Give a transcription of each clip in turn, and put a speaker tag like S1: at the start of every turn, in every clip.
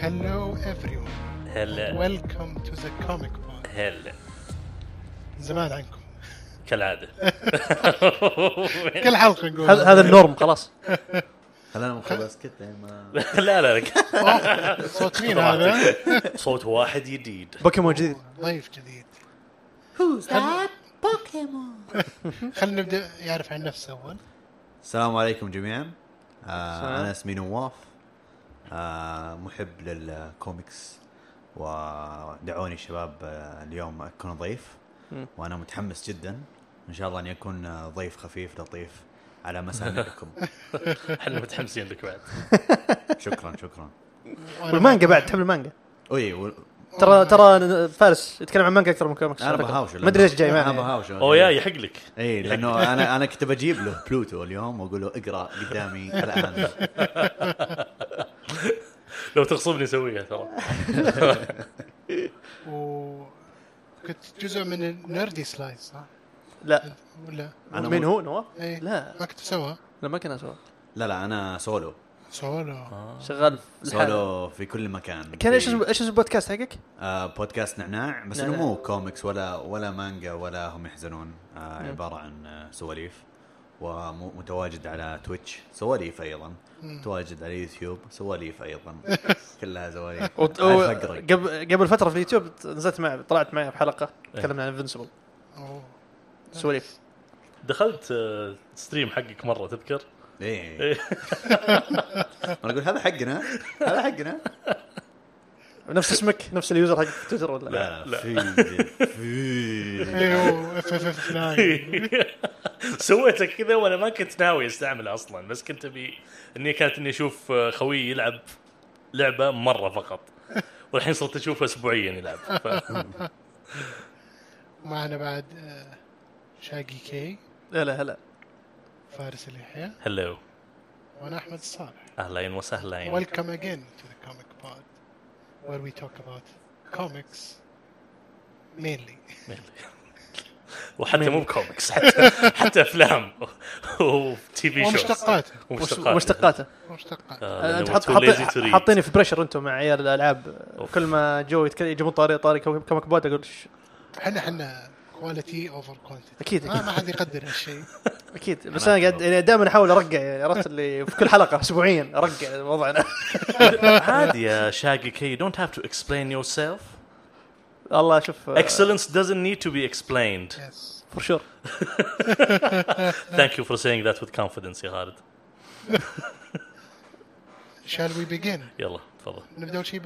S1: Hello everyone.
S2: هلا
S1: Welcome to the comic pod.
S2: هلا
S1: زمان عنكم.
S2: كالعاده
S1: كل حلقة نقول
S3: هذا هذا النورم خلاص
S4: خلينا من خلاص كذا ما
S2: لا لا لا
S1: أوه، صوت مين هذا؟
S2: صوت واحد جديد
S3: بوكيمون جديد
S1: ضيف جديد.
S5: that Pokemon?
S1: خلينا نبدا يعرف عن نفسه اول.
S4: السلام عليكم جميعا آه
S3: السلام.
S4: انا اسمي نواف آه محب للكوميكس ودعوني الشباب آه اليوم اكون ضيف وانا متحمس جدا ان شاء الله اني اكون آه، ضيف خفيف لطيف على مسامعكم
S2: احنا متحمسين لك بعد
S4: شكرا شكرا
S3: والمانجا بعد تحب المانجا
S4: اي و-
S3: ترى ترى فارس يتكلم عن مانجا اكثر من كوميكس
S4: انا
S3: على فكرة.
S4: بهاوشه
S3: ما ادري ليش جاي
S4: انا
S3: معنا
S4: بهاوشه
S2: او يا يحق لك
S4: اي لانه انا انا كنت بجيب له بلوتو اليوم واقول له اقرا قدامي الان
S2: لو تغصبني سويها ترى
S1: وكنت جزء من النيردي سلايد صح؟
S3: لا
S1: ولا
S4: أنا
S3: مين
S4: مو-
S3: هو نواف؟
S1: إيه.
S3: لا
S1: ما كنت اسويها.
S3: لا ما كان اسوي
S4: لا لا انا سولو
S1: سولو
S3: شغال في الحال.
S4: سولو في كل مكان
S3: كان ايش
S4: في-
S3: اسم ايش اسم البودكاست حقك؟
S4: آه بودكاست نعناع بس انه
S3: نعناع.
S4: مو كوميكس ولا ولا مانجا ولا هم يحزنون آه
S3: نعم.
S4: عباره عن آه، سواليف ومتواجد على تويتش سواليف ايضا متواجد على يوتيوب سواليف ايضا كلها سواليف
S3: وت- و-
S4: عارف أقرأ.
S3: قبل قبل فتره في اليوتيوب نزلت معه طلعت معي بحلقه تكلمنا عن انفنسبل
S1: أوه.
S3: سواليف
S2: دخلت آه، ستريم حقك مره تذكر
S4: ايه انا اقول هذا حقنا هذا حقنا
S3: نفس اسمك نفس اليوزر حق تويتر ولا لا
S4: لا لا في في
S1: ايوه اف اف اف 9
S2: سويته كذا وانا ما كنت ناوي استعمله اصلا بس كنت ابي اني كانت اني اشوف آه، خوي يلعب لعبه مره فقط والحين صرت اشوفه اسبوعيا يلعب ف-
S1: معنا بعد آه، شاقي كي
S3: لا لا هلا
S1: فارس اليحيى
S2: هلو
S1: وانا احمد الصالح.
S2: اهلين وسهلين
S1: Welcome again to the Comic Pod, where we talk about comics mainly.
S2: وحتى مو بكوميكس حتى حتى افلام وتي في شوز
S1: ومشتقاته
S3: ومشتقاته
S1: ومشتقاته
S2: آه،
S3: انت
S2: لو
S3: حط
S2: too lazy to
S3: حط-
S2: read.
S3: حاطيني في بريشر انتم مع عيال الالعاب
S2: أوف.
S3: كل ما جو يتكلم يجيبون طاري طاري كوميك بود اقول "ش-
S1: احنا احنا كواليتي اوفر كوانتيتي
S3: اكيد
S1: ما
S3: اكيد
S1: ما حد يقدر هالشيء
S3: اكيد بس انا قاعد يعني دائما احاول ارقع يعني عرفت اللي في كل حلقه اسبوعيا ارقع وضعنا
S2: عادي يا شاقي كي don't have to explain yourself
S3: الله شوف آه،
S2: excellence doesn't need to be explained
S1: يس
S3: فور شور
S2: thank you for saying that with confidence يا خالد
S1: شال وي بيجن
S2: يلا تفضل
S1: نبدا اول شيء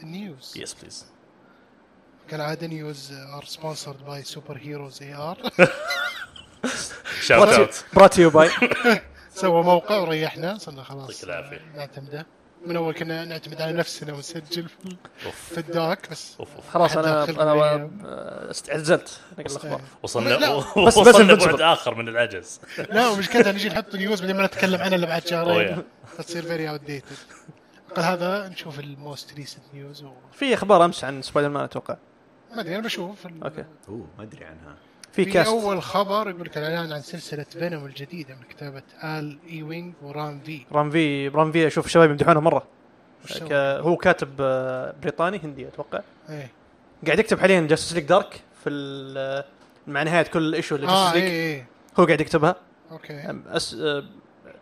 S1: بالنيوز
S2: yes please
S1: كالعاده نيوز ار سبونسرد باي سوبر هيروز اي ار
S2: shout out
S3: برات يو باي
S1: سوى موقع وريحنا صرنا خلاص آه،
S2: يعطيك العافية.
S1: نعتمده من اول كنا نعتمد على نفسنا ونسجل في-
S2: اوف
S1: في الداك بس
S2: اوف اوف
S3: خلاص انا
S1: حد داخل
S3: انا
S1: معي.
S3: آه، است- اعتزلت نقل الاخبار
S2: وصلنا
S1: لا،
S3: بس-
S2: وصلنا
S3: بس
S2: بعد اخر من العجز Oh
S1: لا ومشكلتها نجي نحط نيوز بعدين ما نتكلم عنها الا بعد شهرين
S2: أوه،
S1: فتصير فيري اوت ديتد قال هذا نشوف الموست ريسنت نيوز وما
S3: في اخبار امس عن سبايدر مان اتوقع
S1: ادري انا بشوف ال-
S3: اوكي
S4: اوه ما ادري عنها
S3: في
S1: في
S3: كاست
S1: اول خبر يقول لك اعلان عن سلسله فينوم الجديده من كتابه ال اي وينج ورام في
S3: رام في رام في اشوف الشباب يمدحونه مره
S1: وش سوى؟
S3: ك- هو كاتب آه، بريطاني هندي اتوقع
S1: إيه.
S3: قاعد يكتب حاليا جاستس ليج دارك في ال- آه، مع نهايه كل ايشو اللي
S1: اه
S3: Justice
S1: اي
S3: League
S1: اي
S3: هو قاعد يكتبها
S1: اوكي
S3: أم- أس... آه،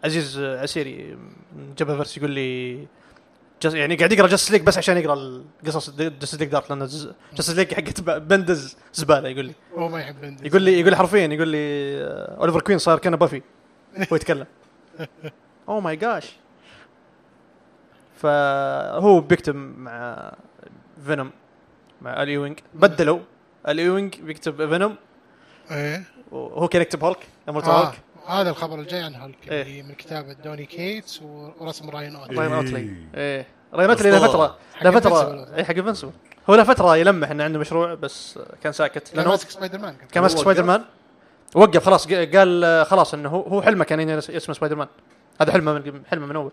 S3: عزيز آه، عسيري من جبهه فيرس يقول لي جس... يعني قاعد يقرا جاستس ليج بس عشان يقرا القصص جاستس ليج دارك لان جاستس ليج حقت ب- بندز زباله يقول لي
S1: هو ما يحب بندس
S3: يقول لي يقول لي حرفيا يقول لي آه، اوليفر كوين صار كانه بافي هو يتكلم Oh اوه ماي جاش فهو بيكتب مع فينوم مع الي وينج بدلوا الي وينج بيكتب فينوم
S1: ايه
S3: وهو كان يكتب هولك امرت
S1: آه.
S3: هولك
S1: هذا الخبر الجاي عن هالك
S3: إيه.
S1: اللي من كتابه دوني كيتس ورسم راين اوت
S3: راين اوتلي ايه راين اوتلي له
S4: أسطورة.
S3: فتره
S1: حق
S3: له
S1: Invincible.
S3: فتره اي حق انفنسبل هو له فتره يلمح انه عنده مشروع بس كان ساكت
S1: كان
S3: لانه هو
S1: ماسك سبايدر مان قبل.
S3: كان ماسك
S4: هو
S3: سبايدر
S4: وقف.
S3: مان وقف خلاص ق- قال آه، خلاص انه هو هو حلمه كان إنه يس- اسمه سبايدر مان هذا حلمه من حلمه من اول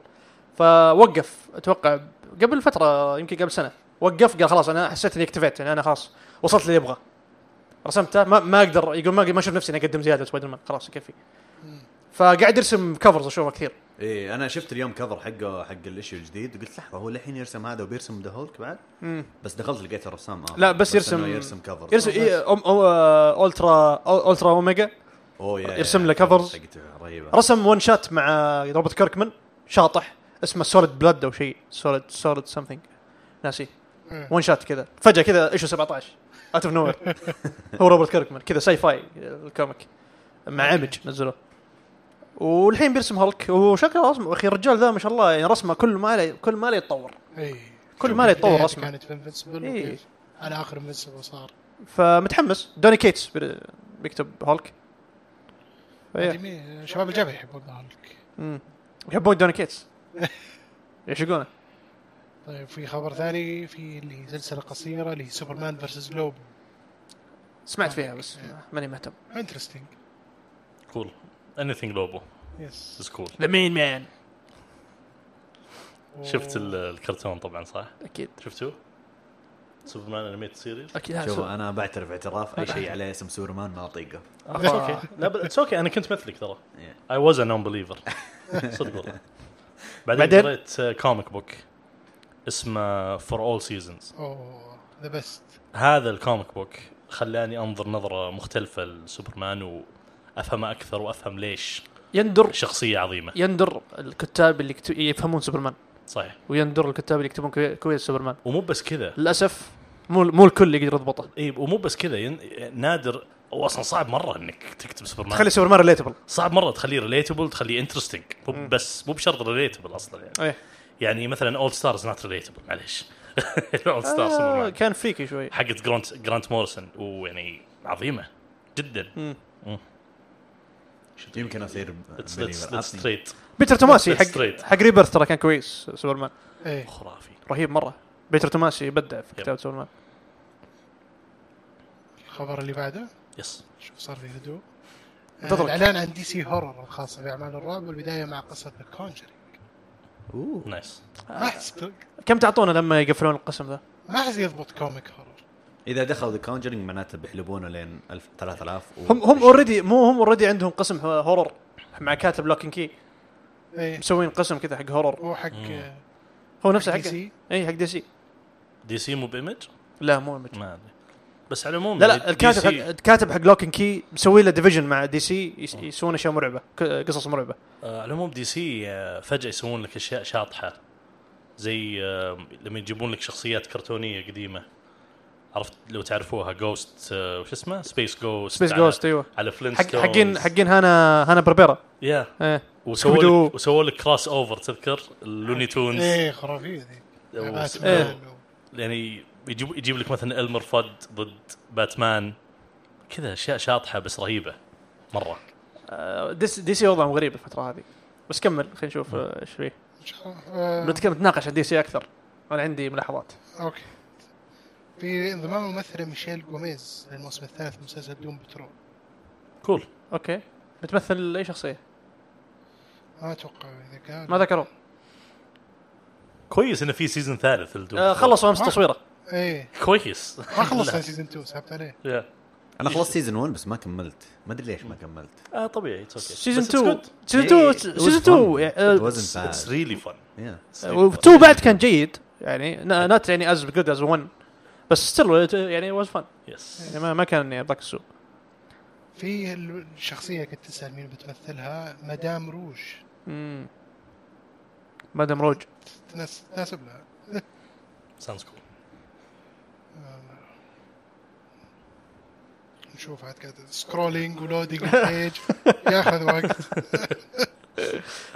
S3: فوقف اتوقع قبل فتره يمكن قبل سنه وقف قال خلاص انا حسيت اني اكتفيت يعني انا خلاص وصلت اللي ابغاه رسمته ما, ما اقدر يقول ما ما اشوف نفسي اني اقدم زياده سبايدر مان خلاص يكفي فقاعد يرسم كفرز اشوفه كثير
S4: ايه انا شفت اليوم كفر حقه حق الايشيو الجديد وقلت لحظه هو للحين يرسم هذا وبيرسم ذا هولك بعد
S3: مم.
S4: بس دخلت لقيت الرسام آه.
S3: لا، بس يرسم-
S4: إنه يرسم كفر
S3: يرسم إيه أم أو آه، الترا أو- الترا اوميجا
S4: اوه يا
S3: يرسم له
S4: يا-
S3: covers.
S4: حقته رهيبه
S3: رسم ون شات مع روبرت كيركمان شاطح اسمه سوليد بلاد او شيء سوليد سوليد سمثينج ناسي
S1: مم.
S3: ون شات كذا فجاه كذا ايشو 17 اوت اوف نوير هو روبرت كيركمان كذا ساي فاي الكوميك مع ايمج نزلوه والحين بيرسم هالك وشكله رسمه اخي الرجال ذا ما شاء الله يعني رسمه كل ما عليه كل ما عليه يتطور
S1: اي
S3: كل ما عليه يتطور
S1: بدايته
S3: رسمه
S1: كانت في انفنسبل
S3: إيه.
S1: على اخر انفنسبل صار
S3: فمتحمس دوني كيتس بي- بيكتب هالك فيا.
S1: جميل شباب الجبهه يحبون هالك
S3: مم. يحبون دوني كيتس يعشقونه
S1: طيب في خبر ثاني في اللي سلسله قصيره لسوبرمان فيرسز لوب
S3: سمعت فيها بس ماني مهتم
S1: انترستنج
S2: كول اني ثينج لوبو
S1: يس
S2: از كول
S3: ذا مين مان
S2: شفت ال- الكرتون طبعا صح؟
S3: اكيد
S2: شفتوه؟ سوبرمان انميت سيريز
S3: اكيد هذا
S4: شوف
S3: سو-
S4: انا بعترف اعتراف اي شيء عليه اسم سوبرمان ما اطيقه
S2: اتس اوكي آه، لا اتس اوكي انا كنت مثلك ترى
S4: Yeah.
S2: اي واز ان نون بليفر صدق والله بعدين
S3: بعدين؟
S2: قريت كوميك بوك اسمه فور اول سيزونز
S1: اوه ذا بيست
S2: هذا الكوميك بوك خلاني انظر نظره مختلفه لسوبرمان وافهمه اكثر وافهم ليش
S3: يندر
S2: شخصيه عظيمه
S3: يندر الكتاب اللي يكتب- يفهمون سوبرمان
S2: صحيح
S3: ويندر الكتاب اللي يكتبون كوي- كويس سوبرمان
S2: ومو بس كذا
S3: للاسف مو مو الكل يقدر يضبطه
S2: اي ومو بس كذا ين... نادر هو اصلا صعب مره انك تكتب سوبرمان
S3: تخلي سوبرمان ريليتبل
S2: صعب مره تخليه ريليتبل تخليه انترستنج مو بس مو بشرط ريليتبل اصلا يعني
S3: ايه
S2: يعني مثلا اول ستارز نوت ريليتبل معليش اول
S3: آه
S2: ستارز
S3: كان فريكي شوي
S2: حقت جرانت جرانت مورسون ويعني عظيمه جدا
S4: يمكن اصير
S2: اتس
S4: believer.
S2: اتس
S4: أعطني-
S2: ستريت
S3: بيتر توماسي
S2: Straight.
S3: حق حق ريبيرث ترى كان كويس سوبرمان
S1: ايه
S2: خرافي
S3: رهيب مره بيتر توماسي بدع في
S2: يب.
S3: كتابه سوبرمان
S1: الخبر اللي بعده
S2: يس
S1: شوف صار في هدوء آه،
S3: تطرق.
S1: الاعلان عن دي سي هورر الخاصه باعمال الرعب والبدايه مع قصه ذا كونجرينج
S4: اوه
S2: نايس
S3: آه.
S1: ما احس
S3: كم تعطونا لما يقفلون القسم ذا؟
S1: ما احس يضبط كوميك هورر
S4: اذا دخلوا ذا كونجرينج معناته بيحلبونه لين 1000 3000 و-
S3: هم هم اوريدي مو هم اوريدي عندهم قسم هورر مع كاتب لوكن كي
S1: ايه
S3: مسوين قسم كذا حق هورر
S1: هو حق
S3: هو نفسه
S1: حق
S3: حقه
S1: DC.
S3: اي حق دي سي
S2: دي سي مو بايمج
S3: لا مو Image.
S2: ما ادري بس على العموم يعني
S3: لا لا
S2: دي
S3: الكاتب
S2: سي-
S3: حق الكاتب حق لوكن كي مسوي له ديفيجن مع دي سي يس-
S4: آه.
S3: يسوون اشياء مرعبه ك- قصص مرعبه
S2: آه، على العموم دي سي آه، فجاه يسوون لك اشياء شاطحه زي آه، لما يجيبون لك شخصيات كرتونيه قديمه عرفت لو تعرفوها جوست وش اسمه سبيس جوست
S3: سبيس جوست ايوه
S2: على
S3: حق
S2: فلينستونز
S3: حقين حقين هانا هانا بربيرا
S2: يا
S3: ايه
S2: وسووا
S3: سكوبيدو.
S2: لك وسووا لك كراس اوفر تذكر اللوني تونز
S1: ايه خرافيه ذي
S2: أو-
S3: إيه.
S1: باتمان و-
S2: يعني يجيب يجيب لك مثلا المر فد ضد باتمان كذا اشياء شاطحه بس رهيبه مره
S3: آه، دي سي- دي سي وضعهم غريب الفتره هذه بس كمل خلينا نشوف آه، ايش فيه
S1: آه،
S3: بنتكلم نتناقش عن دي سي اكثر انا عندي ملاحظات
S1: اوكي في انضمام الممثله ميشيل جوميز للموسم الثالث من مسلسل دوم بترول
S2: كول
S3: اوكي بتمثل اي شخصيه
S1: ما اتوقع اذا كان
S3: ما ذكروا
S2: كويس انه في سيزون ثالث للدوم.
S3: آه خلصوا امس
S1: ما-
S3: تصويره
S1: ايه
S2: كويس
S1: ما خلصنا سيزون 2 سحبت عليه
S2: يا.
S4: انا خلصت سيزون 1 بس ما كملت ما ادري ليش ما كملت
S2: اه طبيعي اتس اوكي
S3: سيزون 2 سيزون 2
S4: إيه، it
S3: سيزون
S4: was fun. It wasn't bad.
S2: اتس ريلي فن
S4: Yeah.
S2: طيب،
S3: 2 2 بعد كان جيد يعني نات يعني از جود از 1 بس ستيل يعني واز فن
S2: يس
S3: يعني ما, ما كان يعني ذاك السوء
S1: في ال- الشخصيه كنت تسال مين بتمثلها مدام روج
S3: مم. مدام روج
S1: تناس- تناسب لها
S2: ساوندز كول
S1: آه، نشوف عاد قاعد سكرولينج ولودينج البيج ياخذ وقت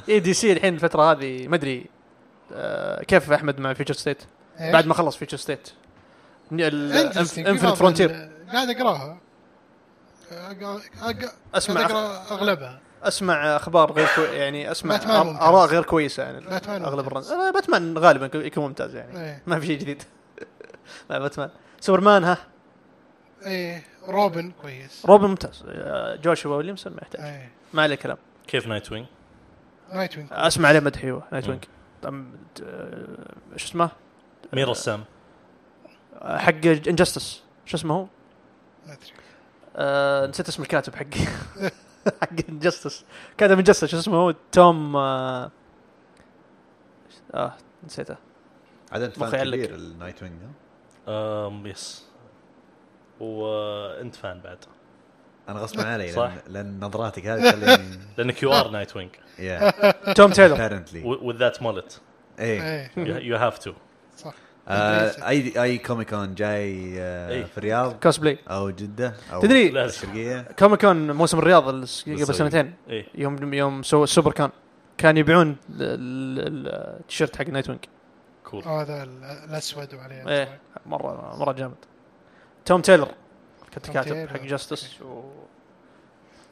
S3: اي دي سي الحين الفتره هذه ما ادري آه كيف احمد مع فيوتشر ستيت بعد ما خلص فيوتشر ستيت انفنت فرونتير
S1: قاعد اقراها آه، قا- قا-
S3: أسمع.
S1: قاعد اقرا اغلبها
S3: اسمع اخبار غير كوي... يعني اسمع
S1: باتمان
S3: آر-
S1: ممتاز.
S3: اراء غير كويسه يعني
S1: باتمان
S3: اغلب
S1: ممتاز.
S3: الرن آه، باتمان غالبا يكون ممتاز يعني
S1: ايه
S3: ما في شيء جديد مع باتمان سوبرمان ها
S1: ايه روبن كويس
S3: روبن ممتاز آه، جوشوا ويليامسون ما يحتاج
S1: ايه
S3: ما عليه كلام
S2: كيف نايت وينج
S1: نايت وينج
S3: اسمع عليه مدح ايوه نايت وينج طم- آه، شو اسمه
S2: مين
S3: Uh,
S2: رسام
S3: آه، حق انجستس شو اسمه هو؟
S1: ما ادري
S3: آه، نسيت اسم الكاتب حق حق جستس كان من جستس شو اسمه توم آه, اه نسيته
S4: عاد انت
S3: مخي
S4: فان
S3: علق.
S4: كبير النايت وينج ها؟
S2: أم يس Oh, وانت فان بعد
S4: انا غصبا علي
S2: صح.
S4: لان, لأن نظراتك هذه تخليني
S2: لانك يو
S3: Ah.
S2: ار نايت وينج
S4: يا
S3: توم تايلر
S4: ابيرنتلي
S2: with that mullet
S4: ايه
S1: ايه
S2: you have to
S1: صح
S4: آه، اي اي كوميك كون جاي
S2: إيه.
S4: آه، في الرياض
S3: كوسبلاي
S4: او جده او
S3: تدري-
S2: لازم
S4: الشرقيه
S3: كوميك كون موسم الرياض الس- قبل
S2: بالسعودية.
S3: سنتين
S2: ايه
S3: يوم يوم سووا السوبر كان كان يبيعون ال- ال- ال- التيشيرت حق نايت وينج
S2: كول
S3: آه،
S1: هذا ال- الاسود وعليه
S3: ايه مره مره جامد توم تايلر كنت
S1: توم
S3: كاتب
S1: تايلور.
S3: حق جاستس و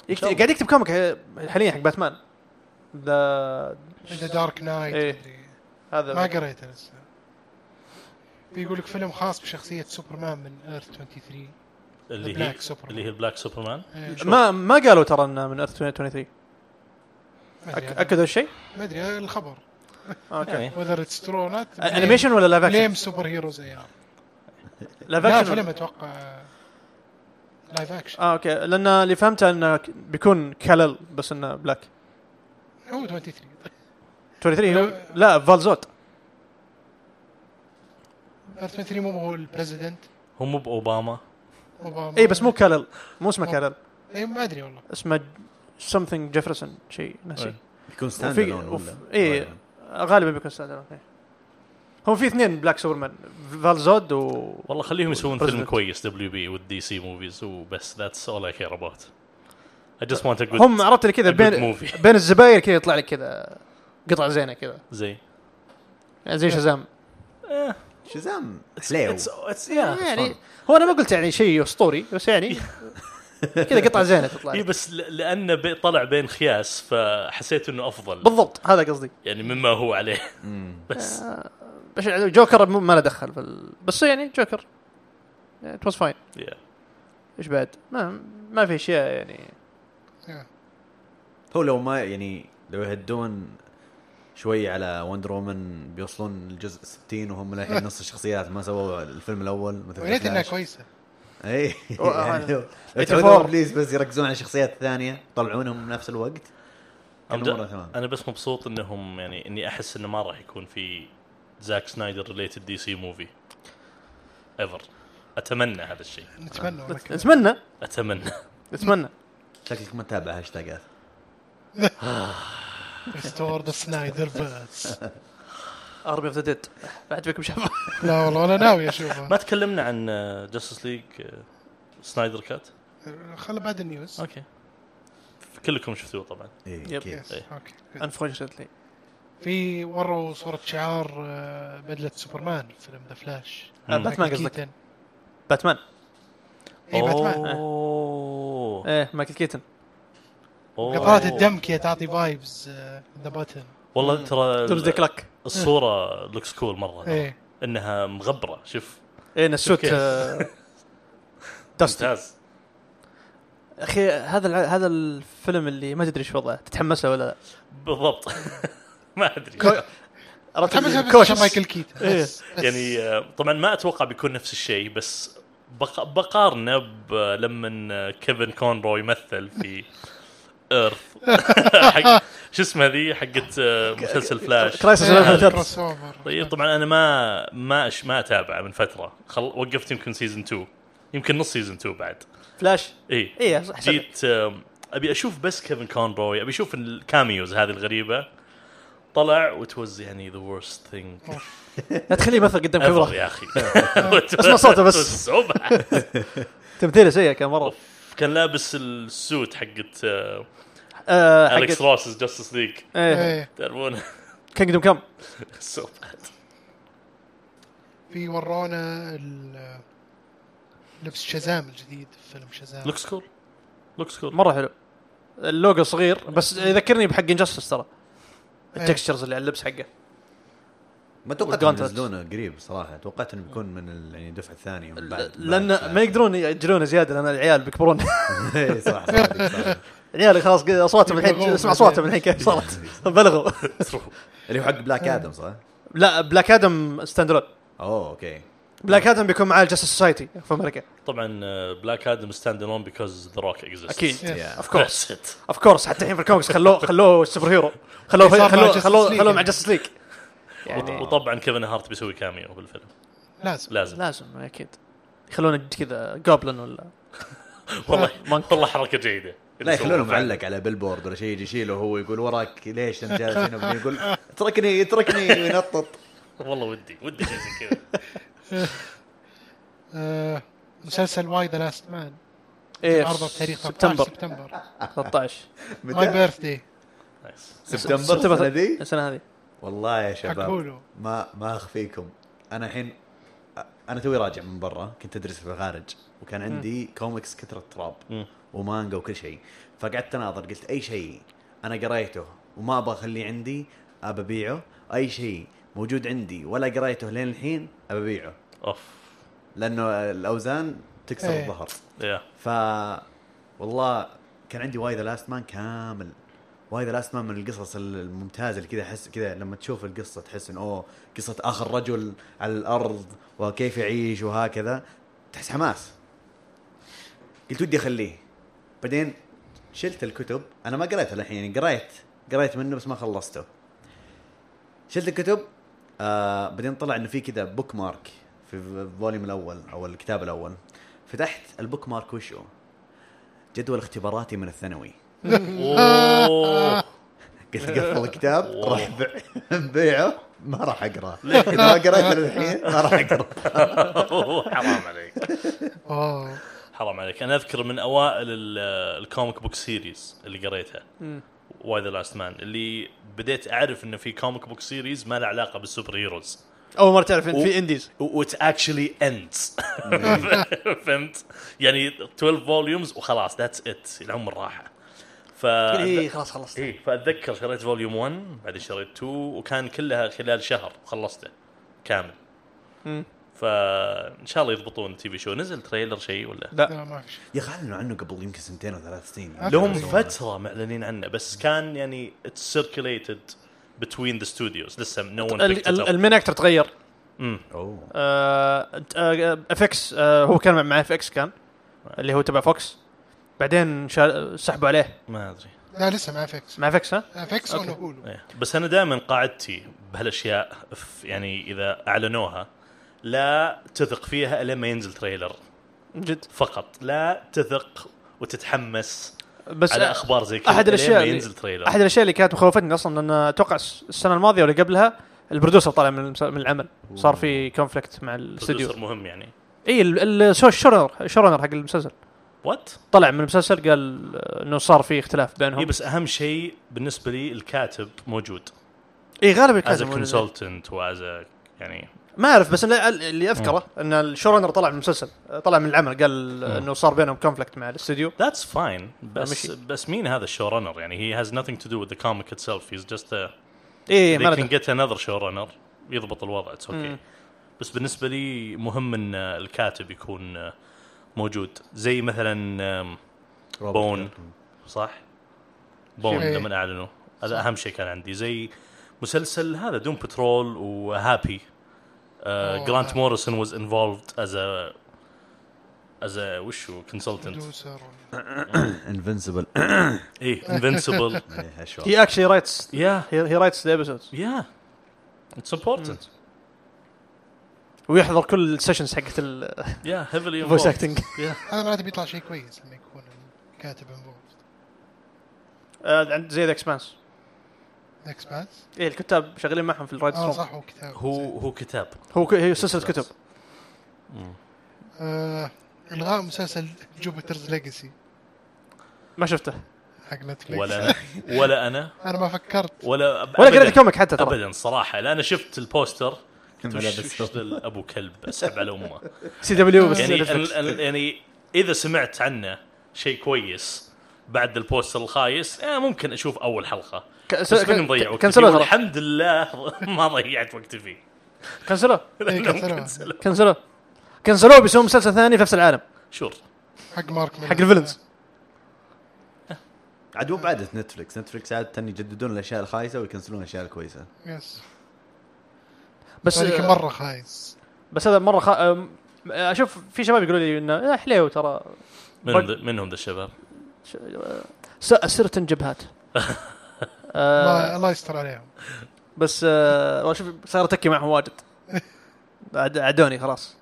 S2: إن
S3: يكتب
S2: شاء الله.
S3: قاعد يكتب كوميك ه- حاليا حق باتمان ذا
S1: ذا دارك نايت
S3: إيه.
S1: مدري. ما
S3: هذا
S1: قريته لسه بيقول لك فيلم خاص بشخصية سوبرمان من ايرث 23
S2: اللي هي
S1: بلاك سوبرمان
S2: اللي هي البلاك سوبرمان
S1: إيه،
S3: ما ما قالوا ترى انه من ايرث 23
S1: ما أدري
S3: أك-
S1: هذا-
S3: اكدوا الشيء؟
S1: ما ادري هذا الخبر
S3: اوكي
S2: يعني
S1: وذر اتس ترو نوت
S3: انيميشن ولا لايف
S1: ليم
S3: اكشن؟
S1: سوبر هيروز اي ار
S3: لايف
S1: لا
S3: اكشن
S1: فيلم
S3: ولا-
S1: اتوقع لايف اكشن
S3: اه اوكي لان اللي فهمته انه ك- بيكون كلل بس انه بلاك
S1: هو 23
S3: 23 هو- لا فالزوت
S1: ايرث 23 مو هو البريزدنت
S2: هو مو باوباما
S1: اوباما
S3: اي إيه، بس مو كلل مو اسمه كلل
S1: اي إيه، ما ادري والله
S3: اسمه سمثينج جيفرسون شيء نسي
S2: إيه.
S4: يكون ستاند
S3: وفي
S4: الون
S3: وف- إيه.
S4: ولا طيب.
S3: اي غالبا بيكون ستاند الون هو في اثنين بلاك سوبرمان فالزود و
S2: والله خليهم يسوون فيلم
S3: President.
S2: كويس دبليو بي والدي سي موفيز وبس ذاتس اول اي كير اباوت I just want a good
S3: هم عرفت اللي كذا
S2: good
S3: بين
S2: movie.
S3: بين الزباير كذا يطلع لك كذا قطع زينه كذا
S2: زي
S3: يعني زي شزام
S4: شزام حليو
S2: It's- it's- yeah.
S3: إيه،
S2: إيه،
S3: يعني هو انا ما قلت يعني شيء اسطوري بس يعني كذا قطع زينه تطلع
S2: اي
S3: لك.
S2: بس ل- لانه بي- طلع بين خياس فحسيت انه افضل
S3: بالضبط هذا قصدي آه،
S2: يعني مما هو عليه بس
S3: بس يعني جوكر مو- ما له دخل بال... بس يعني جوكر ات واز فاين
S2: yeah.
S3: ايش بعد؟ ما ما في اشياء يعني
S4: هو لو ما يعني لو يهدون شوي على وندر وومن بيوصلون الجزء 60 وهم للحين نص الشخصيات ما سووا الفيلم الاول مثل
S1: ويا ريت انها
S4: Flash.
S1: كويسه
S4: اي
S3: أوه،
S4: يعني لو- لو
S3: 84.
S4: تعودون بليز بس يركزون على الشخصيات الثانيه يطلعونهم نفس الوقت
S2: أنا
S4: كل مره
S2: بد-
S4: ثمان
S2: انا بس مبسوط انهم يعني اني احس انه ما راح يكون في زاك سنايدر ريليتد دي سي موفي ايفر اتمنى هذا الشيء
S1: نتمنى والله كذا.
S3: اتمنى
S2: اتمنى
S3: اتمنى
S4: شكلك ما تتابع هاشتاجات
S1: ريستور ذا سنايدر فيرس
S3: ارمي اوف ذا ديد بعد فيكم شاف
S1: لا والله انا ناوي
S2: ما
S1: اشوفه
S2: تكلمنا عن آه، جاستس ليج سنايدر كات
S1: خله بعد النيوز
S2: اوكي كلكم شفتوه طبعا
S4: اي
S3: يب.
S4: كيف
S1: يس اوكي good.
S3: انفورشنتلي
S1: في وروا صوره شعار آه، بدله سوبرمان في فيلم ذا فلاش
S2: مم.
S3: باتمان قصدك باتمان
S1: اي باتمان
S2: اوه
S3: ايه مايكل كيتن
S2: أوه.
S1: قطرات إيه. الدم كذا تعطي آه، فايبز ذا باتن
S2: والله ترى
S3: تورزدي كلاك
S2: الصوره لوكس كول مره ترى.
S1: ايه
S2: انها مغبره شوف
S3: ايه إن السوت
S2: كيف.
S3: آه، داستن
S2: ممتاز
S3: اخي هذا الع- هذا الفيلم اللي ما تدري ايش وضعه تتحمس له ولا لا
S2: بالضبط ما ادري
S3: عرفت
S1: متحمس
S3: اللي-
S1: بس
S3: كوشس.
S1: عشان مايكل كيتن
S3: آه. إيه.
S1: بس- بس.
S2: يعني آه، طبعا ما اتوقع بيكون نفس الشيء بس بق- بقارنه ب- لما آه، كيفن كونروي مثل في ايرث حق شو اسمها ذي حقت آه، مسلسل فلاش
S3: كرايسس
S1: إيه،
S3: إلفن Earth.
S1: كروس اوفر
S2: طيب طبعا انا ما ما أش- ما اتابعه من فتره خل... وقفت يمكن سيزون 2 يمكن نص سيزون 2 بعد
S3: فلاش
S2: اي
S3: إيه، صح- صح.
S2: جيت آم، ابي اشوف بس كيفن كونروي ابي اشوف الكاميوز هذه الغريبه طلع وتوز يعني ذا worst ثينج
S3: لا تخليه يمثل قدام
S2: ever
S3: كاميرا
S2: يا اخي
S3: اسمع صوته بس.
S2: صوبة.
S3: تمثيله سيء كان مره
S2: كان لابس السوت حقت آه،
S3: آه،
S2: اليكس
S3: حق
S2: روسز جاستس ليج
S1: إيه.
S2: تعرفون
S3: كينجدوم كم
S2: So bad.
S1: في ورونا ال- آه، لبس شزام الجديد في فيلم شزام
S2: لوكس كول لوكس كول
S3: مره حلو اللوجو صغير بس يذكرني بحق انجستس ترى
S1: إيه.
S3: التكستشرز اللي على اللبس حقه
S4: ما توقعت
S3: والجانتلت.
S4: إنهم ينزلونه قريب صراحه توقعت انه بيكون من ال- يعني الدفعه الثانيه من بعد
S3: لان
S4: بعد-
S3: ما يقدرون ياجلونه زياده لان العيال بيكبرون
S4: إيه، صح صح صح.
S3: العيال خلاص قد- اصواتهم الحين
S1: يبلغون
S3: اسمع اصواتهم الحين كيف صارت بلغوا
S4: اللي هو حق بلاك ادم صح؟
S3: لا بلاك ادم ستاند الون
S4: اوه اوكي
S3: بلاك ادم بيكون معاه الجاستس سوسايتي في امريكا
S2: طبعا بلاك ادم ستاند الون بيكوز ذا روك اكزيست
S3: اكيد
S4: Yeah.
S3: اوف كورس اوف كورس حتى الحين في الكوميكس خلوه خلوه سوبر هيرو خلوه
S1: صار مع
S3: خلوه
S1: Justice
S3: خلوه
S1: League.
S3: خلوه مع جاستس ليج
S4: إيه.
S3: يعني
S2: وطبعا كيفن هارت بيسوي كاميو بالفيلم
S1: لازم
S2: لازم
S3: لازم اكيد يخلونه كذا جوبلن ولا
S2: والله والله حركه جيده
S4: لا يخلونه معلق على بيلبورد ولا شيء يجي يشيله هو يقول وراك ليش انت جالس هنا وبعدين يقول اتركني اتركني وينطط
S2: والله ودي ودي شيء زي كذا
S1: آه، مسلسل واي ذا لاست مان
S3: ايه في
S1: عرضه بتاريخ 13
S3: سبتمبر آه.
S1: سبتمبر
S3: 13
S1: ماي
S4: متى؟
S1: بيرثدي
S2: نايس
S4: سبتمبر السنه ذي
S3: السنه هذه
S4: والله يا
S1: حقوله.
S4: شباب ما ما اخفيكم انا الحين انا توي راجع من برا كنت ادرس في الخارج وكان عندي كوميكس كثره
S2: مم.
S4: تراب ومانجا وكل شيء فقعدت اناظر قلت اي شيء انا قريته وما ابغى اخليه عندي ابى ابيعه اي شيء موجود عندي ولا قريته لين الحين ابى ابيعه
S2: اوف
S4: لانه الاوزان تكسر
S1: إيه.
S4: الظهر
S2: يا
S4: ف والله كان عندي واي ذا لاست مان كامل واي ذا لاست مان من القصص الممتازه اللي كذا احس كذا لما تشوف القصه تحس ان اوه قصه اخر رجل على الارض وكيف يعيش وهكذا تحس حماس قلت ودي اخليه بعدين شلت الكتب انا ما قريتها الحين يعني قريت قريت منه بس ما خلصته شلت الكتب آه بعدين طلع انه في كذا بوك مارك في الفوليوم الاول او الكتاب الاول فتحت البوك مارك وشو جدول اختباراتي من الثانوي
S2: اوه
S4: قلت قفل الكتاب راح بيع- بيعه ما راح اقراه اذا ما قريته للحين ما راح اقراه
S2: حرام عليك
S1: اوه
S2: حرام عليك انا اذكر من اوائل ال- الكوميك بوك سيريز اللي قريتها واي ذا لاست مان اللي بديت اعرف انه في كوميك بوك سيريز ما له علاقه بالسوبر هيروز
S3: اول مره تعرف ان
S2: و-
S3: في انديز
S2: وات اكشلي اندز فهمت؟ يعني 12 فوليومز وخلاص ذاتس ات العمر راحه ف
S3: اي إيه، خلاص خلصت
S2: اي فاتذكر إيه، شريت فوليوم 1 بعدين شريت 2 وكان كلها خلال شهر خلصته كامل
S3: مم.
S2: فان شاء الله يضبطون تي في شو نزل تريلر شيء ولا
S1: لا ما في شيء
S4: يا اخي اعلنوا عنه قبل يمكن سنتين او ثلاث سنين
S2: لهم فتره معلنين عنه بس كان يعني اتس سيركليتد بتوين ذا ستوديوز لسه نو ون
S3: المين اكتر تغير
S4: اوه
S3: آه، اف اكس آه، هو كان مع اف اكس كان اللي هو تبع فوكس بعدين شا- سحبوا عليه
S2: ما ادري
S1: لا لسه ما فيكس
S3: مع اف اكس ها
S1: فيكس ولا هولو
S2: إيه. بس انا دائما قاعدتي بهالاشياء ف- يعني اذا اعلنوها لا تثق فيها الا ما ينزل تريلر
S3: من جد
S2: فقط لا تثق وتتحمس
S3: بس
S2: على اخبار زي كذا
S3: احد
S2: إلين
S3: الاشياء
S2: ما
S3: اللي-
S2: ينزل تريلر
S3: احد الاشياء اللي كانت مخوفتني اصلا لان اتوقع الس- السنه الماضيه واللي قبلها البرودوسر طلع من المس- من العمل صار في كونفليكت مع الاستوديو
S2: بروديوسر مهم يعني
S3: اي ال- ال- سو- الشورنر شورنر حق المسلسل
S2: وات
S3: طلع من المسلسل قال آه، انه صار في اختلاف
S2: اي
S3: بينهم
S2: إيه، بس اهم شيء بالنسبه لي الكاتب موجود
S3: اي غالبا
S2: از
S3: كان موجود.
S2: كونسلتنت واز يعني
S3: ما اعرف بس اللي- اللي اذكره ان الشورنر طلع من المسلسل آه، طلع من العمل قال آه، انه صار بينهم كونفليكت مع الاستوديو
S2: ذاتس فاين بس
S3: ماشي.
S2: بس مين هذا الشو رنر يعني هي هاز nothing تو دو وذ ذا كوميك اتسلف هيز جاست
S3: اي ما
S2: they can
S3: له
S2: get another showrunner يضبط الوضع اتس اوكي
S3: إيه، مم.
S2: بس بالنسبه لي مهم ان آه، الكاتب يكون آه، موجود زي مثلا آم، بون صح؟ بون
S1: إيه.
S2: لما اعلنوا هذا اهم شيء كان عندي زي مسلسل هذا دوم بترول وهابي آه،
S1: أوه.
S2: جرانت موريسون واز انفولفد از ا از ا وش هو كونسلتنت
S1: برودوسر ولا-
S4: انفنسبل
S2: اي انفنسبل
S4: إيه،
S3: هي اكشلي رايتس
S2: يا
S3: هي رايتس ذا ابيسودز
S2: يا اتس امبورتنت
S3: ويحضر كل السيشنز حقت الفويس
S2: يا هيفلي
S3: اكتنج
S2: يا
S1: هذا معناته بيطلع شيء كويس لما يكون الكاتب انفولد
S3: آه، زي ذا اكسبانس
S1: اكسبانس
S3: ايه الكتاب شغالين معهم في الرايتس
S1: اه
S3: روم
S1: صح هو كتاب
S2: هو هو كتاب
S3: هو ك- هي سلسله كتب
S1: آه، الغاء مسلسل جوبيترز ليجاسي
S3: ما شفته
S1: حق نتفلكس
S2: ولا انا ولا انا
S1: انا ما فكرت
S2: ولا
S3: ولا
S2: أبداً-
S3: قريت الكوميك حتى ترى
S2: ابدا صراحه لا انا شفت البوستر قلت وش-
S4: ملابس
S2: وش
S4: سودا.
S2: ذا ابو كلب اسحب على امه
S3: سي دبليو بس
S2: يعني
S3: Netflix.
S2: أنا- أنا- يعني اذا سمعت عنه شيء كويس بعد البوستر الخايس آه ممكن اشوف اول حلقه
S3: ك-
S2: بس كنا نضيع
S3: ك-
S2: وقتي فيه
S3: كنسلوه ترى. إيه،
S2: والحمد لله ما ضيعت وقتي فيه
S3: كنسلوه
S1: إيه،
S2: لأنهم
S1: كنسلوه.
S2: كنسلوه.
S3: كنسلوه كنسلوه بيسوون مسلسل ثاني في نفس العالم
S2: شور
S1: حق مارك ميلر.
S3: حق الفيلنز
S4: عاد مو بعادة نتفلكس نتفلكس عادة يجددون الاشياء الخايسة ويكنسلون الاشياء الكويسة
S1: يس
S3: بس
S1: هذيك
S3: آه،
S1: مره خايس
S3: بس هذا مره خ... أم- اشوف في شباب يقولوا لي انه يا حليو ترى
S2: منهم ذا- منهم ذا الشباب
S3: ش- ساء سرة جبهات آه،
S1: الله- الله يستر عليهم
S3: بس آه، واشوف صار اتكي معهم واجد عد- عدوني خلاص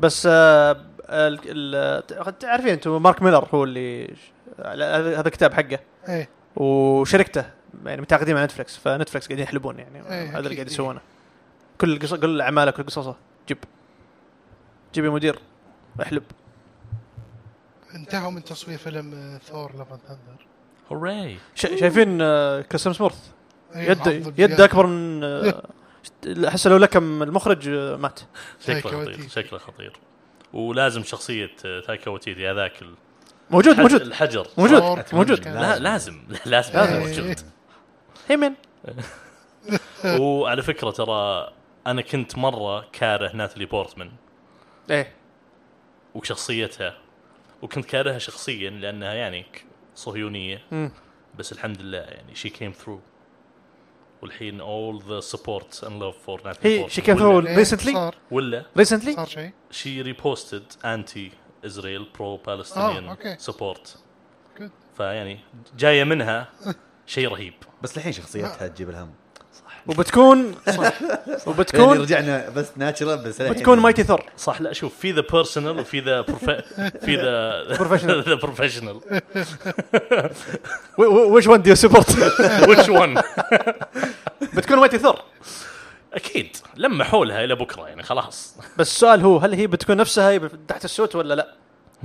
S3: بس آه، ال- ال- ت- تعرفين انتم مارك ميلر هو اللي ش- هذا هذا الكتاب حقه
S1: ايه
S3: وشركته يعني متعاقدين مع نتفلكس فنتفلكس قاعدين يحلبون يعني
S1: إيه،
S3: هذا اللي
S1: أكيد،
S3: قاعد
S1: إيه.
S3: يسوونه كل قص... كل اعماله كل قصصه جيب جيب يا مدير احلب
S1: انتهوا من تصوير فيلم آه، ثور لافن ثندر
S2: هوراي
S3: ش... شايفين آه، كريستيان سمورث
S1: إيه،
S3: يد يد اكبر من آه، احس لو لكم المخرج آه، مات
S1: تايكا
S2: شكله خطير
S1: وتيتي.
S2: شكله خطير ولازم شخصيه آه، تايكا وتيتي هذاك ال-
S3: موجود
S2: الحج-
S3: موجود
S2: الحجر
S3: موجود
S1: صور.
S3: موجود
S1: كان-
S2: لا لازم لازم
S1: لازم.
S2: يكون موجود
S3: هيمن
S2: وعلى فكره ترى انا كنت مره كاره ناتلي بورتمان
S3: ايه
S2: وشخصيتها وكنت كارهها شخصيا لانها يعني ك- صهيونيه
S3: مم.
S2: بس الحمد لله يعني شي كيم ثرو والحين all the support and love for Natalie
S3: هي
S2: Portman.
S3: she came
S2: ولا-
S3: through.
S1: إيه،
S3: Recently؟ إيه.
S1: صار
S2: ولا
S3: ريسنتلي
S1: صار شيء
S2: she reposted anti Israel pro
S1: آه،
S3: Oh,
S2: Palestinian
S1: أوكي.
S2: support
S1: Good.
S2: فيعني جايه منها شيء رهيب
S4: بس الحين شخصيتها تجيب الهم
S3: وبتكون
S4: يعني
S3: وبتكون
S4: رجعنا بس ناتشرال بس الحين-
S3: بتكون مايتي ثور
S2: صح لا شوف في ذا بيرسونال وفي ذا في ذا
S3: Professional.
S2: ذا بروفيشنال
S3: ويش ون دو سبورت
S2: ويتش ون
S3: بتكون مايتي ثور
S2: اكيد لما حولها الى بكره يعني خلاص
S3: بس السؤال هو هل هي بتكون نفسها هي تحت السوت ولا لا؟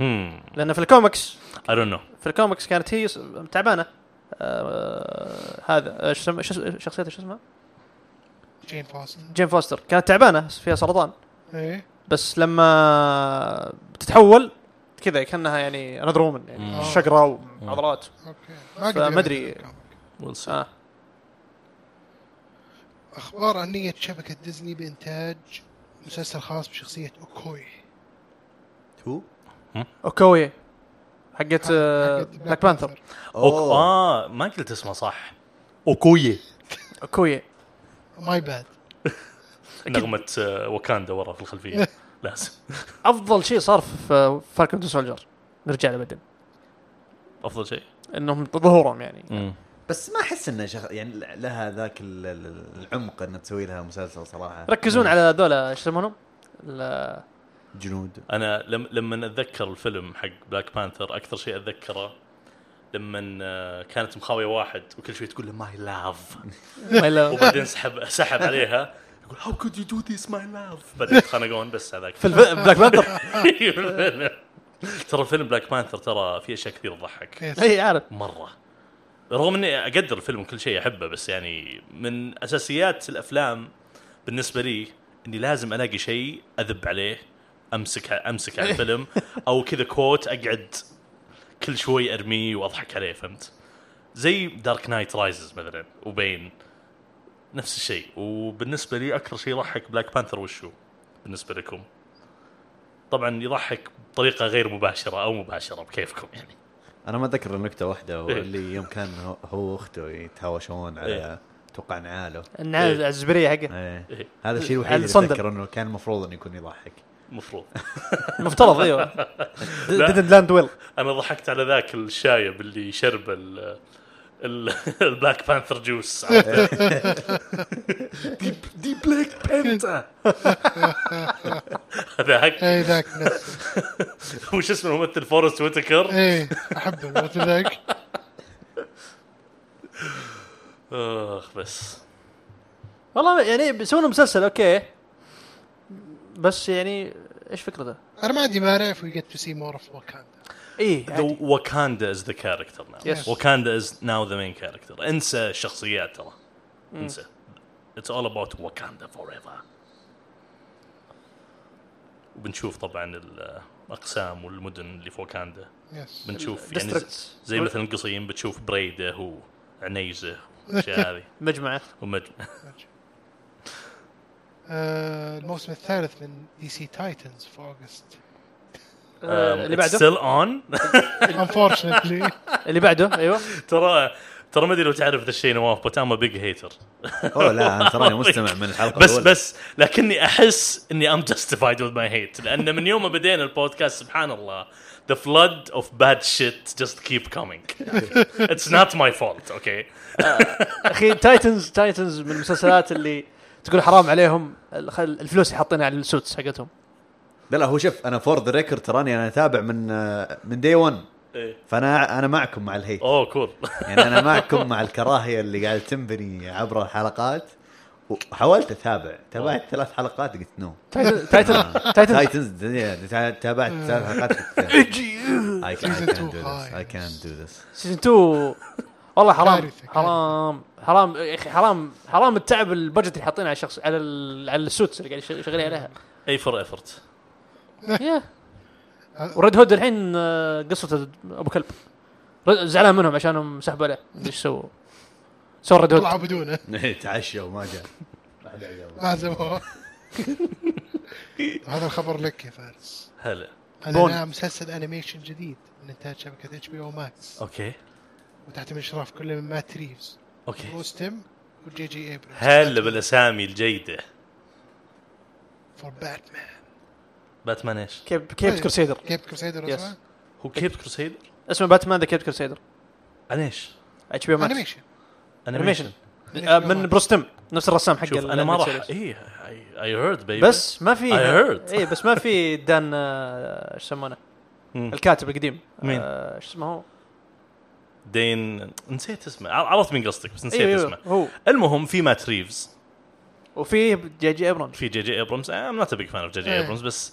S2: هم
S3: لان في الكوميكس
S2: Hmm. I don't know
S3: في الكوميكس كانت هي س- تعبانه آه هذا آه، شو اسم- شو اسم- شخصيتها شو اسمها؟
S1: جين فاستن
S3: جين فوستر كانت تعبانه فيها سرطان
S1: ايه
S3: بس لما بتتحول كذا كانها يعني انذر وومن يعني
S2: مم.
S3: شقره وعضلات
S1: اوكي ما قد
S3: فما
S1: قريت
S3: أدري.
S1: الكوميك.
S2: we'll see
S3: آه.
S1: اخبار عن نيه شبكه ديزني بانتاج مسلسل خاص بشخصيه اوكوي
S4: هو؟
S3: اوكوي حقت آه،
S1: حقت
S3: بلاك بانثر
S2: أوك...
S3: آه.
S4: أوه.
S2: اه ما قلت اسمه صح اوكوية
S3: اوكوي
S1: ماي باد
S2: نغمة آه، واكاندا ورا في الخلفية لازم
S3: افضل شيء صار في فالكون سولجر نرجع له بعدين
S2: افضل شيء
S3: انهم ظهورهم يعني
S4: بس ما احس انه شخ... يعني لها ذاك ال- ال- العمق انها تسوي لها مسلسل صراحه
S3: ركزون على ذولا ايش يسمونهم؟
S4: جنود
S2: انا لم... لما اتذكر الفيلم حق بلاك بانثر اكثر شيء اتذكره لما آه، كانت مخاوية واحد وكل شوي تقول له ماي لاف
S3: في
S2: وبعدين سحب سحب عليها يقول هاو كود يو دو ذيس ماي لاف بعدين يتخانقون بس هذاك
S3: بلاك بانثر
S2: ترى فيلم بلاك بانثر ترى فيه اشياء كثير تضحك
S3: اي إيه، عارف
S2: مره رغم اني اقدر الفيلم كل شيء احبه بس يعني من اساسيات الافلام بالنسبه لي اني لازم الاقي شيء اذب عليه امسك امسك على الفيلم او كذا كوت اقعد كل شوي ارميه واضحك عليه فهمت؟ زي دارك نايت رايزز مثلا وبين نفس الشيء وبالنسبه لي اكثر شيء يضحك بلاك بانثر وشو بالنسبه لكم؟ طبعا يضحك بطريقه غير مباشره او مباشره بكيفكم يعني
S4: انا ما اتذكر نكته واحده
S2: إيه.
S4: اللي يوم كان هو- هو واخته يتهاوشون على
S2: إيه.
S4: اتوقع نعاله
S3: النعال
S2: إيه.
S3: الزبريه حقه
S4: ايه
S2: إيه.
S4: هذا الشيء الوحيد
S3: على
S4: اللي
S3: الصندل.
S4: اتذكر انه كان المفروض انه يكون يضحك
S2: المفروض
S3: المفترض ايوه
S2: لا.
S3: didn't land well
S2: انا ضحكت على ذاك الشايب اللي شرب ال ال- البلاك بانثر جوس دي, دي بلاك بانثر هذاك
S1: اي إيه، ذاك نفسه إيه.
S2: وش اسمه الممثل فورست ويتكر
S1: اي احبه مثل ذاك
S2: اخ بس
S3: والله يعني بيسوون مسلسل اوكي بس يعني ايش فكرته؟
S1: انا ما عندي مانع if we get to see more of Wakanda
S3: ايه
S2: يعني
S3: عادي.
S2: وكاندا از ذا كاركتر ناو
S3: Yes.
S2: وكاندا از ناو ذا مين كاركتر انسى الشخصيات ترى انسى اتس اول اباوت واكاندا فور ايفر وبنشوف طبعا الاقسام والمدن اللي في واكاندا
S1: يس
S2: بنشوف يعني
S3: districts.
S2: زي, زي مثلا قصيم بتشوف بريده وعنيزه والاشياء هذه
S3: مجمعه
S2: ومج...
S1: آه، الموسم الثالث من دي سي تايتنز في اوغست
S2: Um,
S3: آه، اللي بعده
S2: ستيل اون
S1: unfortunately
S3: اللي بعده ايوه
S2: ترى ترى ما ادري لو تعرف ذا الشيء نواف بس ام بيج هيتر
S4: اوه لا انا تراني مستمع من الحلقه
S2: بس
S4: الأولى.
S2: بس لكني احس اني ام جاستيفايد وذ ماي هيت لان من يوم ما بدينا البودكاست سبحان الله the flood of bad shit just keep coming it's not my fault okay
S3: اخي تايتنز تايتنز من المسلسلات اللي تقول حرام عليهم الخ- الفلوس اللي حاطينها على السوتس حقتهم
S4: لا لا هو شوف انا فور ذا ريكورد تراني انا اتابع من آه، من دي 1
S2: إيه.
S4: فانا انا معكم مع الهيت
S2: اوه كول
S4: يعني انا معكم مع الكراهيه اللي قاعد تنبني عبر الحلقات وحاولت اتابع تابعت ثلاث حلقات قلت نو
S3: تايتن- تايتن تايتن
S4: تايتنز تابعت ثلاث حلقات قلت I can't I can't do this I can't do this
S3: سيزون 2 والله حرام
S1: كارثة، كارثة.
S3: حرام حرام يا اخي حرام حرام التعب البجت اللي حاطينه على الشخص على ال- على السوتس اللي قاعد يش- شغالين عليها
S2: اي فور افورت
S3: يا وريد هود الحين آه، قصته ابو كلب رد- زعلان منهم عشانهم سحبوا عليه ايش سووا؟ سووا ريد هود
S1: طلعوا بدونه
S4: تعشى وما جاء
S1: لازم هذا الخبر لك يا فارس
S2: هلا
S3: بون.
S1: هذا نعم، مسلسل انيميشن جديد من انتاج شبكه اتش بي او ماكس
S2: اوكي
S1: وتحت من اشراف كله من مات ريفز
S2: اوكي
S1: بروس تيم وجي جي ابريل
S2: هلا بالاسامي الجيده
S1: فور باتمان
S2: باتمان ايش؟
S3: كيب كيب كروسيدر
S1: كيب كروسيدر
S3: Yes.
S1: اسمه
S2: هو كيب كروسيدر؟
S3: اسمه باتمان ذا كيب كروسيدر
S2: عن ايش؟
S3: اتش بي او ماكس
S1: انيميشن
S3: انيميشن آه،
S1: أنيميشن.
S3: من بروستم نفس الرسام حق
S2: شوف
S3: ال-
S2: انا ما راح إيه،
S3: series.
S2: اي اي هيرد بيبي
S3: بس ما في
S2: I heard.
S3: اي بس ما في دان آه، ايش يسمونه
S2: مم.
S3: الكاتب القديم
S2: مين؟
S3: آه، ايش اسمه هو؟
S2: دين نسيت اسمه ع- عرفت من قصدك بس نسيت
S3: ايوه
S2: اسمه
S3: ايوه هو
S2: المهم في مات ريفز
S3: وفي جي جي ابرون
S2: في جي آه، جي ابرمز ام نوت بيج فان اوف جي جي
S1: إيه.
S2: ابرمز بس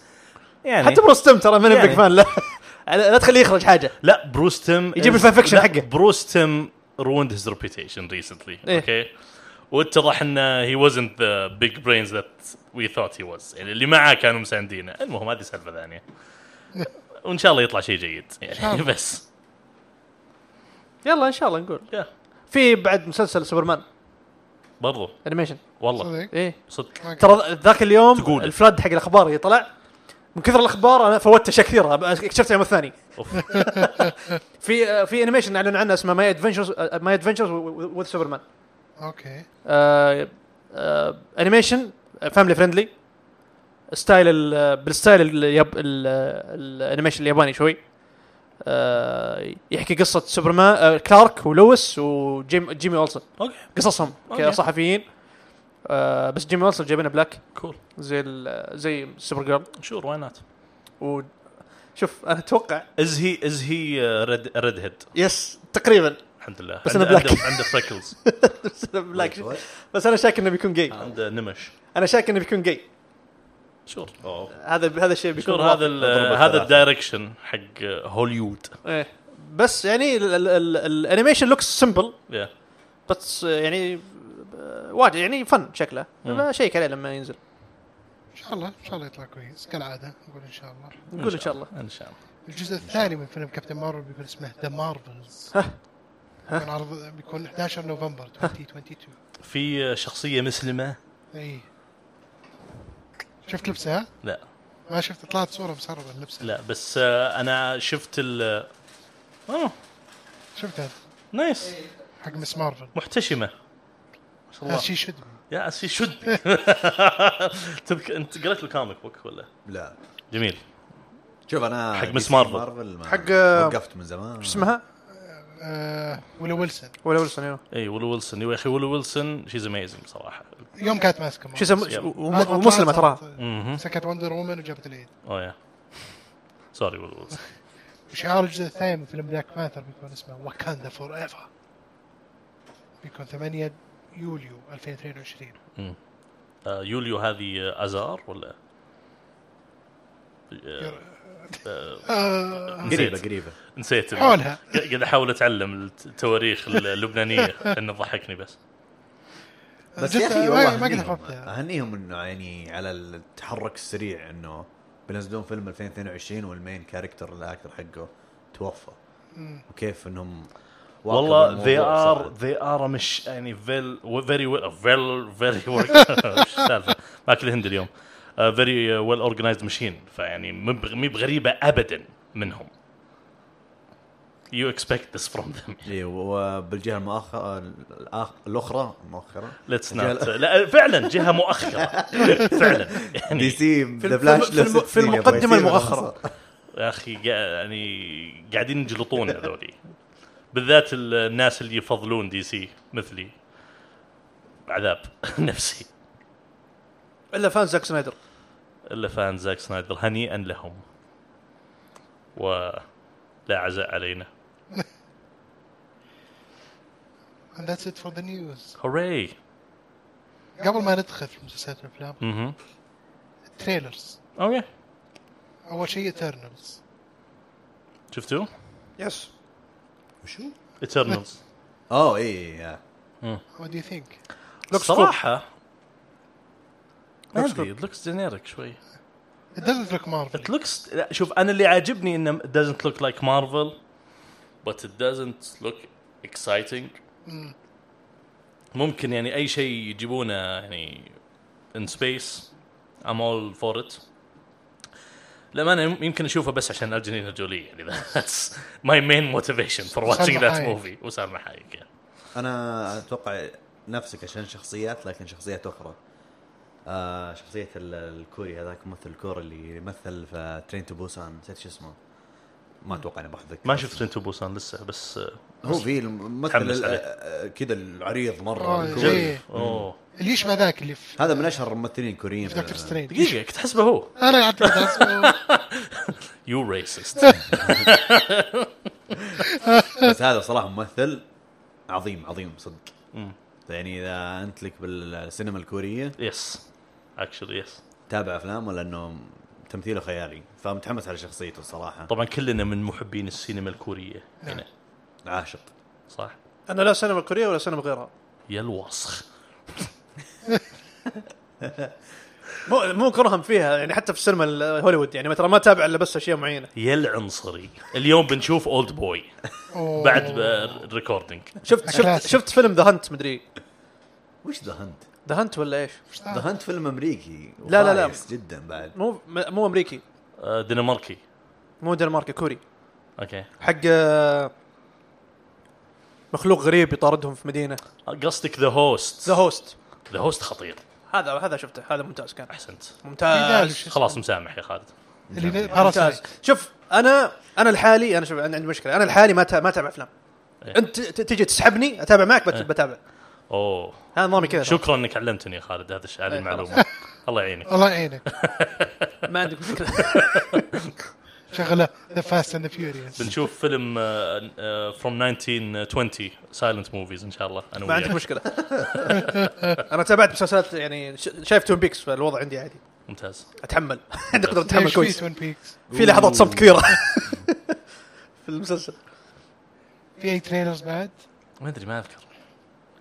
S2: يعني
S3: حتى بروستم ترى ماني
S2: يعني.
S3: بيج فان لا لا تخليه يخرج حاجه
S2: لا بروس تيم
S3: يجيب الفانفكشن
S2: لا،
S3: حقه.
S2: بروس تيم روند هيز ريبيتيشن ريسنتلي
S3: إيه.
S2: اوكي واتضح انه هي wasn't ذا بيج brains ذات وي ثوت هي was يعني اللي معاه كانوا مساندينه المهم هذه سالفه ثانيه وان شاء الله يطلع شيء جيد يعني
S1: الله.
S2: بس
S3: يلا ان شاء الله نقول
S2: يا
S3: في بعد مسلسل سوبرمان
S2: برضو
S3: انيميشن
S2: والله
S1: صدق
S3: ايه
S2: صدق
S3: ترى ذاك اليوم
S2: تقول.
S3: الفلاد حق الاخبار اللي طلع من كثر الاخبار انا فوتت اشياء كثيره اكتشفت يوم الثاني
S2: أوف.
S3: في آه، في انيميشن اعلن عنه اسمه ماي ادفنشرز ماي ادفنشرز وذ سوبرمان
S1: اوكي
S3: آه، آه، انيميشن فاملي فريندلي ستايل ال- بالستايل الياب ال- الانيميشن الياباني شوي آه، يحكي قصه سوبرمان آه، كلارك ولويس وجيمي جيمي اولسون
S2: اوكي
S3: قصصهم
S2: أوكي.
S3: كصحفيين آه، بس جيمي اولسون جايبينه بلاك
S2: كول
S3: زي ال- زي سوبر جيرل
S2: شور واي نوت
S3: و شوف انا اتوقع
S2: از هي از هي ريد ريد هيد
S3: يس تقريبا
S2: الحمد لله
S3: بس
S2: عنده-
S3: أنا black.
S2: عنده عنده فريكلز
S3: بلاك بس انا شاك انه بيكون جاي
S2: عنده نمش
S3: انا شاك انه بيكون جاي
S2: شور اوه
S3: هذا هذا الشيء بيكون
S2: شور هذا
S3: واضح.
S2: ال-
S4: ضربة
S2: هذا
S4: ثلاثة.
S2: الدايركشن حق هوليوود
S3: إيه. بس يعني ال- ال- ال- الانيميشن لوكس سمبل
S2: يا
S3: بس يعني آه، واجد يعني فن شكله لا شيك عليه لما ينزل
S1: ان شاء الله ان شاء الله يطلع كويس كالعاده نقول ان شاء الله
S3: نقول ان شاء الله
S2: ان شاء الله
S1: الجزء الثاني من فيلم كابتن مارفل بيكون اسمه ذا مارفلز بيكون عرض بيكون 11 نوفمبر 2022
S2: في شخصيه مسلمه
S1: اي إيه. شفت لبسها؟
S2: لا
S1: ما شفت طلعت صوره مسربه لبسها
S2: لا بس آه، انا شفت ال اوه
S1: شفتها
S2: نايس
S1: حق مس مارفل
S2: محتشمه ما شاء
S1: هذا
S2: الله
S1: شيء شد
S2: يا اسي شد تذكر انت قريت الكوميك بوك ولا
S4: لا
S2: جميل
S4: شوف انا
S2: حق
S4: دي
S2: مس
S4: سي
S2: مارفل.
S4: ما-
S3: حق-
S4: وقفت من زمان
S3: شو اسمها؟
S1: آه ولا ويلسون
S3: ولا ويلسون ايوه
S2: اي ولو ويلسون يا اخي ولو ويلسون شيز اميزنج صراحه
S1: يوم كانت آه، ماسكه
S3: شو
S1: مارفل.
S3: يسمى
S2: يلا.
S1: بعد ما
S3: ومسلمه
S1: طلعت
S3: تراها
S2: اها
S1: مسكت وندر وومن وجابت العيد
S2: اوه يا سوري ولو ويلسون
S1: وشعار الجزء الثاني من فيلم بلاك ماثر بيكون اسمه واكاندا فور ايفر بيكون 8 يوليو 2022
S2: آه، يوليو هذه آه، ازار ولا
S1: آه
S4: قريبه
S2: نسيت.
S4: قريبه
S2: نسيت
S1: حولها
S2: قاعد احاول اتعلم التواريخ اللبنانيه لانه ضحكني بس
S4: بس
S1: جد-
S4: يا اخي
S1: ما-
S4: والله
S1: ما قد
S4: أهنيهم-
S1: عرفتها.
S4: اهنيهم انه يعني على التحرك السريع انه بينزلون فيلم 2022 والمين كاركتر الاكتر حقه توفى وكيف انهم واقعوا
S2: والله
S4: بالموضوع
S2: they are
S4: صراحة.
S2: they are مش يعني فيل very well فيل very well مش سالفه ماكل هند اليوم آه، very well organized machine فيعني مب- مي بغريبه ابدا منهم يو اكسبكت ذس فروم ذم
S4: اي وبالجهه إيه، المؤخرة الآخ- الاخرى مؤخرة
S2: ليتس نوت
S4: الجهة-
S2: لا فعلا جهه مؤخره فعلا
S4: دي
S2: يعني
S4: سي
S3: في
S4: ذا
S3: الم-
S4: فلاش
S3: في الم- في المقدمة المؤخرة.
S2: يا اخي قا- يعني قاعدين يجلطون هذولي بالذات ال- الناس اللي يفضلون دي سي مثلي عذاب نفسي
S3: الا فان زاك سنايدر
S2: الا فان زاك سنايدر هنيئا لهم ولا عزاء علينا
S1: And that's it for the news.
S2: هوراي
S1: قبل ما ندخل في المسلسلات والافلام
S2: اها
S1: تريلرز
S2: اوكي
S1: اول شيء ايترنالز
S2: شفتوا؟
S3: يس
S4: وشو؟
S2: ايترنالز
S4: اوه اي
S1: وات دو يو ثينك؟
S3: Looks
S2: صراحه
S3: Looks
S2: ادري لوكس جينيرك شوي
S1: It doesn't look Marvel.
S2: It looks لا شوف انا اللي عاجبني انه it doesn't look like Marvel but it doesn't look exciting ممكن يعني اي شيء يجيبونه يعني in space I'm all for it لما انا يمكن اشوفه بس عشان الجنينا جولي يعني that's my main motivation for watching that
S1: حايك.
S2: movie وسام حايك يعني.
S4: انا اتوقع نفسك عشان شخصيات لكن شخصيات اخرى آه شخصية ال- الكوري هذاك ممثل الكوري اللي مثل في ترين تو بوسان نسيت شو اسمه ما اتوقع اني بحذك
S2: ما شفت رينتو بوسان لسه بس آه،
S4: هو في الممثل
S2: متحمس
S4: ال-
S2: عليه.
S4: آه، كذا العريض مرة
S1: آه،
S4: الكوري.
S1: إيه.
S2: اوه
S1: اللي يشبه ذاك اللي في
S4: هذا من اشهر الممثلين الكوريين
S1: في دكتور سترينج
S2: دقيقه كنت احسبه هو
S1: انا قاعد كنت أحسبه.
S2: يو ريسست
S4: بس هذا صراحه ممثل عظيم عظيم صدق يعني اذا انت لك بالسينما الكوريه
S2: يس اكشلي يس
S4: تابع افلام ولا انه تمثيله خيالي فمتحمس على شخصيته الصراحه
S2: طبعا كلنا من محبين السينما الكوريه
S3: نعم.
S2: هنا
S4: عاشق
S2: صح
S3: انا لا سينما كوريه ولا سينما غيرها
S2: يا الوسخ
S3: مو مو كرهم فيها يعني حتى في السينما هوليوود يعني ترى ما تابع الا بس اشياء معينه
S2: يا العنصري اليوم بنشوف اولد بوي
S1: أوه.
S2: بعد الريكوردينج
S3: شفت شفت
S1: كلاسيك.
S3: شفت فيلم ذا هانت مدري
S4: وش ذا هنت؟
S3: ذا هانت ولا ايش؟
S4: ذا هنت فيلم امريكي
S3: لا، لا، لا.
S4: وخايس جدا بعد
S3: مو م- مو امريكي
S2: آه، دنماركي
S3: مو دنماركي كوري
S2: اوكي
S3: حق آه، مخلوق غريب يطاردهم في مدينه
S2: آه، قصدك ذا هوست
S3: ذا هوست
S2: ذا هوست خطير
S3: هذا هذا شفته هذا ممتاز كان
S2: احسنت
S1: في
S3: ممتاز
S1: ذلك.
S2: خلاص مسامح يا خالد
S1: اللي
S3: ممتاز
S1: باراسايت
S3: شوف انا انا الحالي انا شوف عندي عندي مشكله انا الحالي ما تا- ما اتابع افلام
S2: إيه.
S3: انت ت- تجي تسحبني اتابع معك بت- بتابع
S2: اوه
S3: هذا نظامي كذا
S2: شكرا انك علمتني يا خالد هذا الش- هذه
S3: إيه،
S2: المعلومه الله يعينك
S1: الله يعينك
S3: ما عندك مشكله
S1: شغله ذا فاست اند فيوريوس
S2: بنشوف فيلم آه، فروم 1920 سايلنت موفيز ان شاء الله انا
S3: ما عندك
S2: وياك
S3: مشكله انا تابعت مسلسلات يعني ش- شايف تون بيكس فالوضع عندي عادي
S2: ممتاز
S3: اتحمل عندي قدره اتحمل كويس
S1: ون بيكس
S3: في لحظات صمت كثيره في المسلسل
S1: آه، في اي تريلرز بعد
S2: ما ادري ما اذكر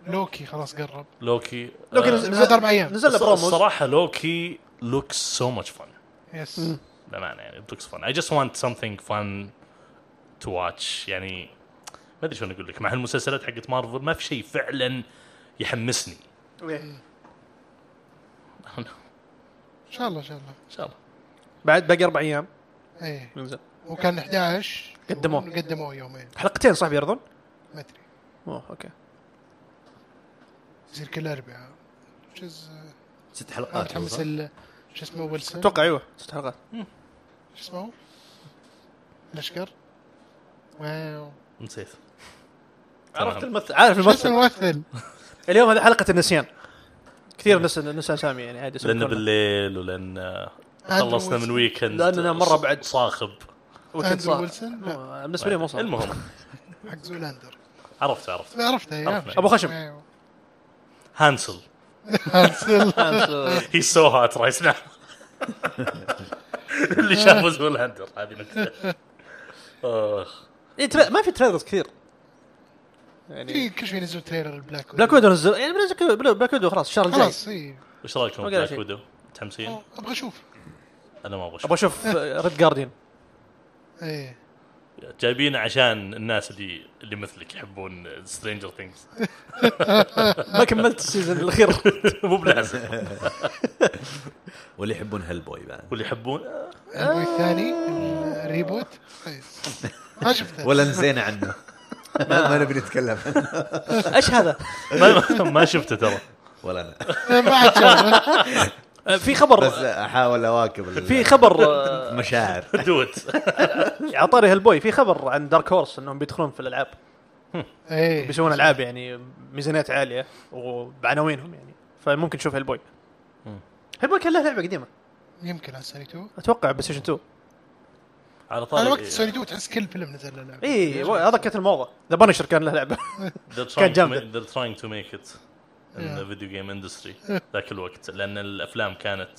S1: لوكي خلاص قرب
S2: لوكي
S3: لوكي
S2: آه،
S3: نزل-
S1: بعد اربع ايام
S3: نزل له بروموز
S2: الصراحه لوكي لوكس سو ماتش فن
S1: يس
S2: بامانه يعني it looks fun. I just want something fun to watch يعني ما ادري شلون اقول لك مع المسلسلات حقت مارفل ما في شيء فعلا يحمسني
S3: إيه.
S2: ان
S1: ان شاء الله ان شاء الله
S2: شاء الله
S3: بعد باقي اربع ايام
S1: ايه
S3: ينزل
S1: وكان 11
S3: قدموه.
S1: قدموه يومين
S3: حلقتين صح بيرضون؟
S1: ما ادري
S3: اوه اوكي
S1: يصير كل اربعاء شز
S4: ست
S3: آه،
S4: حلقات
S1: متحمس
S4: هو
S1: uh, ال- شو اسمه ويلسون
S3: اتوقع ايوه ست حلقات
S1: شو اسمه الاشقر واو
S2: نسيت
S3: عرفت
S2: تمام.
S3: الممثل عارف
S1: شو اسم
S3: الممثل
S1: الممثل
S3: اليوم هذه حلقه النسيان كثير نسى نسى اسامي يعني عادي
S2: لان
S3: يسمونه.
S2: بالليل ولان آه،
S1: أندرو
S2: خلصنا
S1: ويلسون.
S2: من ويكند
S3: لأننا مرة
S2: ص-
S3: بعد.
S2: صاخب
S3: وكنت
S1: أندرو
S3: صار-
S1: ويلسون؟ لا.
S3: مو- بالنسبه لي مو صار
S2: المهم
S1: حق زولاندر
S2: عرفت عرفت
S1: عرفته يا
S2: عرفنا.
S1: أخي.
S3: أبو خشم.
S1: واو.
S2: هانسل
S3: أنس- آه،
S2: هي سو هات رايت ناو اللي شافه زول هندر هذه آه، نكته اخ
S3: إيه، ترى- ما في تريلرز كثير يعني
S1: في كل شوي ينزل تريلر البلاك
S3: بلاك إيه. ويدو نزل يعني بلاك- بلاك ويدو خلاص الشهر الجاي
S1: خلاص إيه. اي
S2: وش رايكم
S3: ما قال
S2: بلاك
S3: شيء.
S2: ويدو؟ متحمسين؟
S1: ابغى اشوف
S2: انا ما ابغى أشوف.
S3: ابغى اشوف ريد جارديان
S1: ايه
S2: جايبين عشان الناس اللي اللي مثلك يحبون سترينجر ثينجز
S3: ما كملت السيزون الاخير
S2: مو بلازم
S4: واللي يحبون هيل بوي بعد
S2: واللي يحبون آه،
S1: البوي الثاني الريبوت إيه. ما شفته
S4: ولا نسينا عنه ما, ما نبي نتكلم عنه.
S3: ايش هذا؟
S2: ما, ما شفته ترى
S4: ولا انا
S1: ما عاد شافه
S3: آه، في خبر
S4: بس احاول اواكب ال-
S3: في خبر آه،
S4: المشاعر
S2: دوت
S3: عطاري هالبوي في خبر عن دارك هورس انهم بيدخلون في الالعاب
S1: ايه
S3: بيسوون العاب يعني ميزانيات عاليه وبعناوينهم يعني فممكن تشوف هالبوي هالبوي كان له لعبه قديمه
S1: يمكن على سوني 2
S3: اتوقع بلاي ستيشن 2
S2: على طاري إيه.
S1: انا وقت سوني 2 تحس كل فيلم نزل له لعبه
S3: اي إيه، هذا كانت الموضه ذا بانشر كان له لعبه
S2: كان جامد
S3: كان جامدة.
S2: they're trying to make it in the video game industry ذاك الوقت لان الافلام كانت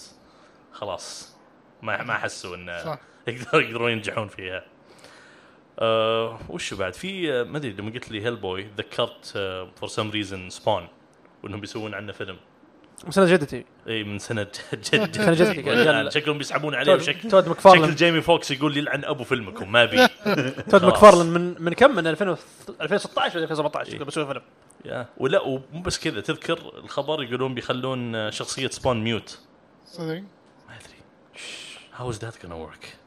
S2: خلاص ما ما حسوا انه
S1: صح.
S2: يقدر يقدرون ينجحون فيها أه وش بعد في آه، ما ادري لما قلت لي هيل بوي ذكرت آه، فور سم ريزن سبون وانهم بيسوون عنه فيلم
S3: مسلسل جدتي
S2: اي من سنه جد
S3: سنة جدتي.
S2: جد شكلهم بيسحبون عليه
S3: تود-
S2: بشكل
S3: تود مكفارلن.
S2: شكل جيمي فوكس يقول يلعن ابو فيلمكم ما بي
S3: تود
S2: خلاص. إيه.
S3: ماكفارلن من من كم من 2000 2016 ولا 2017 يقول بسوي فيلم
S2: يا. ولا ومو بس كذا تذكر الخبر يقولون بيخلون آه، شخصيه سبون ميوت
S1: صدق
S2: ما ادري هاو از ذات gonna ورك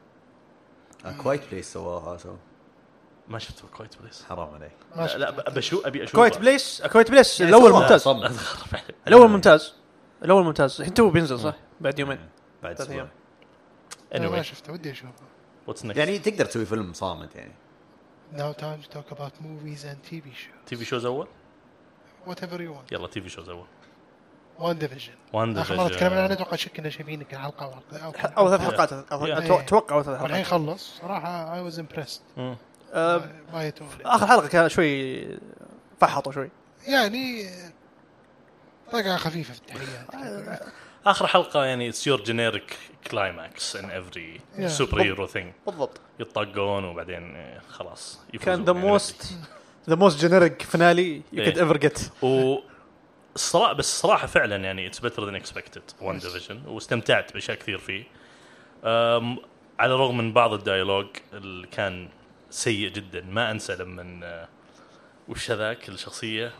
S4: كوايت بليس أه، سواها سو
S2: ما شفته كويت بليس
S4: حرام عليك
S1: ما
S2: لا
S1: شفته
S2: ب- بشو ابي اشوفه
S3: كويت بليس كويت بليس الاول
S4: سوى.
S3: ممتاز
S4: صم.
S2: إيه.
S3: الاول ممتاز الاول ممتاز الحين تو بينزل صح بعد
S2: إيه.
S3: يومين
S4: بعد
S3: ثلاث
S4: سوى.
S3: أيام.
S1: أنا ما
S2: anyway
S1: شفته ودي اشوفه
S2: واتس نكست يعني
S4: يعني تقدر تسوي فيلم صامت يعني
S1: Now time to talk about movies and TV shows.
S2: تي في شوز اول
S1: Whatever you want.
S2: يلا تي في شوز اول
S1: وان ديفيجن.
S2: وان
S1: آخر مرة تكلمنا عنه اتوقع شك كنا شايفين يمكن حلقة او حلقتين أو كم
S3: او
S1: حلقة.
S3: ثلاث
S2: إيه.
S3: حلقات
S2: Yeah.
S3: أتوقع- اتوقع او
S2: إيه.
S3: ثلاث
S1: والحين
S3: حلقات
S1: خلص صراحة I was impressed
S3: آه،
S1: by it all.
S3: اخر حلقه كان شوي فحطوا شوي
S1: يعني طقعة خفيفة في التحيات.
S2: اخر حلقه يعني اتس يور جينيريك كلايماكس ان افري
S1: Yeah.
S2: سوبر هيرو ثينج
S3: بالضبط
S2: يطقون وبعدين آه، خلاص
S3: كان
S2: يفوزون
S3: ذا
S2: يعني.
S3: موست ذا موست جينيريك فينالي يو كود
S2: إيه.
S3: ايفر جيت
S2: و الصراحه بس الصراحه فعلا يعني اتس بيتر ذان اكسبكتد وان ديفيجن واستمتعت باشياء كثير فيه أم على الرغم من بعض الديالوج اللي كان سيء جدا ما انسى لما آه، وش هذاك الشخصيه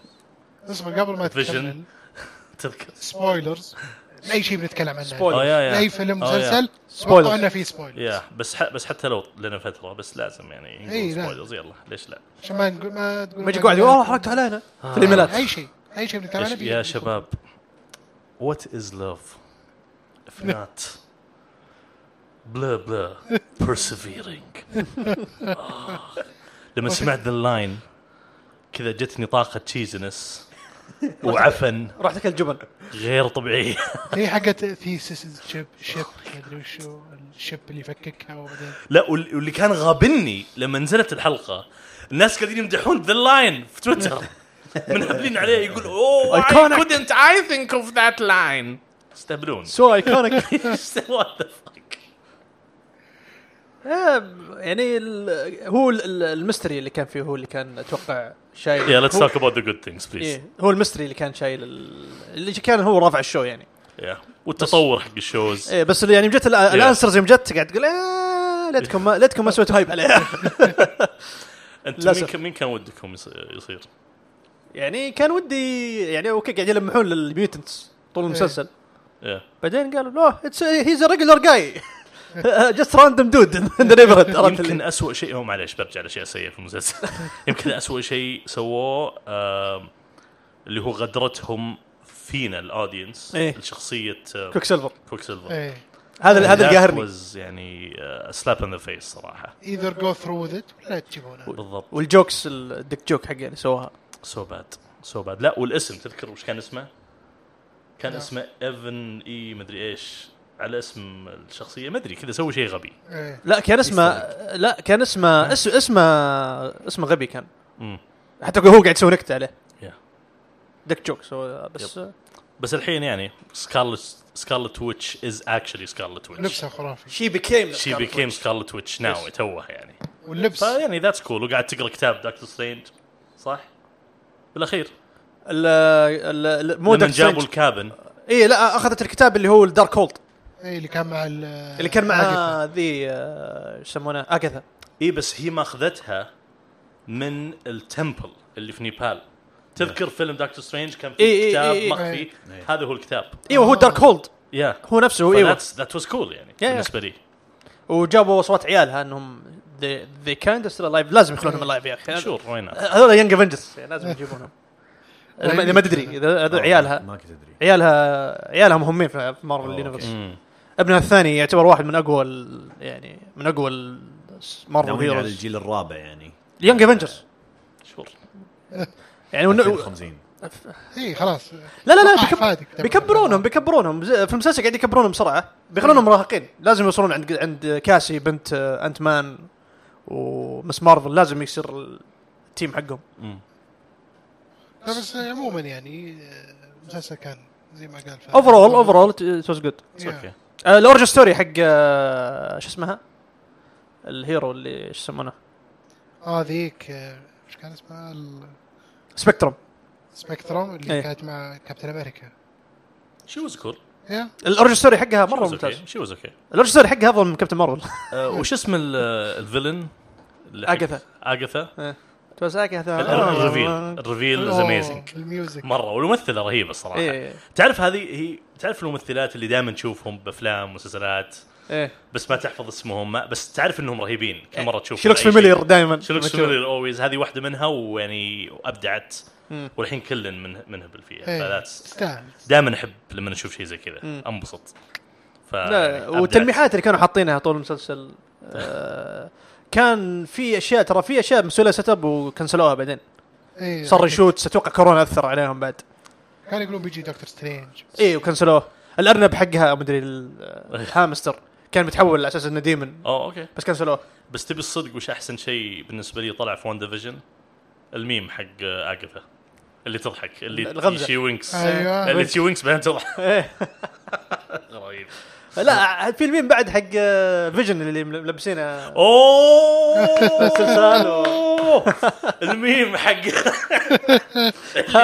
S1: اسمع قبل ما تكمل
S2: فيجن تذكر
S1: سبويلرز اي شيء بنتكلم عنه
S3: Spoiler.
S2: آه، يا- يا.
S1: اي فيلم
S2: آه، يا.
S1: مسلسل
S3: Spoilers.
S1: اتوقع انه فيه سبويلرز
S2: يا بس ح... بس حتى لو لنا فتره بس لازم يعني
S1: إي،
S2: نقول
S1: لا.
S2: سبويلرز يلا ليش لا
S1: عشان ما نقول ما تقول
S3: ما يجي قاعد يقول اوه حركت علينا
S2: آه.
S3: في الايميلات
S1: اي شيء اي شيء بنتكلم
S2: يا,
S1: عنه
S2: ش...
S1: فيه-
S2: يا شباب وات از لاف if not بلا بلا persevering آه. لما سمعت ذا اللاين كذا جتني طاقة تشيزنس وعفن
S3: راح تاكل جبن
S2: غير طبيعية
S1: هي حقت ثيسس شيب شيب مدري وشو الشيب اللي يفككها وبعدين
S2: لا وال- واللي كان غابني لما نزلت الحلقة الناس قاعدين يمدحون ذا اللاين في تويتر منحبين عليه يقول "Oh, اوه اي
S3: Iconic.
S2: كودنت اي ثينك اوف ذات لاين يستهبلون
S3: سو ايكونيك
S2: وات ذا فاك
S3: يعني ال- هو ال- ال- المستري اللي كان فيه هو اللي كان اتوقع شايل
S2: Yeah, let's
S3: هو-
S2: talk about the good things, please.
S3: إيه، هو المستري اللي كان شايل ال- اللي كان هو رافع الشو يعني
S2: Yeah. والتطور حق الشوز.
S3: ايه بس اللي يعني جت الانسرز يوم جت قاعد تقول آه، ليتكم ما ليتكم ما سويتوا هايب عليها
S2: انت مين
S3: للأسف.
S2: كان مين كان ودكم يص- يصير؟
S3: يعني كان ودي يعني اوكي قاعد يلمحون للميوتنتس طول المسلسل
S2: Yeah.
S3: بعدين قالوا لا اتس هيز ريجولر جاي جست راندوم دود ان ذا نيبرهود عرفت
S2: يمكن
S3: اللي-
S2: اسوء شيء هو معليش برجع لاشياء سيئه في المسلسل يمكن اسوء شيء سووه آم، اللي هو غدرتهم فينا الاودينس
S3: إيه.
S2: لشخصيه
S3: كويك سيلفر
S2: كويك سيلفر
S1: ايه
S3: هذا هذا اللي قاهرني
S2: يعني سلاب ان ذا فيس صراحه
S1: ايذر جو ثرو وذ ات ولا تجيبونه
S2: بالضبط
S3: والجوكس الدك جوك حقه اللي سواها
S2: سو باد سو باد لا والاسم تذكر وش كان اسمه؟ كان
S1: لا.
S2: اسمه ايفن اي مدري ايش على اسم الشخصيه مدري كذا سوي شيء غبي
S1: ايه
S3: لا كان اسمه لا كان اسمه اس- اسمه اسمه غبي كان
S2: مم.
S3: حتى هو قاعد يسوي نكته عليه
S2: Yeah.
S3: دك جوكس هو بس
S2: بس الحين يعني سكارلت سكارلت ويتش از اكشلي سكارلت ويتش
S1: لبسه خرافي
S3: شي بيكيم
S2: شي بيكيم سكارلت ويتش ناو توه يعني
S1: واللبس
S3: طيب.
S2: فيعني ذاتس كول وقاعد تقرا كتاب دكتور سترينج صح؟ بالاخير لما
S3: مو دك
S2: جابوا
S3: جابوا
S2: الكابن
S3: اي لا اخذت الكتاب اللي هو الدارك هولد
S1: ايه اللي كان مع
S3: اللي كان مع
S1: آه.
S3: ذي آه، ايش يسمونه اكاثا
S2: اي بس هي ماخذتها من التمبل اللي في نيبال تذكر فيلم دكتور سترينج كان
S3: إي إي
S2: فيه
S3: إي
S2: كتاب
S3: إي.
S2: مخفي هذا هو الكتاب
S3: ايوه هو دارك هولد
S2: يا
S3: هو نفسه هو ايوه
S2: ذات واز كول يعني
S3: yeah.
S2: بالنسبه لي
S3: وجابوا اصوات عيالها انهم they, they kind of still alive لازم يخلونهم
S4: إيه.
S3: alive يا اخي
S2: شور وين
S3: هذول ينج افنجرز إيه، لازم يجيبونهم اذا إذا ما تدري اذا هذول عيالها
S4: آه، ما كنت ادري
S3: عيالها عيالها مهمين في مارفل
S4: أوكي.
S3: اليونيفرس
S2: Mm.
S3: ابنها الثاني يعتبر واحد من اقوى ال- يعني من اقوى ال- مارفل
S4: ناويين على
S3: هيروز
S4: الجيل الرابع يعني
S3: يونج افنجرز
S2: شور
S3: يعني ون... لا
S4: 50
S1: اي إيه، خلاص آه،
S3: لا لا
S1: وقع
S3: بيكب-
S1: فادك تبع.
S3: بيكبرونهم بيكبرونهم ز- في المسلسل قاعد يكبرونهم بسرعه بيخلونهم مراهقين لازم يوصلون عند عند كاسي بنت آه، انت مان ومس مارفل لازم يصير التيم حقهم
S2: آه، Mm.
S1: لا بس عموما يعني آه، المسلسل كان زي ما قال
S3: اوفرول اوفرول ات واز جود
S2: اوكي
S3: الاورج ستوري حق آه، شو اسمها الهيرو اللي شو يسمونه
S1: اه ذيك آه، ايش كان اسمها
S3: سبكترم
S1: السبكتروم اللي
S3: إيه.
S1: كانت مع كابتن إيه؟ امريكا
S2: شي واز كول
S1: يا
S3: الاورج ستوري حقها مره ممتاز
S2: شي واز اوكي
S3: الاورج ستوري حقها افضل من كابتن مارفل
S2: آه، وش اسم ال- آه، الفيلن؟ اللي حق-
S3: آغاثا.
S2: اجاثا الريفيل
S3: الريفيل
S2: الريفيل از
S1: أوه،
S2: اميزنج
S1: الميوزك
S2: مره والممثله رهيبه الصراحه
S3: إيه.
S2: تعرف هذه هي تعرف الممثلات اللي دائما تشوفهم بافلام ومسلسلات
S3: ايه
S2: بس ما تحفظ اسمهم ما بس تعرف انهم رهيبين كم مره تشوف
S3: شي لوكس فاميليير دائما
S2: شي لوكس فاميليير اولويز هذه واحده منها ويعني وابدعت والحين كل من منهبل فيها
S1: إيه.
S2: فذاتس
S1: تستاهل
S2: دائما احب لما اشوف شيء زي كذا انبسط ف يعني
S3: لا والتلميحات اللي كانوا حاطينها طول المسلسل آه، كان في اشياء ترى في اشياء مسوي لها سيت اب وكنسلوها بعدين
S1: إيه.
S3: صار ريشوت اتوقع كورونا اثر عليهم بعد
S1: كانوا يقولون بيجي دكتور سترينج
S3: اي وكنسلوه الارنب حقها مدري ال- الهامستر كان متحول على اساس انه ديمن
S2: اه اوكي
S3: بس كنسلوه
S2: بس تبي الصدق وش احسن شيء بالنسبه لي طلع في وان ديفيجن الميم حق اجاثا اللي تضحك اللي
S3: الغمزة. آه.
S2: شي وينكس
S1: أيوة.
S2: اللي شي وينكس بعدين تضحك
S3: إيه.
S2: رهيب
S3: لا في الميم بعد حق آه، فيجن اللي ملبسينه سلسال
S2: اوه الميم حق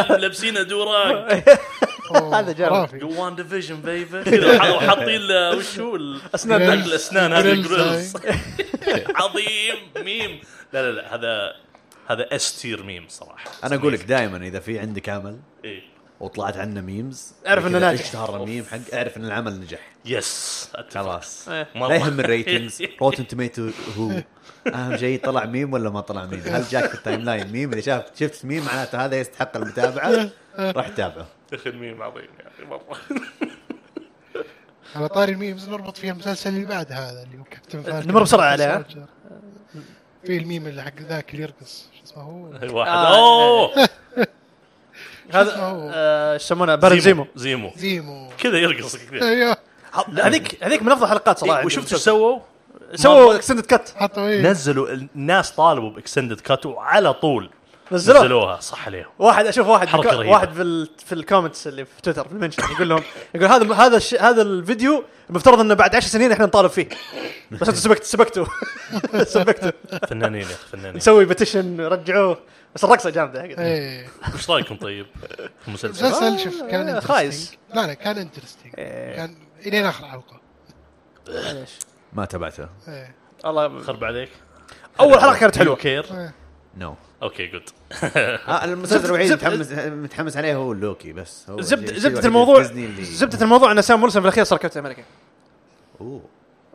S2: لابسين دوراك
S3: هذا جامد.
S2: جو وان ديفيجن بيبي كذا حاطين له وش هو الاسنان
S1: Grills.
S2: الاسنان هذا
S1: Grills،
S2: الجريلز عظيم ميم لا لا لا هذا هذا اس تير ميم صراحه
S4: انا اقول لك دائما اذا في عندك عمل
S2: إيه.
S4: وطلعت عنا ميمز
S3: اعرف إنه
S4: كذا
S3: ناجح.
S4: اشتهر الميم حق اعرف ان العمل نجح
S2: يس
S4: خلاص
S3: إيه.
S4: لا يهم الريتنجز روتن توميتو هو اهم شيء طلع ميم ولا ما طلع ميم هل جاك في التايم لاين ميم اذا شاف شفت ميم معناته هذا يستحق المتابعه راح تتابعه
S2: دخل ميم عظيم يا اخي مره
S1: على طاري الميمز نربط فيها المسلسل اللي بعد هذا اللي هو كابتن فالكون
S3: نمر بسرعة عليها.
S1: في الميم اللي حق ذاك اللي يرقص شو اسمه هو
S2: واحد
S3: آه.
S2: اوه
S3: هذا
S1: اسمه؟
S3: آه، ايش يسمونه بارن زيمو
S2: زيمو
S1: زيمو
S2: كذا يرقص كذا
S1: ايوه
S3: هذيك هذيك من افضل حلقات صراحه
S2: إيه، وشفت ايش سووا؟
S3: سووا اكسندد كات
S1: حطوا ايه
S2: نزلوا الناس طالبوا باكسندد كات وعلى طول
S3: نزلوها.
S2: نزلوها صح عليهم
S3: واحد اشوف واحد
S2: حركة
S3: حركة
S2: رهيبة.
S3: واحد في ال في الكومنتس اللي في تويتر في المنشن يقول لهم يقول هذا هذا الش- هذا الفيديو المفترض انه بعد 10 سنين احنا نطالب فيه بس انتم سبكت سبكتوا سبكتوا
S2: فنانين يا اخي فنانين
S3: نسوي بتيشن رجعوه بس الرقصه جامده حقت.
S1: ايه
S2: وش رايكم طيب؟ في المسلسل
S1: المسلسل شوف كان
S3: آه،
S1: interesting.
S3: خايس.
S1: لا لا كان انترستنج
S3: إيه.
S1: كان الين اخر حلقه
S3: معليش.
S4: ما تابعته
S1: ايه
S3: الله
S2: خرب عليك
S3: اول حلقه كانت حلوه
S2: كير
S1: إيه.
S4: نو
S2: اوكي جود
S4: آه المسلسل الوحيد
S3: زبدة-
S4: متحمس متحمس عليه هو لوكي بس هو الشيء-
S3: زبدة
S4: الشيء
S3: زبدة
S4: الوحيد
S3: الموضوع
S4: في ديزني أيوة. اللي-
S3: زبدة الموضوع ان سام ويلسون في الاخير صار كابتن امريكا
S4: أوه.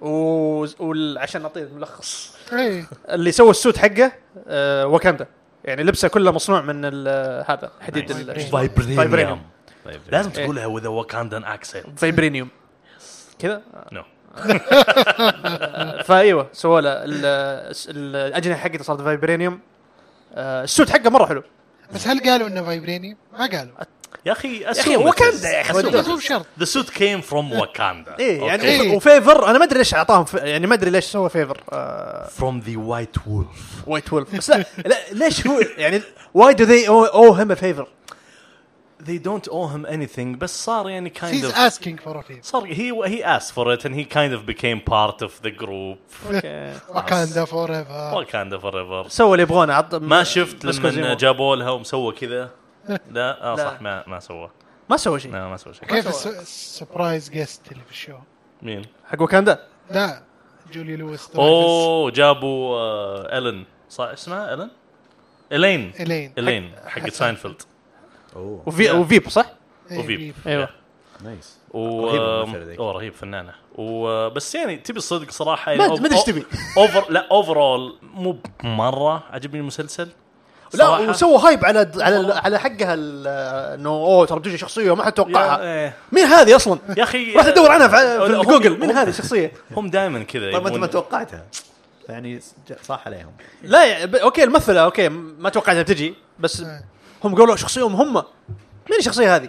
S3: وعشان نعطيه الملخص
S1: ايه
S3: اللي سوى السوت حقه آه، واكاندا يعني لبسه كله مصنوع من ال- هذا حديد ال- Vibranium. إيه.
S2: فايبرينيوم
S4: طيب
S2: لازم تقولها وذا واكاندان اكسنت
S3: فيبرينيوم كذا
S2: نو
S3: فايوه سووا له ال- الس- الاجنحه حقته صارت فايبرينيوم آه، السوت حقه مره حلو
S1: بس هل قالوا انه فايبريني؟ ما قالوا
S2: يا اخي
S3: يا اخي واكاندا يا
S1: بس
S3: اخي
S1: مو بشرط
S2: ذا سوت كيم فروم واكاندا
S3: ايه يعني
S1: إيه.
S3: وفيفر انا ما ادري ليش اعطاهم ف- يعني ما ادري ليش سوى فيفر آه،
S2: فروم ذا وايت وولف
S3: وايت وولف بس لا, لا ليش هو يعني واي دو ذي او هيم فيفر
S2: they don't owe him anything بس صار يعني kind
S1: He's
S2: of
S1: asking for a favor
S2: صار he he asked for it and he kind of became part of the group
S1: Wakanda forever
S2: Wakanda forever
S3: سوى اللي يبغونه عط
S2: ما شفت
S3: بس
S2: لما
S3: كوزيمو.
S2: جابوا لها ومسوى كذا لا اه
S3: لا.
S2: صح ما ما سوى
S3: ما سوى شيء
S2: لا ما سوى شيء
S1: كيف السبرايز جيست اللي في الشو؟
S2: مين
S3: حق واكاندا
S1: لا جولي لويس
S3: Oh.
S1: درايفس
S2: اوه جابوا آه، الين صح اسمها الين الين
S1: الين
S2: الين حق ساينفيلد
S4: أوه.
S3: وفي وفيب صح؟
S1: إيه،
S2: وفيب
S1: فيب.
S3: ايوه
S4: نايس
S2: و
S4: رهيب الممثلة ذيك.
S2: اوه رهيب فنانه وبس يعني تبي الصدق يعني صراحه
S3: ما أد- ما أدري إيش تبي.
S2: اوفر لا اوفرول مو مره عجبني المسلسل
S3: لا
S2: صراحة.
S3: وسوى هايب على على على حقها ال- انه اوه ترى بتجي شخصيه ما حد توقعها
S2: يا, إيه.
S3: مين هذه اصلا؟
S2: يا اخي
S3: راح ادور عنها في-
S2: لا، هم-
S3: في جوجل مين
S2: هم-
S3: هذه الشخصيه؟
S2: هم دائما كذا
S4: طيب ما انت ما
S2: يبون-
S4: توقعتها يعني ج- صح عليهم
S3: لا يع- ب- اوكي الممثله اوكي م- ما توقعتها بتجي بس هم قالوا شخصيه مهمه مين الشخصيه هذه؟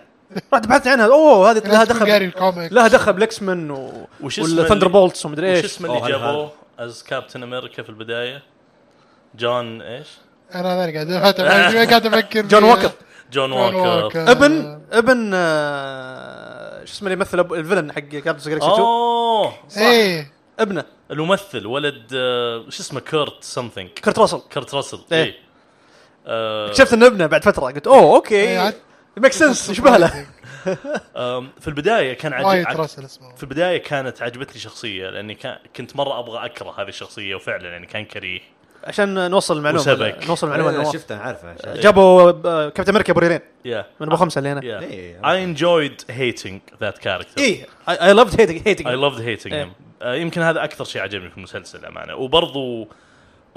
S3: رحت بحثت عنها اوه هذه إيه، لها
S1: جاري
S3: دخل
S1: الكوميك
S3: لها دخل بلاكس مان و...
S2: وش اسمه
S3: والثندر
S2: اللي-
S3: بولتس ومدري
S2: وش
S3: ايش
S2: اسمه
S4: أوه،
S2: اللي
S4: هذا-
S2: جابوه از كابتن امريكا في البدايه جون ايش؟
S1: انا ماني قاعد أفكر- أنا قاعد افكر
S3: جون ووكر
S2: جون
S1: جون
S2: ووكر
S1: ووكر
S3: ابن ابن آه، شو اسمه اللي يمثل أبو- الفيلن حق جاردنز جالكسي
S2: آه.
S3: 2
S2: اوه
S1: ايه
S3: ابنه
S2: الممثل ولد آه، شو اسمه كيرت سمثينج
S3: كرت راسل
S2: كيرت راسل
S3: إيه.
S2: اي آه،
S3: اكتشفت انه ابنه بعد فتره قلت اوه اوكي
S1: إيه،
S3: ميك سنس شبه له
S2: آم، في البدايه كان
S1: وايد
S2: عجيب
S1: راسل اسمه
S2: في البدايه كانت عجبتني شخصيه لاني كان كنت مره ابغى اكره هذه الشخصيه وفعلا يعني كان كريه
S3: عشان نوصل المعلومه
S2: وسبك.
S3: نوصل المعلومه
S4: أنا أه.
S3: للنواف.
S4: شفتها عارفها
S3: إيه، جابوا آه، كابتن امريكا بريرين
S2: يا
S3: من ابو خمسه اللي هنا
S4: إيه.
S2: يا اي انجويد هيتنج ذات كاركتر
S3: ايه اي لافد هيتنج
S2: اي لافد هيتنج
S3: إيه.
S2: هيم آه، يمكن هذا اكثر شيء عجبني في المسلسل امانه وبرضو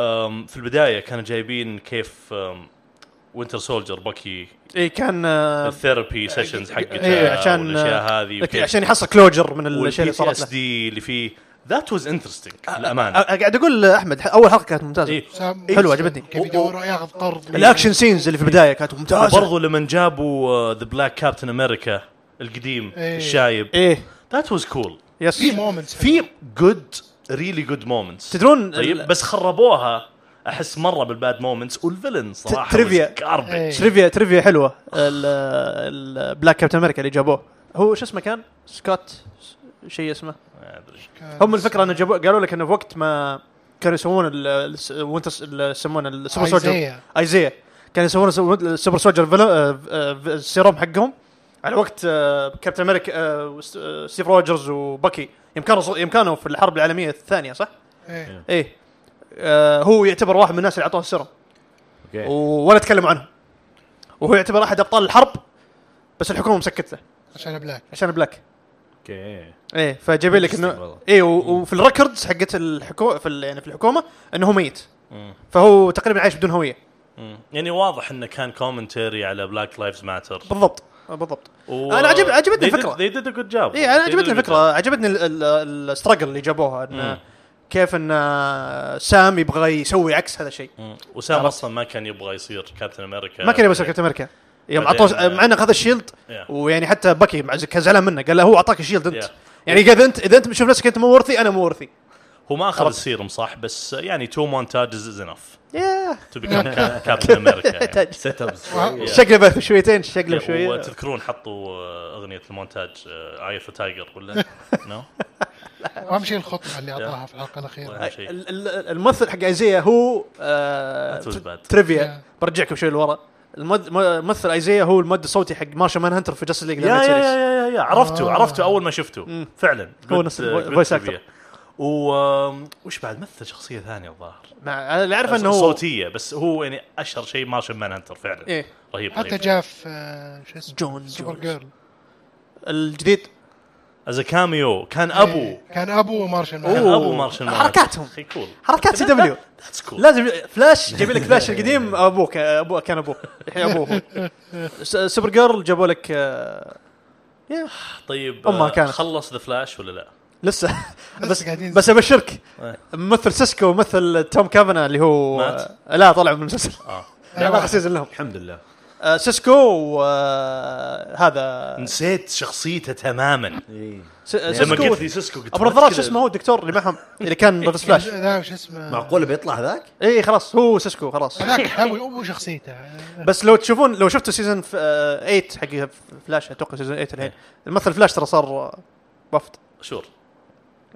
S2: آم، في البدايه كانوا جايبين كيف وينتر سولجر بكي
S3: اي كان آه،
S2: الثيرابي سيشنز حقتها
S3: إيه، عشان-
S2: والاشياء هذه
S3: لك- عشان يحصل كلوجر من الشيء اللي
S2: والبي تي
S3: صارت
S2: اس
S3: له
S2: دي اللي فيه ذات واز انترستنج للامانه
S3: آه، قاعد اقول لاحمد ح- اول حلقه كانت ممتازه
S2: إيه.
S1: سام-
S3: حلو، عجبتني.
S1: كيف يدور ياخذ طرد
S3: الاكشن سينز اللي في البدايه كانت ممتازه
S2: وبرضو لما جابوا آه، ذا بلاك كابتن امريكا القديم
S1: إيه.
S2: الشايب
S3: ايه
S2: ذات واز كول
S3: يس
S1: في مومنتس
S2: في جود ريلي جود مومنتس
S3: تدرون
S2: طيب بس خربوها احس مره بالباد مومنتس والفيلن صراحه
S3: تريفيا.
S1: إيه.
S2: جاربج
S3: تريفيا تريفيا حلوه آه، البلاك كابتن امريكا اللي جابوه هو شو اسمه كان؟ سكوت شيء اسمه هم الفكره انه جابوا قالوا لك انه في وقت ما كانوا يسوون ال- الس- وانت س- ال- يسمونه السوبر سولجر
S1: آيزايا.
S3: ايزيا كانوا يسوون السو- السوبر سولجر فيلو- آه، آه، السيروم حقهم على وقت آه، كابتن امريكا آه، وست- آه، ستيف روجرز وباكي يوم كانوا ص- يوم كانوا في الحرب العالميه الثانيه صح؟
S1: إيه.
S3: ايه آه، هو يعتبر واحد من الناس اللي اعطوه السيروم
S4: اوكي
S3: و- ولا تكلموا عنه وهو يعتبر احد ابطال الحرب بس الحكومه مسكته
S1: عشان بلاك
S3: عشان بلاك
S4: اوكي
S3: ايه فجايبين لك
S4: Interesting
S3: انه
S4: والله.
S3: ايه و- وفي الريكوردز حقت الحكومه في ال- يعني في الحكومه انه هو ميت فهو تقريبا عايش بدون هويه
S2: يعني واضح انه كان كومنتري على بلاك لايفز ماتر
S3: بالضبط بالضبط أنا عجب- عجبتني الفكرة.
S2: they did a good job
S3: ايه انا
S2: They did
S3: عجبتني
S2: a good
S3: الفكره عجبتني الاستراجل اللي جابوها انه
S2: مم.
S3: كيف ان آه، سام يبغى يسوي عكس هذا الشيء
S2: job. مم. وسام اصلا ما كان يبغى يصير كابتن امريكا
S3: ما كان يبغى يسوي كابتن امريكا يوم
S2: بعدين،
S3: عطوه
S2: آه،
S3: مع انه اخذ الشيلد
S2: Yeah.
S3: ويعني حتى بكي مع- كان زعلان منه قال له هو اعطاك الشيلد انت
S2: Yeah.
S3: يعني اذا انت اذا انت بتشوف نفسك انت مو ورثي انا مو ورثي
S2: هو ما اخذ السيرم صح بس يعني تو مونتاجز از انف
S3: ياه
S2: تو بيكم كابتن امريكا
S4: سيت ابس
S3: شقلب بس شويتين شقلب شويه
S2: يعني. وتذكرون حطوا آه، اغنيه المونتاج اي اوف تايجر ولا نو
S1: اهم شيء الخطه اللي اعطاها في الحلقه الاخيره
S2: أهم شيء.
S3: ال- ال- الممثل حق ايزيا هو آه
S2: That was
S3: تر-
S2: bad.
S3: تريفيا برجعكم شوي لورا المد- م- الممثل ايزيا هو المؤدي الصوتي حق مارشا مان هانتر في جاستس ليج
S2: يا يا يا يا, يا, يا عرفته آه. عرفته اول ما شفته فعلا
S3: هو
S2: Good-
S3: نفس
S2: uh,
S3: الvo-
S2: good
S3: voice
S2: trivia.
S3: actor.
S2: و آم، وش بعد مثل شخصيه ثانيه الظاهر
S3: مع انا اللي اعرف انه هو
S2: صوتيه بس هو يعني اشهر شيء مارشن مان هانتر فعلا
S3: إيه.
S2: رهيب
S1: حتى
S2: رهيب
S1: جاء في آه، شو اسمه
S3: جون
S1: سوبر
S3: جونز
S1: جيرل
S3: الجديد
S2: از كاميو كان ابو
S1: إيه، كان ابو مارشال مان.
S2: كان ابو مارشن مان
S3: حركاتهم.
S2: كول
S3: حركات سي دبليو
S2: ذاتس كول
S3: لازم فلاش جايب لك فلاش القديم ابوه ك- ابوه كان ابوه الحين ابوه هو. س- سوبر جيرل جابوا لك آه، يا،
S2: طيب
S3: أمها
S2: آه،
S3: كانت.
S2: خلص ذا فلاش ولا لا؟
S3: لسه بس
S1: قاعدين-
S3: بس ابشرك
S2: إيه.
S3: ممثل سيسكو وممثل توم كافنا اللي هو
S2: مات؟
S3: آه، لا طلع من المسلسل
S2: اه
S3: لا ما سيزون لهم
S4: الحمد لله
S3: آه، سيسكو آه، وهذا
S2: نسيت شخصيته تماما
S4: إيه.
S2: لما
S3: سيسكو
S2: قلت لي سيسكو قلت
S3: ابو النظارات شو اسمه هو الدكتور اللي معهم اللي كان ضد سبلاش
S1: لا وش اسمه
S4: معقوله بيطلع ذاك؟
S3: اي خلاص هو سيسكو خلاص
S1: هذاك حاول ابو شخصيته آه،
S3: بس لو تشوفون لو شفتوا سيزون 8 حق فلاش اتوقع سيزون 8 الحين الممثل فلاش ترى صار آه، وفد
S2: شور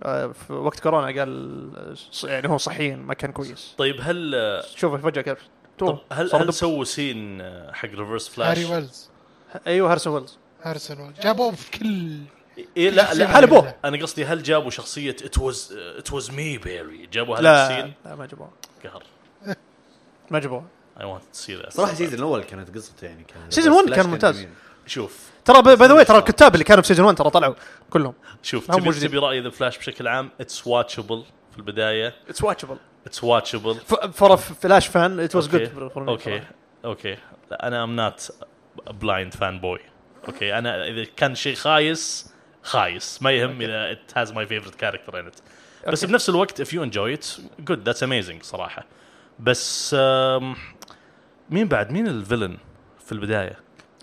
S3: آه، في وقت كورونا قال ص- يعني هو صحيا ما كان كويس
S2: طيب هل آه،
S3: شوفه فجاه كيف
S2: طب هل
S3: صار
S2: هل
S3: دب-
S2: سووا سين آه، حق ريفرس فلاش؟
S1: هاري ويلز
S3: ايوه هارسون ويلز
S1: هارسون ويلز جابوه في كل
S2: إيه لا لا
S3: حلبوه.
S2: انا قصدي هل جابوا شخصيه ات واز ات واز مي بيري جابوا هذا
S3: لا
S2: السين
S3: لا ما جابوه
S2: قهر
S3: ما جابوه
S2: اي ونت تو سي ذات
S4: صراحه السيزون الاول كانت قصته يعني كان
S3: سيزون 1
S4: بس
S3: كان
S4: فلاش
S3: ممتاز
S4: جميل.
S2: شوف
S3: ترى باي ذا ترى الكتاب اللي كانوا في سيزون 1 ترى طلعوا كلهم
S2: شوف
S3: هم
S2: تبي
S3: موجودين.
S2: تبي راي ذا فلاش بشكل عام اتس واتشبل في البدايه
S3: اتس واتشبل
S2: اتس واتشبل
S3: فور فلاش فان ات واز جود
S2: اوكي اوكي لا، انا ام نات بلايند فان بوي اوكي انا اذا كان شيء خايس خايس ما يهم اذا ات هاز ماي فيفرت كاركتر ان ات بس بنفس الوقت اف يو انجوي ات جود ذاتس اميزنج صراحه بس آم، مين بعد مين الفيلن في البدايه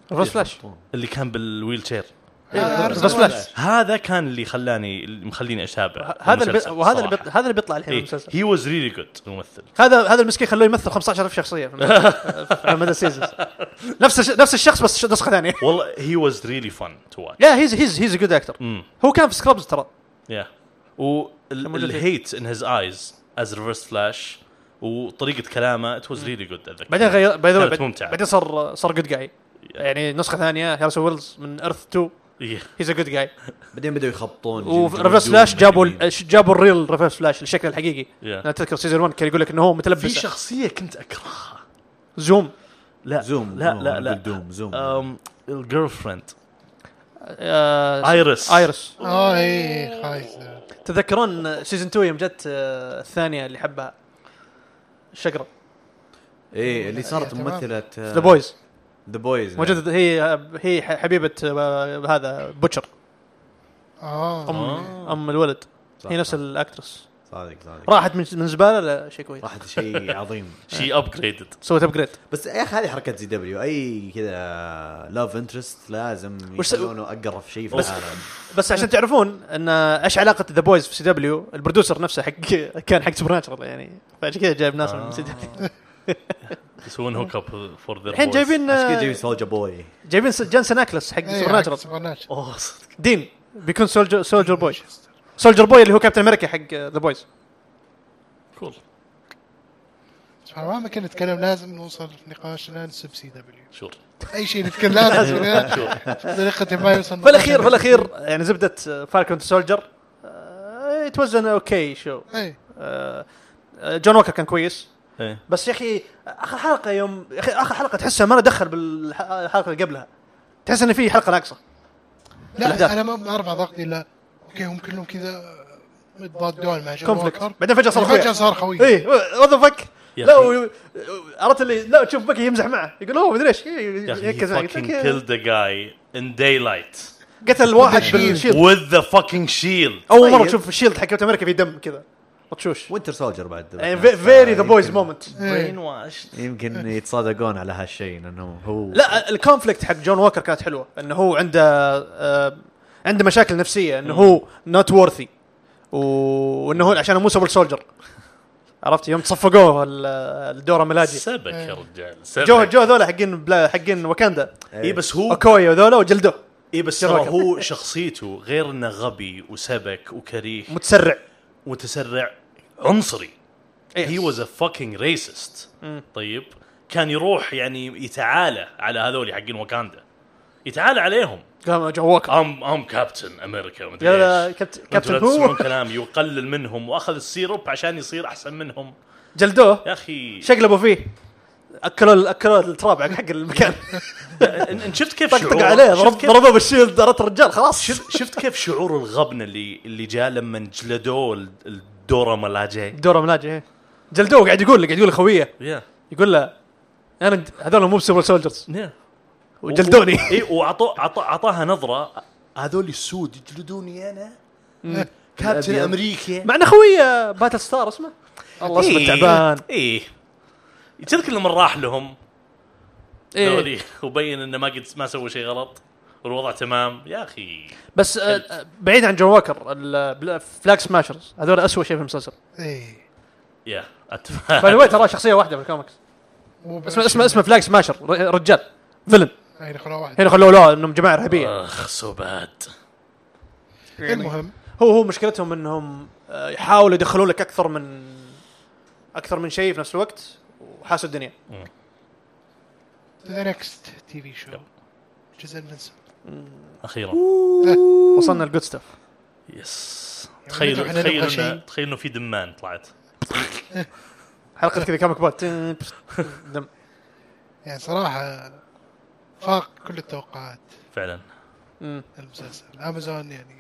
S3: فورس فلاش
S2: اللي كان بالويل تشير
S3: فورس إيه، فلاش
S2: هذا كان اللي خلاني اللي مخليني اتابع
S3: هذا اللي بي-
S2: المسلسل
S3: وهذا اللي
S2: صراحة. إيه.
S3: بيطلع- هذا اللي بيطلع الحين المسلسل
S2: هي واز ريلي جود الممثل
S3: هذا هذا المسكين خلوه يمثل 15000 شخصيه في المسلسل- على مدى السيزون نفس الش- نفس الشخص بس ش- نسخه ثانيه
S2: والله هي واز ريلي فن تو واتش
S3: يا هيز هيز هيز جود اكتر هو كان في سكرابز ترى
S2: يا والهيت ان هيز ايز از ريفرس فلاش وطريقه كلامه ات واز ريلي جود اتذكر
S3: بعدين غير باي ذا
S2: كانت ممتعة.
S3: بعدين صار صار جود جاي يعني نسخه ثانيه هارس ويلز من ايرث 2
S2: إيه.
S3: هيز ا جود جاي
S4: بعدين بداوا يخبطون
S3: وريفرس فلاش جابوا ال- ش- جابوا الريل ريفرس فلاش الشكل الحقيقي
S2: Yeah.
S3: انا اتذكر سيزون 1 كان يقول لك انه هو
S2: في
S3: متلبس
S2: شخصيه كنت اكرهها
S3: زوم
S2: لا
S4: زوم،
S2: لا
S4: زوم،
S2: لا لا Um,
S4: بالدوم، زوم.
S2: أم، الجيرل فريند
S3: آه،
S2: آيرس.
S3: ايرس
S1: اه اي خايس
S3: تذكرون سيزون 2 يوم جت آه، الثانيه اللي حبها الشقره
S4: اي إيه، اللي صارت
S1: تمام.
S4: ممثله
S3: ذا بويز
S4: ذا بويز
S3: موجوده هي هي ح- حبيبه آه، هذا بوتشر
S1: اه
S3: ام
S2: آه.
S3: ام الولد
S4: صح،
S3: هي نفس
S4: صح.
S3: الاكترس
S4: صادق صادق
S3: راحت من من زباله لشيء كويس
S4: راح شيء عظيم
S2: شي ابجريدد
S3: سوت ابجريد
S4: بس يا اخي هذه حركات زي دبليو اي كذا لاف انترست لازم
S3: وش-
S4: يخلونه اقرف شيء في
S2: بس-
S4: العالم
S3: بس عشان تعرفون ان آه، ايش علاقه ذا بويز في سي دبليو البرودوسر نفسه حق كان حق سوبر ناتشرال يعني فعشان كذا جايب ناس
S4: آه.
S3: من سي دبليو
S2: يسوون هوك اب فور ذير
S3: الحين جايبين
S4: عشان كذا إيه،
S3: آه،
S4: جايب سولجا بوي
S3: جايبين س- جانسون اكلس
S1: إيه،
S3: حق سوبر ناتشرال
S2: اوه صدق
S3: دين بيكون سولجر سولجر بوي سولجر بوي اللي هو كابتن امريكا حق آه، ذا بويز
S2: كول
S1: سبحان الله، مهما كنا نتكلم لازم نوصل في نقاشنا نسب سي دبليو
S2: شور
S1: اي شيء نتكلم لازم بطريقه ما يوصل
S3: بالاخير بالاخير يعني زبده فالكون سولجر توزن اوكي شو
S1: اي
S3: آه، آه، جون ووكر كان كويس
S2: إيه.
S3: بس يا اخي اخر حلقه يوم يا اخي اخر حلقه تحسها ما لها دخل بالحلقه اللي قبلها تحس ان في حلقه ناقصه الأحداث.
S1: لا انا ما ما ارفع ضغطي الا اوكي هم كلهم كذا متضادون مع جون
S3: كونفليكت
S1: ووكر
S3: بعدين فجاه صار
S1: فجاه
S3: خويا إيه.
S1: صار خوي
S3: اي وات ذا فك
S2: إيه. يا
S3: لا
S2: أخي.
S3: و- عرفت اللي لا تشوف بكي يمزح معه يقول اوه مدري ايش
S2: يا اخي
S3: إيه، يركز معه.
S2: fucking killed a guy in daylight
S3: قتل واحد
S1: بالشيلد.
S3: بالشيلد
S2: with the fucking shield
S3: اول مره
S4: طيب.
S3: تشوف الشيلد حق كابتن امريكا في دم كذا مطشوش
S4: وينتر سولجر بعد
S3: يعني فيري ذا بويز مومنت
S1: إيه.
S4: يمكن يتصادقون على هالشيء لانه هو
S3: لا الكونفليكت حق جون ووكر كانت حلوه انه هو عنده آه عنده مشاكل نفسيه انه هو نوت وورثي وانه هو عشان مو سوبر سولجر عرفت يوم تصفقوه ال- الدوره ملاجي
S2: سبك يا رجال سبك
S3: جو جو ذولا حقين بلا حقين واكاندا
S2: اي بس هو
S3: اوكويا وذولا وجلدوه
S2: اي بس ترى هو شخصيته غير انه غبي وسبك وكريه
S3: متسرع
S2: متسرع عنصري هي
S3: إيه.
S2: واز ا فاكينج ريسست
S3: Mm.
S2: طيب كان يروح يعني يتعالى على هذول حقين واكاندا يتعالى عليهم
S3: قام جون ووكر
S2: ام ام كابتن امريكا ومدري
S3: لا لا
S2: ايش
S3: كابت-
S2: انتوا
S3: كابتن
S2: لا
S3: هو
S2: تسمعون كلامي وقلل منهم واخذ السيروب عشان يصير احسن منهم
S3: جلدوه
S2: يا اخي
S3: شقلبوا فيه اكلوا اكلوا التراب حق حق المكان
S2: ان إن شفت كيف
S3: طقطق
S2: شعوره
S3: عليه
S2: شفت
S3: ضرب-
S2: كيف-
S3: ضربوه بالشيلد دارت الرجال خلاص
S2: شفت شفت كيف شعور الغبنه اللي اللي جاء لما جلدوه ال- الدوره ملاجئ
S3: دورة ملاجئ إيه. جلدوه قاعد يقول له قاعد يقول لخويه
S2: يا
S3: يقول له انا د- هذول مو بسوبر سولجرز
S2: يا
S3: وجلدوني
S2: اي وعطوه عطوه عطاها نظره هذول السود يجلدوني انا كابتن امريكا
S3: مع انه خويه باتل ستار اسمه الله اسمه تعبان
S2: اي تذكر إيه. لما راح لهم
S3: إيه.
S2: ذولي وبين انه ما قد ما سوى شيء غلط والوضع تمام يا اخي
S3: بس آه، آه، بعيد عن جون ووكر ال- بل- فلاج سماشرز هذول اسوء شيء في المسلسل
S1: اي
S2: يا
S3: باي
S2: اتفهم
S3: ذا واي ترى شخصيه واحده بالكوميكس اسمه اسمه اسمه فلاج سماشر ر- رجال فيلن
S1: يعني خلاص واحد
S3: هنا خلوه له انهم جماعه ارهابيه
S2: اخ سو باد
S3: إيه.
S1: المهم
S3: هو هو مشكلتهم انهم آه، يحاولوا يدخلوا لك اكثر من اكثر من شيء في نفس الوقت وحاسوا الدنيا
S1: ذا نكست تي في شو جزء انفنسبل
S2: اخيرا
S3: وصلنا الجود ستاف
S2: يس
S1: إحنا
S2: تخيل
S1: نبغى
S2: تخيل
S1: شيء.
S2: إنه- تخيل انه في دمان طلعت
S3: حلقه كذا كاميك بوت دم
S1: يعني صراحه فاق كل التوقعات
S2: فعلا
S1: المسلسل امازون يعني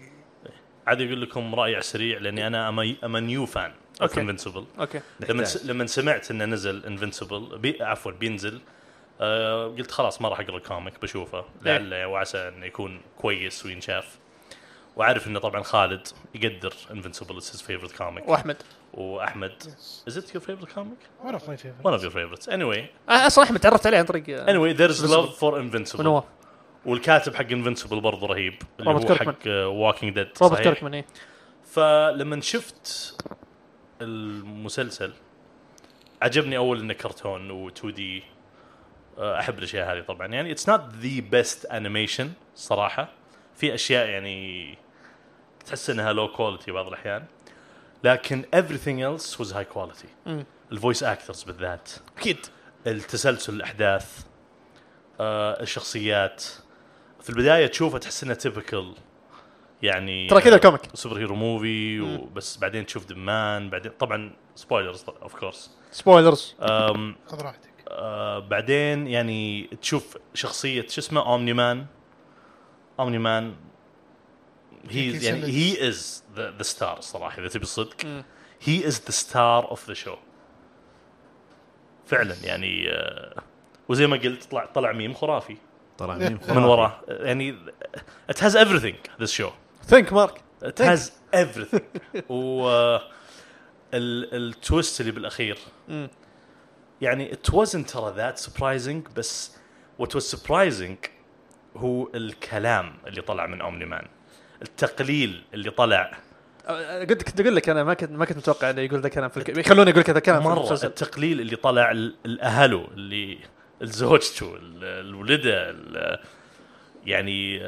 S2: عادي اقول لكم راي على السريع لاني انا ام نيو فان اوف
S3: أوكي.
S2: انفنسبل
S3: اوكي
S2: لما
S4: نحتاج.
S2: لما سمعت انه نزل انفنسبل بي عفوا بينزل آه قلت خلاص ما راح اقرا الكوميك
S3: إيه.
S2: بشوفه لعله وعسى انه يكون كويس وينشاف وعارف انه طبعا خالد يقدر انفنسبل از هيز فيفرت كوميك
S3: واحمد
S2: واحمد
S1: Yes.
S2: از ات يور فيفرت كوميك؟
S1: ون اوف ماي فيفرت
S2: ون اوف يور فيفرتس اني واي
S3: أنا اصلا احمد تعرفت آه، عليه عن طريق آه،
S2: اني واي ذير از لاف فور انفنسبل
S3: ونواف
S2: والكاتب حق انفنسبل برضه رهيب اللي
S3: روبرت
S2: هو
S3: كيركمان.
S2: حق آه، ووكينج ديد
S3: روبرت كيركمان اي
S2: فلما شفت المسلسل عجبني اول انه كرتون و2 دي احب الاشياء آه، هذه طبعا يعني اتس نوت ذا بيست انيميشن صراحه في اشياء يعني تحس انها لو كواليتي بعض الاحيان لكن everything else was high quality الفويس اكترز بالذات
S3: اكيد
S2: التسلسل الاحداث آه الشخصيات في البدايه تشوفه تحس انه تيبكال يعني
S3: ترى كذا
S2: آه،
S3: الكوميك.
S2: سوبر هيرو موفي وبس بعدين تشوف دمان بعدين طبعا سبويلرز اوف كورس
S3: سبويلرز
S1: خذ راحتك
S2: آه بعدين يعني تشوف شخصيه شو اسمه اومني مان اومني مان هي
S1: J.K.
S2: يعني
S1: Simmons.
S2: هي از ذا ستار صراحه اذا تبي صدق هي از ذا ستار اوف ذا شو فعلا يعني آه وزي ما قلت طلع طلع ميم خرافي
S4: طلع مين
S2: من وراه يعني ات هاز everything ذس شو
S3: ثينك مارك
S2: ات هاز everything و آه، ال- التويست اللي بالاخير يعني it wasn't ترى ذات سربرايزنج بس what was surprising هو الكلام اللي طلع من اومني مان التقليل اللي طلع
S3: آه، قلت كنت اقول لك انا ما كنت ما كنت متوقع انه يقول ذا كلام في الك... يخلوني اقول لك ذا كلام في
S2: مره
S3: المسلسل
S2: التقليل اللي طلع ال- الاهله اللي زوجته ال- الولده ال- يعني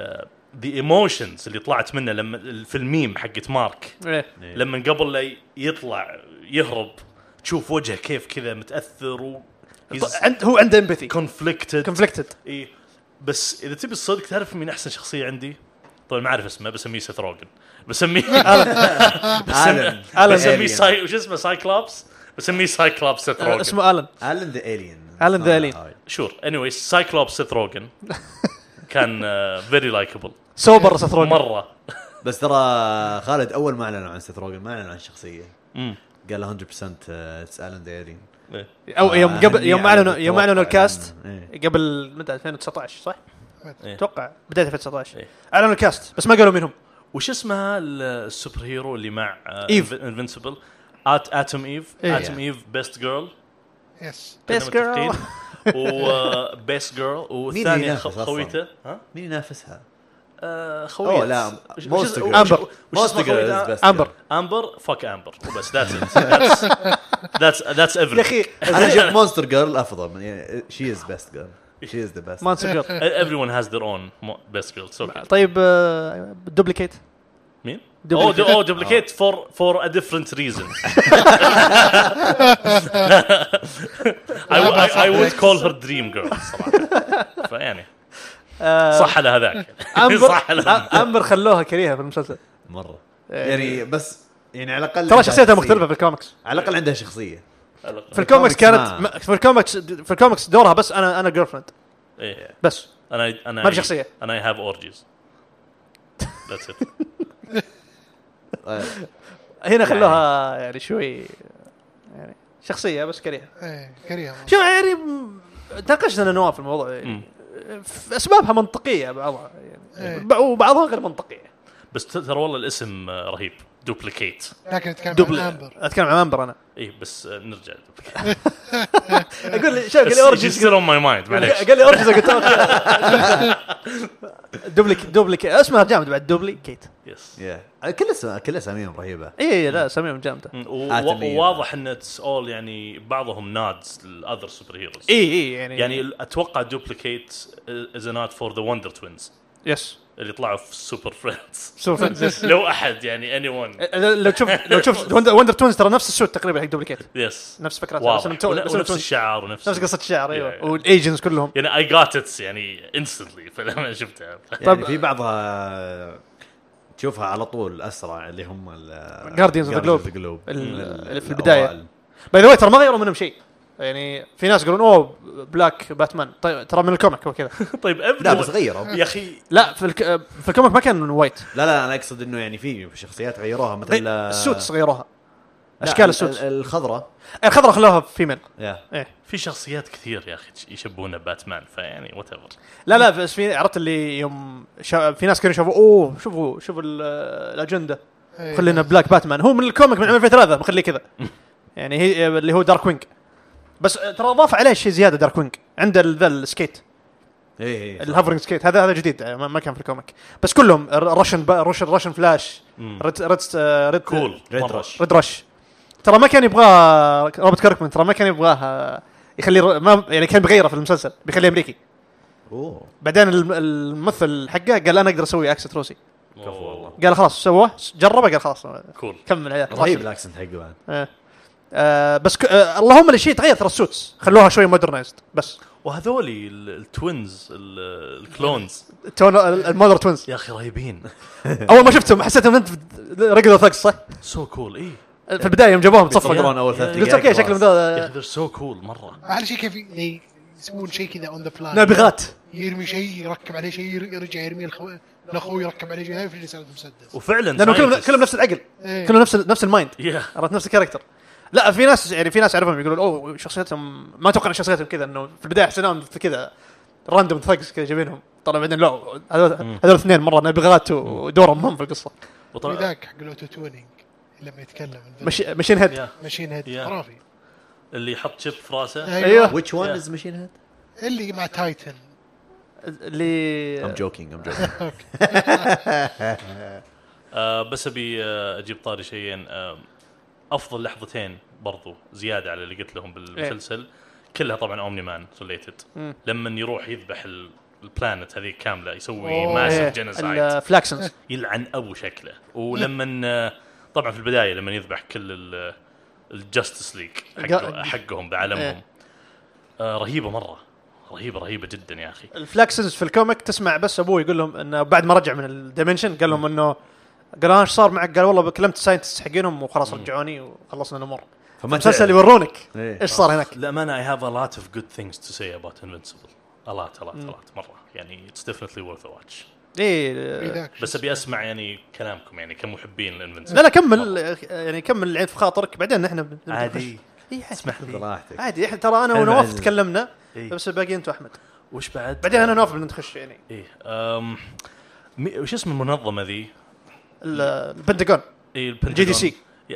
S2: ذا ايموشنز اللي طلعت منه لما في الميم حقت مارك
S3: إيه.
S2: لما قبل لا يطلع يهرب تشوف وجهه كيف كذا متاثر و
S3: عند هو عنده امبثي
S2: كونفليكتد
S3: كونفليكتد
S2: اي إيه، بس اذا تبي الصدق تعرف مين احسن شخصيه عندي؟ طبعا ما اعرف اسمه بسميه سيث روجن بسميه
S4: الن
S2: بسميه ساي وش اسمه سايكلوبس بسميه سايكلوبس سيث روجن
S3: آه، أه، اسمه الن
S4: الن ذا الين
S3: Alan the Alien.
S2: شور اني وايز سايكلوبس سيث روجن كان آه، فيري لايكبل
S3: سوبر سيث روجن
S2: مره
S4: بس ترى خالد اول ما اعلنوا عن سيث روجن ما اعلنوا عن الشخصيه قال له آه، 100% اتس الن ذا الين
S2: إيه.
S3: او
S2: آه،
S4: آه،
S3: يوم قبل يوم اعلنوا يوم اعلنوا
S4: أتوقع
S3: الكاست
S4: إنه- إيه.
S3: قبل متى 2019 صح؟
S2: إيه.
S3: اتوقع بدايه 2019
S2: إيه.
S3: اعلنوا الكاست بس ما قالوا منهم
S2: وش اسمها السوبر هيرو اللي مع آه،
S3: Eve.
S2: انفنسبل ات اتم ايف
S3: إيه.
S2: اتم ايف بيست جيرل
S1: يس
S3: Best girl.
S2: وبيست آه، جيرل والثانيه
S4: ينافس
S2: خ-
S4: أصلاً؟
S2: خويته ها
S4: مين ينافسها؟
S2: آه، خويته
S4: اوه لا
S2: وش- وش-
S4: مونستر
S2: وش-
S3: Amber.
S2: وش- وش اسمها خويته؟
S4: مونستر
S3: امبر
S2: امبر فك امبر وبس ذاتس ذاتس ذاتس ذاتس
S3: يا اخي
S4: انا شفت مونستر جيرل افضل من يعني شي از بيست جيرل شي از ذا بيست
S3: ما نسجل
S2: everyone has their own mo- best girl so
S3: طيب دوبليكيت
S2: مين؟ Oh, او
S3: Duplicate.
S2: او دبليكيت فور فور ا ديفرنت ريزن اي وود كول هير دريم جيرل صراحه فيعني
S3: آه،
S2: صح على هذاك
S3: امبر
S2: صح على هذاك.
S3: امبر آه، خلوها كريهه في المسلسل
S4: مره يعني بس يعني على الاقل
S6: ترى
S4: عندها
S6: شخصيتها
S4: شخصية.
S6: مختلفه في الكوميكس
S4: على الاقل عندها شخصيه
S3: في الكوميكس
S4: الكوميكس
S3: كانت
S4: ما-
S3: م- في الكوميكس في الكوميكس دورها بس انا انا جيرل فريند
S2: إيه.
S3: بس
S2: انا انا
S3: ما في شخصية.
S2: انا اي هاف اورجيز ذاتس ات
S4: آه،
S3: هنا خلوها يعني شوي يعني شخصيه بس كريهه
S1: ايه كريهه
S3: شوف يعني م- تناقشت انا نواف في الموضوع
S2: Mm.
S3: يعني ف- اسبابها منطقيه بعضها يعني
S1: إيه.
S3: ب- وبعضها غير منطقيه
S2: بس ترى والله الاسم آه، رهيب دبليكيت
S1: لكن نتكلم
S3: دبل
S1: عن امبر
S3: اتكلم عن امبر انا
S2: اي بس آه، نرجع دبليكيت
S3: اقول لي شوف قال
S2: بس
S3: لي اورجنز
S2: still on my
S3: يعني
S2: mind معليش
S3: قال لي اورجنز قلت دوبليك دوبليك اسمها جامد بعد دوبليكيت
S2: يس
S4: yeah. كل اسم كل اساميهم رهيبه
S3: اي إيه، لا اساميهم جامده
S2: Mm.
S3: اي
S4: آتمية.
S2: وواضح ان اتس اول يعني بعضهم نادز للاذر سوبر هيروز
S3: اي يعني
S2: يعني ال- اتوقع دوبليكيت از ناد فور ذا وندر توينز
S3: يس
S2: اللي طلعوا في سوبر فريندز
S3: سوبر فريندز
S2: لو احد يعني اني ون
S3: لو تشوف لو تشوف وندر, وندر تونز ترى نفس السوت تقريبا حق دوبليكيت
S2: يس
S3: نفس فكرتها بس إنهم
S2: واضح
S3: تو-
S2: ون-
S3: بس إنهم
S2: ونفس
S3: تونز.
S2: الشعار ونفس
S3: نفس قصه الشعر
S2: Yeah, yeah.
S3: ايوه والايجنتس كلهم
S2: يعني اي جات ات يعني انستنتلي فلما شفتها
S4: يعني
S3: طب-
S4: في بعضها تشوفها على طول اسرع اللي هم ال
S3: Guardians of the Globe.
S4: جلوب
S3: ال- في البداية. باي ذا ترى ما غيروا منهم شيء يعني في ناس يقولون اوه بلاك باتمان طيب ترى من الكوميك هو كذا
S2: طيب ابدا
S4: لا بس غيره
S2: يا اخي
S3: لا في الك... في الكوميك ما كان وايت
S4: لا لا انا اقصد انه يعني في شخصيات غيروها مثل آه،
S3: السوتس غيروها
S4: لا،
S3: اشكال
S4: ال-
S3: السوتس
S4: ال- الخضراء
S3: الخضراء خلوها فيميل
S4: يا
S3: ايه
S2: في شخصيات كثير يا اخي يشبهون باتمان فيعني وات ايفر
S3: لا لا بس في عرفت اللي يوم شا... في ناس كانوا يشوفوا اوه شوفوا شوفوا ال- الاجنده
S1: إيه.
S3: خلينا بلاك باتمان هو من الكوميك من 2003 مخليه كذا يعني هي اللي هو دارك وينج بس ترى اضاف عليه شيء زياده دارك وينج عنده ال- ذا السكيت
S4: اي اي
S3: الهافرنج سكيت هذا هذا جديد يعني ما ما كان في الكوميك بس كلهم الرشن با... رشن رشن فلاش ريد ريد ريد
S2: كول
S4: ريد
S2: مرة.
S4: رش.
S3: ريد رش ترى ما كان يبغاه روبرت كيركمان ترى ما كان يبغاه آه، يخليه ر- ما يعني كان بيغيره في المسلسل بيخليه امريكي
S4: اوه
S3: بعدين الم- الممثل حقه قال انا اقدر اسوي اكسنت روسي
S2: كفو والله
S3: قال خلاص سواه جربه قال خلاص
S2: كول
S3: كمل عيال
S4: رهيب الاكسنت حقه بعد
S3: آه. آه بس ك... آه اللهم الشيء تغير ترى السوتس خلوها شوي مودرنايزد بس
S2: وهذولي ال- التوينز ال- الكلونز
S3: تون المودر توينز
S2: يا اخي رهيبين
S3: اول ما شفتهم حسيتهم انت ريجولر ثاكس صح؟
S2: سو كول اي
S3: في البدايه يوم جابوهم تصفق
S4: يتفقرون اول ثلاث
S2: يا-
S4: دقائق
S3: قلت اوكي
S4: خلاص.
S3: شكلهم
S2: يا اخي
S3: ذا
S2: ذير سو كول مره
S1: احلى شيء كيف ي- يسوون شيء كذا اون ذا بلان
S3: نابغات
S1: يرمي شيء يركب عليه شيء ير- يرجع يرمي الخو- لاخوه يركب عليه شيء يفلس على المسدس
S2: وفعلا
S3: لانه كلهم
S2: scientists.
S3: كلهم نفس العقل
S1: إيه.
S3: كلهم نفس ال- نفس المايند
S2: يا
S3: عرفت نفس الكاركتر لا في ناس يعني في ناس اعرفهم يقولون اوه شخصيتهم ما اتوقع ان شخصيتهم كذا انه في البدايه حسيناهم كذا راندوم ثقس كذا جايبينهم طلع بعدين لا هذول هذول اثنين مره نابغات ودورهم مهم في القصه
S2: وطبعا
S1: وذاك حق الاوتو تونينج لما يتكلم
S3: مشي ماشين هيد
S2: يا
S1: ماشين هيد
S2: يا. أيوه.
S1: خرافي
S2: اللي يحط شيب في راسه
S3: ايوه
S4: Which one
S2: Yeah.
S4: is machine head?
S1: أيوه. اللي مع تايتن
S3: اللي
S4: I'm joking I'm joking
S2: آه بس ابي آه اجيب طاري شيئين آه افضل لحظتين برضو زياده على اللي قلت لهم بالمسلسل
S3: إيه.
S2: كلها طبعا اومني مان ريليتد لما يروح يذبح ال- البلانت هذيك كامله يسوي ماسف
S3: إيه،
S2: جنسايد
S3: الفلاكسنز
S2: يلعن ابو شكله ولما آه، طبعا في البدايه لما يذبح كل الجاستس ليج
S3: قا-
S2: حقهم بعالمهم
S3: إيه.
S2: آه رهيبه مره رهيبه رهيبه جدا يا اخي
S3: الفلاكسنز في الكوميك تسمع بس ابوه يقول لهم انه بعد ما رجع من الدايمنشن قال لهم انه قال انا ايش صار معك؟ قال والله كلمت الساينتست حقينهم وخلاص رجعوني وخلصنا الامور
S2: إيه.
S4: فما
S3: المسلسل
S4: تعرف.
S3: يورونك
S4: إيه.
S3: ايش صار هناك
S2: للأمانة I have a lot of good things to say about Invincible. A lot, a lot, a lot مرة. يعني it's definitely worth a watch.
S3: ايه
S1: ذاك
S2: بس ابي اسمع يعني كلامكم يعني كمحبين للانفنسبل
S3: لا لا كمل يعني كمل العين في خاطرك بعدين نحن بن- بنخش.
S2: عادي
S3: إي إيه، عادي.
S2: اسمح لي
S4: براحتك
S3: عادي احنا ترى انا
S4: حلو
S3: ونواف
S4: عزيز.
S3: تكلمنا
S2: إي.
S3: بس الباقي انت واحمد
S2: وش بعد؟
S3: بعدين انا ونواف بنخش يعني
S2: ايه أم... مي- وش اسم المنظمه ذي؟
S3: ال- البنتاغون
S2: ايه
S3: الجي دي سي.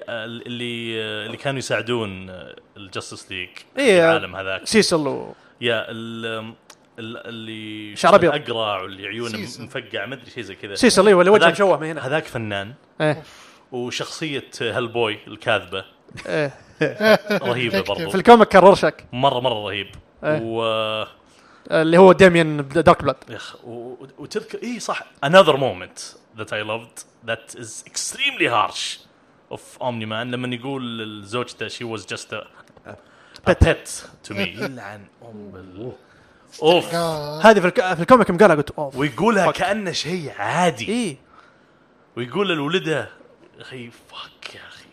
S2: آه، اللي آه، اللي كانوا يساعدون آه، الجاستس ليج
S3: إيه.
S2: العالم هذاك
S3: سيسل و...
S2: يا ال... ال- اللي
S3: شعر أبيض.
S2: اقرع واللي عيونه
S1: سيسن.
S2: مفقع ما ادري شيء زي كذا
S3: سيسل ايوه اللي وجهه
S2: هذاك-
S3: مشوه من هنا
S2: هذاك فنان
S3: إيه.
S2: وشخصيه هالبوي الكاذبه
S3: إيه.
S2: رهيبه
S3: في
S2: برضو
S3: الكوميك كان رورشاك
S2: مره مره رهيب
S3: إيه.
S2: و...
S3: آه، اللي هو ديميان دارك بلاد
S2: يخ- و... وتذكر اي صح another moment that I loved that is extremely harsh of Omni Man لما يقول لزوجته she was just a, a pet to me يلعن ام ال- اوف
S1: آه،
S3: هذه في, الك... في الكوميك يوم قالها قلت اوه
S2: ويقولها كانه شيء عادي
S3: اي
S2: ويقول لولده يا اخي فك يا اخي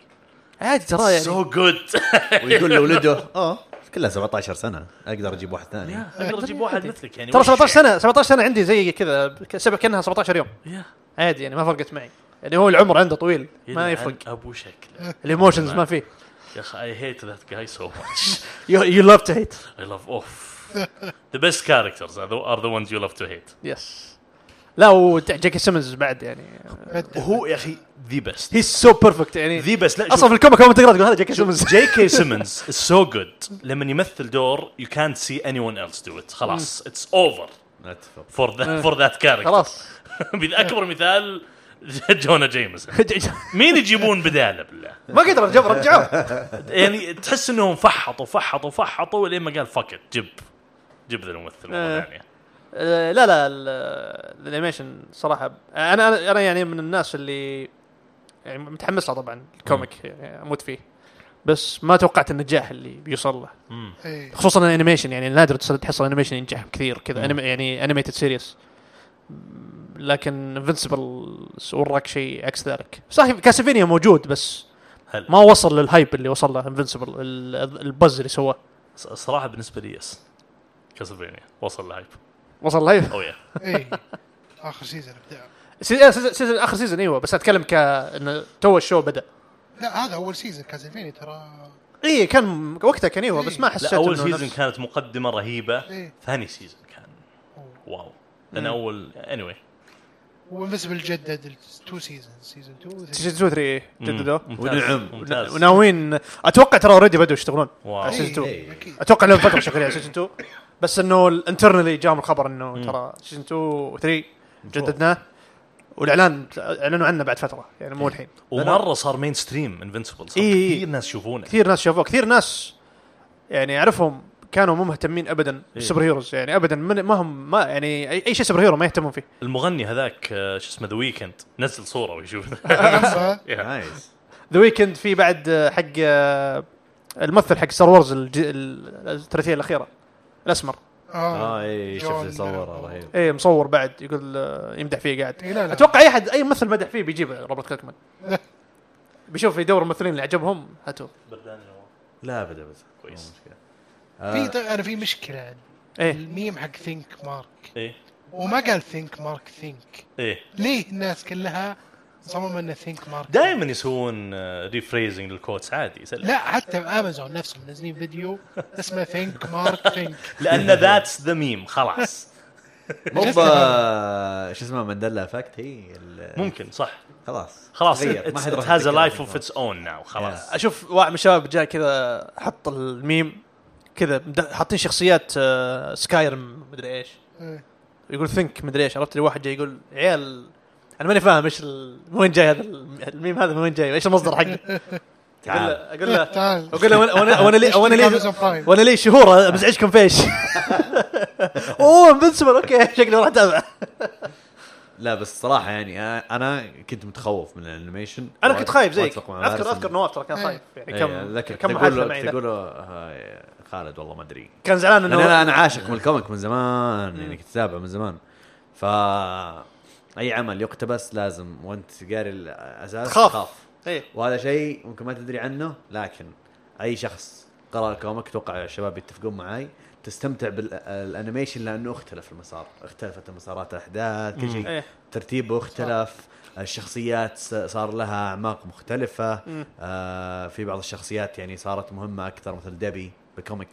S3: عادي ترى يعني
S2: سو جود
S4: ويقول لولده اه كلها 17 سنه اقدر اجيب واحد ثاني
S2: اقدر اجيب واحد مثلك يعني
S3: ترى
S2: وش
S3: 17
S2: يعني؟
S3: سنه 17 سنه عندي زي كذا ك- سبع كانها 17 يوم
S2: يا.
S3: عادي يعني ما فرقت معي يعني هو العمر عنده طويل ما
S2: يلعن
S3: يفرق
S2: ابو شكله
S3: الايموشنز ما فيه
S2: يا اخي I hate that guy so much
S3: يو لاف تو هيت
S2: I love off. the best characters are the, are the ones you love to hate.
S3: يس لا وجاكي سيمنز بعد يعني
S2: وهو يا اخي the best.
S3: هي سو بيرفكت يعني
S2: the best لا
S3: اصلا في الكوميك اول ما تقرا تقول هذا جاكي سيمنز
S2: جي كي سيمنز is so good لما يمثل دور you can't see anyone else do it خلاص it's over
S4: اتفق
S2: for that for that character
S3: خلاص
S2: اكبر مثال جونا جيمس مين يجيبون بداله بالله
S3: ما قدر جاب رجعوه
S2: يعني تحس انهم فحطوا فحطوا فحطوا لين ما قال fuck it جيب جيب ذا الممثل مره
S3: آه.
S2: ثانيه
S3: آه، لا لا ال- الانيميشن صراحه آه، انا أنا- انا يعني من الناس اللي يعني متحمس له طبعا الكوميك يعني اموت فيه بس ما توقعت النجاح اللي بيوصل له
S1: إيه.
S3: خصوصا الانيميشن يعني نادر تس- تحصل انيميشن ينجح كثير كذا أنيم- يعني انيميتد سيريس لكن انفنسبل وراك شيء عكس ذلك صحيح كاسلفينيا موجود بس
S2: هل
S3: ما وصل للهايب اللي وصل له انفنسبل البز اللي سواه
S2: ص- صراحه بالنسبه لي يس كاسلفينيا وصل الهايب
S6: وصل لايف
S2: او يا
S1: اي اخر سيزون ابداع
S3: آه،
S6: سيزن سيزن اخر سيزون
S3: إيوه،
S6: ايوه بس اتكلم ك انه تو الشو بدا
S1: لا هذا اول سيزون كازلفينيا ترى
S3: إيه،
S6: اي كان وقتها كان ايوه بس ما حسيت
S2: إيه. لا اول
S6: إنه
S2: سيزون
S6: نفس-
S2: كانت مقدمه رهيبه
S1: إيه.
S2: ثاني سيزون كان واو لان اول اني anyway.
S1: وانفسبل جدد تو سيزون سيزون 2
S3: سيزون 3
S2: مم.
S3: جددوه
S2: ممتاز.
S4: ونعم.
S2: ممتاز.
S3: وناويين اتوقع ترى اوريدي بدوا يشتغلون
S2: واو
S3: أساس- سيزون
S4: إيه.
S1: اكيد
S3: اتوقع لهم فتره شغالين على سيزون 2 بس انه الانترنالي جاهم الخبر انه ترى سيزون 2 و 3 جددناه والاعلان اعلنوا عنه بعد فتره يعني
S2: إيه.
S3: مو الحين
S2: ومره صار مين ستريم انفنسبل صار
S3: إيه، إيه.
S2: كثير ناس يشوفونه
S3: كثير ناس شافوه كثير ناس يعني اعرفهم كانوا مو مهتمين ابدا
S2: إيه.
S3: بالسوبر هيروز يعني ابدا من ما هم ما يعني اي أي شيء سوبر هيرو ما يهتمون فيه
S2: المغني هذاك آه، شو اسمه ذا ويكند نزل صوره ويشوف
S1: أما
S2: يا.
S4: نايس
S3: ذا ويكند في بعد آه، حق آه، الممثل حق ستار وورز الج- ال- الثلاثيه الاخيره الاسمر
S1: اه
S2: آه.
S4: اه اي
S1: جون-
S4: شفت صوره رهيب
S3: اي إيه، مصور بعد يقول آه، يمدح فيه قاعد
S1: إي إيه، لا لا.
S3: اتوقع اي احد اي ممثل مدح فيه بيجيبه روبرت كلكمان بيشوف يدور الممثلين اللي عجبهم هاتوه
S2: برداني والله.
S4: لا ابدا ابدا
S2: كويس.
S4: آه،
S1: في طيب انا في مشكله عندي.
S3: ايه
S1: الميم حق ثينك مارك
S2: ايه
S1: وما قال ثينك مارك ثينك
S2: ايه
S1: ليه الناس كلها مصممه انه ثينك مارك
S2: دائما يسوون ريفريزنج للكوتس عادي سلام.
S1: لا حتى امازون نفسهم منزلين فيديو اسمه ثينك مارك ثينك
S2: لان ذاتس ذا ميم خلاص
S4: مو
S1: شفت
S4: ب- شو اسمه مانديلا افكت هي ال-
S2: ممكن صح
S4: خلاص
S2: خلاص
S4: تغير. ما حد راح
S2: هاز ا
S4: يتذكر
S2: لايف اوف
S4: الفيلم.
S2: اتس اون ناو خلاص
S3: اشوف واحد من الشباب جاء كذا حط الميم كذا مد- حاطين شخصيات آه، سكايرم مدري ايش
S1: إيه.
S3: يقول ثينك مدري ايش عرفت لي واحد جاي يقول عيال انا ماني فاهم ايش ال- من وين جاي هذا الم- الميم هذا من وين جاي ايش المصدر حقه اقول
S4: تعال
S3: له اقول له
S1: إيه، تعال
S3: اقول له وانا وانا- وانا لي وانا
S1: أمازون
S3: لي
S1: برايم.
S3: وانا لي شهور بزعجكم فيش اوه انفنسبل اوكي شكلي راح اتابع
S4: لا بس صراحه يعني أنا- انا كنت متخوف من الانيميشن
S3: انا كنت خايف زيك
S4: وأتفق مع
S3: اذكر
S4: فارس
S3: اذكر
S4: إنه-
S3: نواف ترى كان خايف يعني
S4: إيه،
S3: كم
S4: أتذكر
S3: كم
S4: كنت
S3: محادثه
S4: أقول له-
S3: معي
S4: كنت
S3: له.
S4: اقول له هاي، خالد والله ما ادري
S3: كان زعلان
S4: لان انا
S3: انه
S4: انا عاشق من الكوميك من زمان يعني كنت اتابع من زمان ف اي عمل يقتبس لازم وانت قاري الاساس
S3: تخاف.
S4: تخاف
S3: إيه.
S4: وهذا شيء ممكن ما تدري عنه لكن اي شخص قرا الكوميك اتوقع الشباب يتفقون معي تستمتع بالانيميشن لانه اختلف المسار اختلفت مسارات الاحداث كل شيء
S3: إيه.
S4: ترتيبه اختلف الشخصيات س- صار لها اعماق مختلفه آه في بعض الشخصيات يعني صارت مهمه اكثر مثل دبي بالكوميك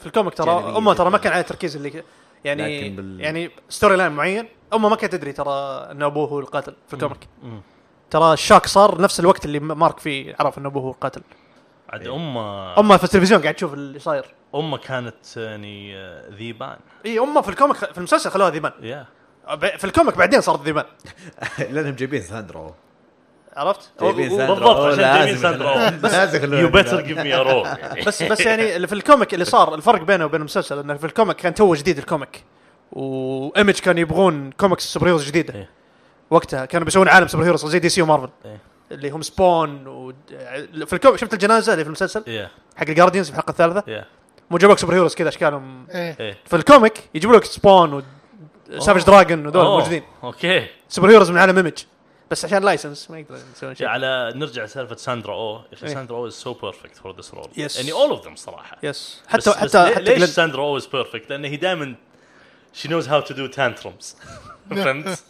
S3: في الكوميك ترى
S4: جانبية
S3: امه ترى ما
S4: جداً.
S3: كان عليه تركيز اللي يعني
S4: لكن بال-
S3: يعني ستوري لاين معين امه ما كانت تدري ترى ان ابوه هو القاتل في الكوميك ترى الشاك صار نفس الوقت اللي مارك فيه عرف ان ابوه هو القاتل
S2: عاد
S4: آه.
S2: امه
S3: امه في التلفزيون قاعد تشوف اللي صاير
S2: امه كانت يعني آه، ذيبان
S3: اي امه في الكوميك في المسلسل خلوها ذيبان
S2: يا
S3: ب- في الكوميك بعدين صارت ذيبان
S4: لانهم جايبين ساندرو
S3: عرفت
S4: جايبين
S3: و- و-
S4: ساندرو
S2: بالضبط، عشان
S4: لازم
S2: جايبين ساندرو.
S4: يخلونا- لازم يخلونا
S2: يو
S4: نلعب.
S2: بيتر جيف مي ا رول
S3: بس بس يعني اللي في الكوميك اللي صار الفرق بينه وبين المسلسل انه في الكوميك كان تو جديد الكوميك وايمج كانوا يبغون كوميكس سوبر هيروز جديده
S2: إيه.
S3: وقتها كانوا بيسوون عالم سوبر هيروز زي دي سي ومارفل
S2: إيه.
S3: اللي هم سبون و... في الكوميك شفت الجنازه اللي في المسلسل
S2: يا
S3: حق الجارديانز في الحلقه الثالثه
S2: يا
S3: مو جابوا لك سوبر هيروز كذا اشكالهم
S1: إيه.
S2: ايه
S3: في الكوميك يجيبوا لك سبون وسافج دراجون ودول
S2: أوه،
S3: موجودين
S2: اوكي
S3: سوبر هيروز من عالم ايمج بس عشان لايسنس ما يقدرون يسوون شيء
S2: على نرجع لسالفه ساندرا او يا اخي
S3: إيه.
S2: ساندرا او از سو بيرفكت فور ذس رول
S3: Yes.
S2: يعني اول اوف ذم صراحه
S3: يس
S2: بس-
S3: حتى
S2: بس
S3: حتى
S2: ليه-
S3: حتى
S2: ليش
S3: Glenn-
S2: ساندرا اولويز بيرفكت؟ لان هي دائما شي نوز هاو تو دو تانترمز فهمت؟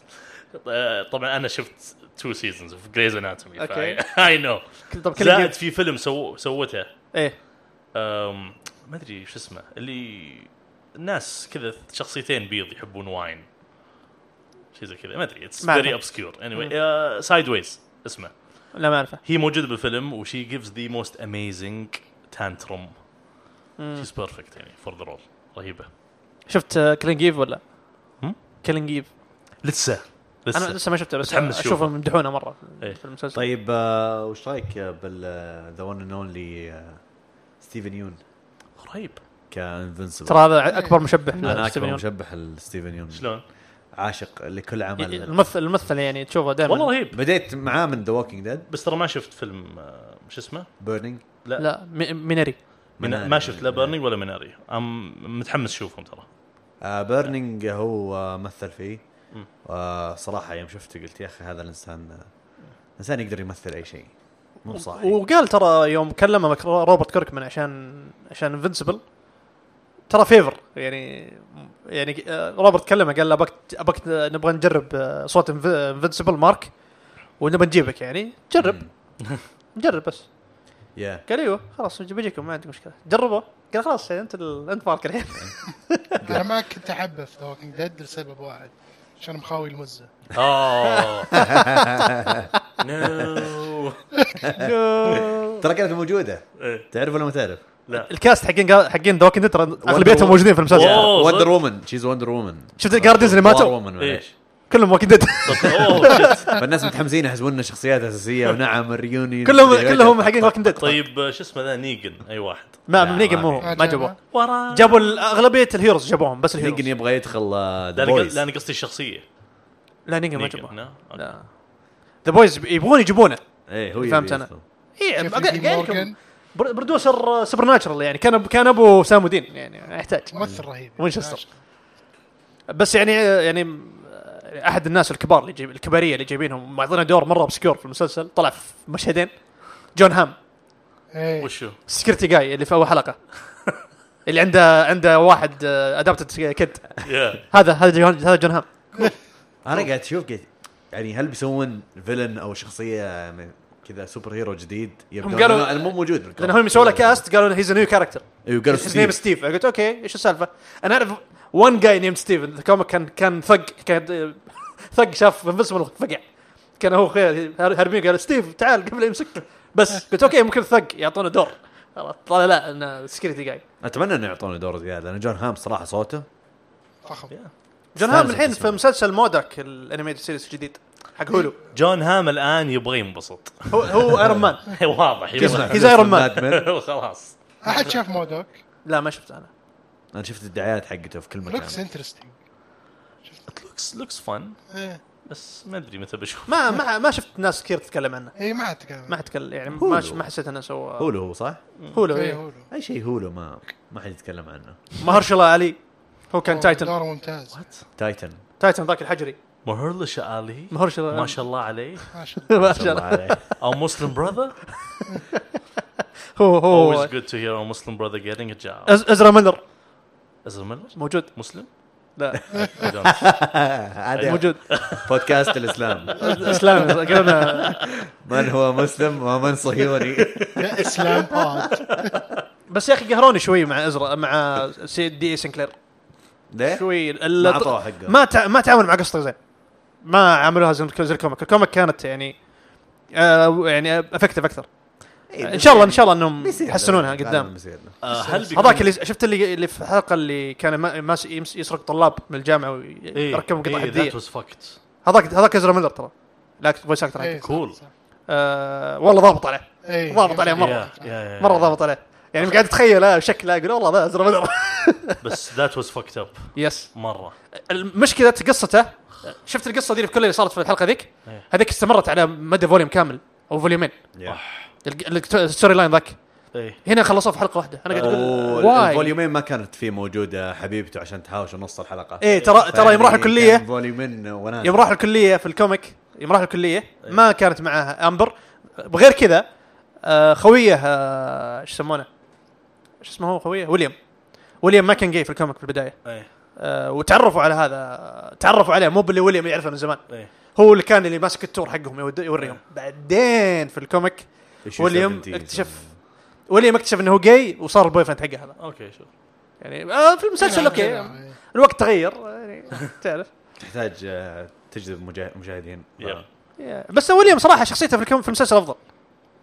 S2: آه، طبعا انا شفت تو سيزونز اوف جريز اناتومي
S3: أوكي.
S2: اي نو
S3: طب كل
S2: زائد
S3: زائد
S2: في فيلم سو سوته
S3: ايه
S2: أم، ما ادري شو اسمه اللي ناس كذا شخصيتين بيض يحبون واين شيء زي كذا ما ادري اتس
S3: ما أعرف.
S2: فيري obscure anyway سايد ويز اسمه
S3: لا ما اعرفه
S2: هي موجوده بالفيلم وشي جيفز ذا موست اميزنج تانترم شيز بيرفكت يعني فور ذا رول رهيبه
S3: شفت كلينج ايف ولا؟
S2: هم؟
S3: كلينج ايف
S2: لسه
S3: انا
S2: لسه
S3: لسه ما شفته بس
S2: متحمس
S3: اشوفهم
S2: شوفه.
S3: يمدحونه مره
S2: إيه.
S3: في المسلسل
S4: طيب آه، وش رايك بال ذا ون اند اونلي ستيفن يون
S2: رهيب
S4: كانفنسبل
S3: ترى هذا اكبر مشبه
S4: انا اكبر
S3: لستيفن
S4: مشبح لستيفن يون
S2: شلون؟ إيه،
S4: عاشق لكل
S3: يون.
S4: عمل
S3: الممثل الممثل يعني تشوفه دائما
S2: والله رهيب
S4: بديت معاه من ذا ووكينج ديد
S2: بس ترى ما شفت فيلم آه، شو اسمه؟
S4: بيرنينج
S3: لا مي- مينري
S2: من- ما
S4: مناري.
S2: شفت لا بيرنينج ولا ميناري ام متحمس اشوفهم ترى
S4: بيرنينج آه، هو آه، مثل فيه آه، صراحه يوم شفته قلت يا اخي هذا الانسان آه، انسان يقدر يمثل اي شيء مو صحيح
S3: وقال ترى يوم كلمه مك- روبرت كيركمان عشان عشان انفنسبل ترى فيفر يعني يعني آه، روبرت كلمه قال له ابغاك ابغاك نبغى نجرب آه، صوت انفنسبل مارك ونبغى نجيبك يعني جرب
S4: مم.
S3: جرب بس
S4: يا
S3: قال ايوه خلاص بجيكم ما عندي مشكله جربوا قال خلاص يعني انت ال... انت مارك الحين
S1: انا ما كنت احبه في ووكينج ديد لسبب واحد عشان مخاوي المزه
S2: اه نو
S4: ترى كانت موجوده
S2: إيه.
S4: تعرف ولا ما تعرف؟
S2: لا
S3: الكاست حقين قال- حقين ذا ووكينج ترى اغلبيتهم
S4: Woman.
S3: موجودين في المسلسل
S2: أوه، صدق؟
S4: وندر وومن شيز وندر وومن
S3: شفت الجاردنز اللي ماتوا
S4: وومن
S2: إيه.
S4: معليش
S3: كلهم ووكينج ديد
S2: أوه، shit.
S4: فالناس متحمسين يحزبون لنا شخصيات اساسيه ونعم الريوني
S3: كلهم كلهم حقين ووكينج ديد
S2: طيب آه، شو اسمه ذا نيجن اي واحد
S3: ما
S4: لا،
S3: نيجن
S4: ما
S3: مو
S1: في.
S3: ما جابوه
S2: ورا
S3: جابوا ال- اغلبيه الهيروز جابوهم بس الهيروز
S4: نيجن يبغى يدخل آه، The
S2: لا أنا قص-
S4: Boys.
S2: لا انا قصدي الشخصيه
S3: لا نيجن ما
S2: نيجن،
S3: جابوه
S2: لا. أوكي.
S3: لا ذا بويز يبغون يجيبونه إيه، يعني
S4: ايه هو يبي
S3: فهمت أنا.
S4: يدخل.
S3: اي
S1: جيفري دي مورغان
S3: برودوسر سوبر ناتشرال يعني كان كان ابو سام الدين يعني يحتاج
S1: ممثل رهيب
S3: وينشستر. بس يعني يعني احد الناس الكبار اللي جايب الكباريه اللي جايبينهم معطينا دور مره بسكيور في المسلسل طلع في مشهدين جون هام
S1: ايه
S2: وشو؟
S3: سكيورتي جاي اللي في اول حلقه اللي عنده عنده واحد ادابتد كيد
S2: يا
S3: هذا هذا جون هذا جون هام
S4: انا قاعد اشوف قاعد يعني هل بيسوون فيلن او شخصيه م- كذا سوبر هيرو جديد يبدون
S3: قالوا-
S4: لأنه- لأنه مو موجود بالكون
S3: لان هم يسووا له كاست قالوا هيز نيو كاركتر
S4: ايوه قالوا
S3: هيز نيم
S4: ستيف
S3: ستيف قلت اوكي ايش السالفه؟ انا اعرف وان جاي نيم ستيف الكوميك كان كان ثق كان ثق شاف انفسبل فقع كان هو خير هرمين قال ستيف تعال قبل يمسك بس قلت اوكي ممكن ثق يعطونا دور خلاص، طلع لا انا سكيورتي جاي
S4: اتمنى انه يعطونا دور زياده لان جون هام صراحه صوته
S1: فخم
S3: جون هام
S4: استانس
S3: الحين في
S4: بسمعه.
S3: مسلسل مودك الانيميتد سيريس الجديد حق هولو
S2: جون هام الان يبغى ينبسط
S3: هو هو ايرون مان
S2: واضح يبغى
S3: He's Iron Man.
S4: باتمان.
S2: خلاص
S1: احد شاف مودوك
S3: لا ما شفت انا
S4: انا شفت الدعايات حقته في كل
S1: لوكس
S4: مكان
S1: انترستنج
S2: لوكس لوكس فن
S1: إيه،
S2: بس ما ادري متى بشوف
S3: ما ما ما شفت ناس كثير تتكلم عنه
S1: اي إيه، ما اتكلم
S3: ما حد تكلم يعني ما
S4: هولو.
S3: ما حسيت انه سوى
S4: هولو هو صح؟
S3: هولو
S1: اي
S3: إيه.
S1: هولو
S4: اي شيء هولو ما ما حد يتكلم عنه
S3: مهرشلا علي هو كان تايتن
S1: دوره ممتاز
S4: تايتن
S3: تايتن ذاك الحجري
S2: مهرلش علي
S3: مهرشلا
S2: ما شاء الله عليه
S1: ما شاء الله
S3: ما شاء
S4: الله
S3: الله
S4: عليه.
S2: او مسلم براذر
S3: هو هو
S2: always good to hear a Muslim brother getting a job
S3: أز- ازرا ميلر
S2: ازر ميلر
S3: موجود
S2: مسلم
S3: لا
S2: I don't-
S4: هذا
S3: موجود
S4: بودكاست الاسلام
S3: اسلامي قالوا
S4: من هو مسلم ومن صهيوني
S1: يا إيه، اسلام بود
S3: بس يا اخي قهروني شوي مع ازرا مع سي دي إي سنكلير
S2: إيه؟
S4: ليه؟
S3: شوي ال-
S4: ما اعطوه حقه
S3: ما تع... ما تعامل مع قصته زين ما عملوها زي زي الكوميك الكوميك كانت يعني آه يعني افكتف اكثر
S2: إيه،
S3: ان شاء الله ان شاء الله انهم
S4: إيه، بيصير له.
S3: يحسنونها
S4: العالم
S3: قدام
S4: بيصير له.
S2: آه، هل بيكون-
S3: هذاك اللي شفت اللي اللي في الحلقه اللي كان ما- ماس يمس- يسرق طلاب من الجامعه
S2: إيه،
S3: ويركبهم قطع
S2: إيه،
S3: حديه
S2: that was إيه. fucked
S3: هذاك هذاك ازرا ميلر ترى لا فويس اكتر حقه
S2: Cool.
S3: آه، والله ضابط عليه
S1: إيه.
S3: ضابط عليه مره
S2: Yeah, yeah, yeah,
S3: مره
S2: yeah.
S3: ضابط عليه يعني قاعد اتخيل آه، شكله اقول والله ذا ازرا ميلر
S2: بس that was fucked up
S3: يس
S2: مره
S3: المشكله قصته شفت القصه دي في كل اللي صارت في الحلقه ذيك
S2: إيه.
S3: هذيك استمرت على مدى فوليوم كامل او فوليومين
S4: يا.
S3: الج- الكت- الستوري لاين ذاك
S2: ايه
S3: هنا خلصوه في حلقه واحده انا قاعد اقول واي
S4: والفوليومين ما كانت فيه موجوده حبيبته عشان تهاوش نص الحلقه
S3: ايه ترى ترى يوم راح
S4: فيعني
S3: الكليه
S4: كان فوليومين وناس
S3: يوم راح الكليه في الكوميك يوم راح الكليه ما كانت معاه امبر بغير كذا آه، خويه آه، ايش يسمونه؟ ايش اسمه هو خويه؟ ويليام ويليام ما كان جاي في الكوميك في البدايه
S2: ايه
S3: آه، وتعرفوا على هذا تعرفوا عليه مو باللي ويليام يعرفه من زمان
S2: ايه
S3: هو اللي كان اللي ماسك التور حقهم يود- يوريهم بعدين في الكوميك
S4: Issue
S3: ويليام
S4: 70.
S3: اكتشف ويليام اكتشف انه هو جاي وصار البوي فرند حقه هذا
S2: اوكي شوف
S3: يعني آه، في المسلسل اوكي
S1: إيه.
S3: الوقت تغير يعني تعرف
S4: تحتاج آه، تجذب مجا- مشاهدين
S2: يب.
S3: يا. بس ويليام صراحه شخصيته في الكوميك في المسلسل افضل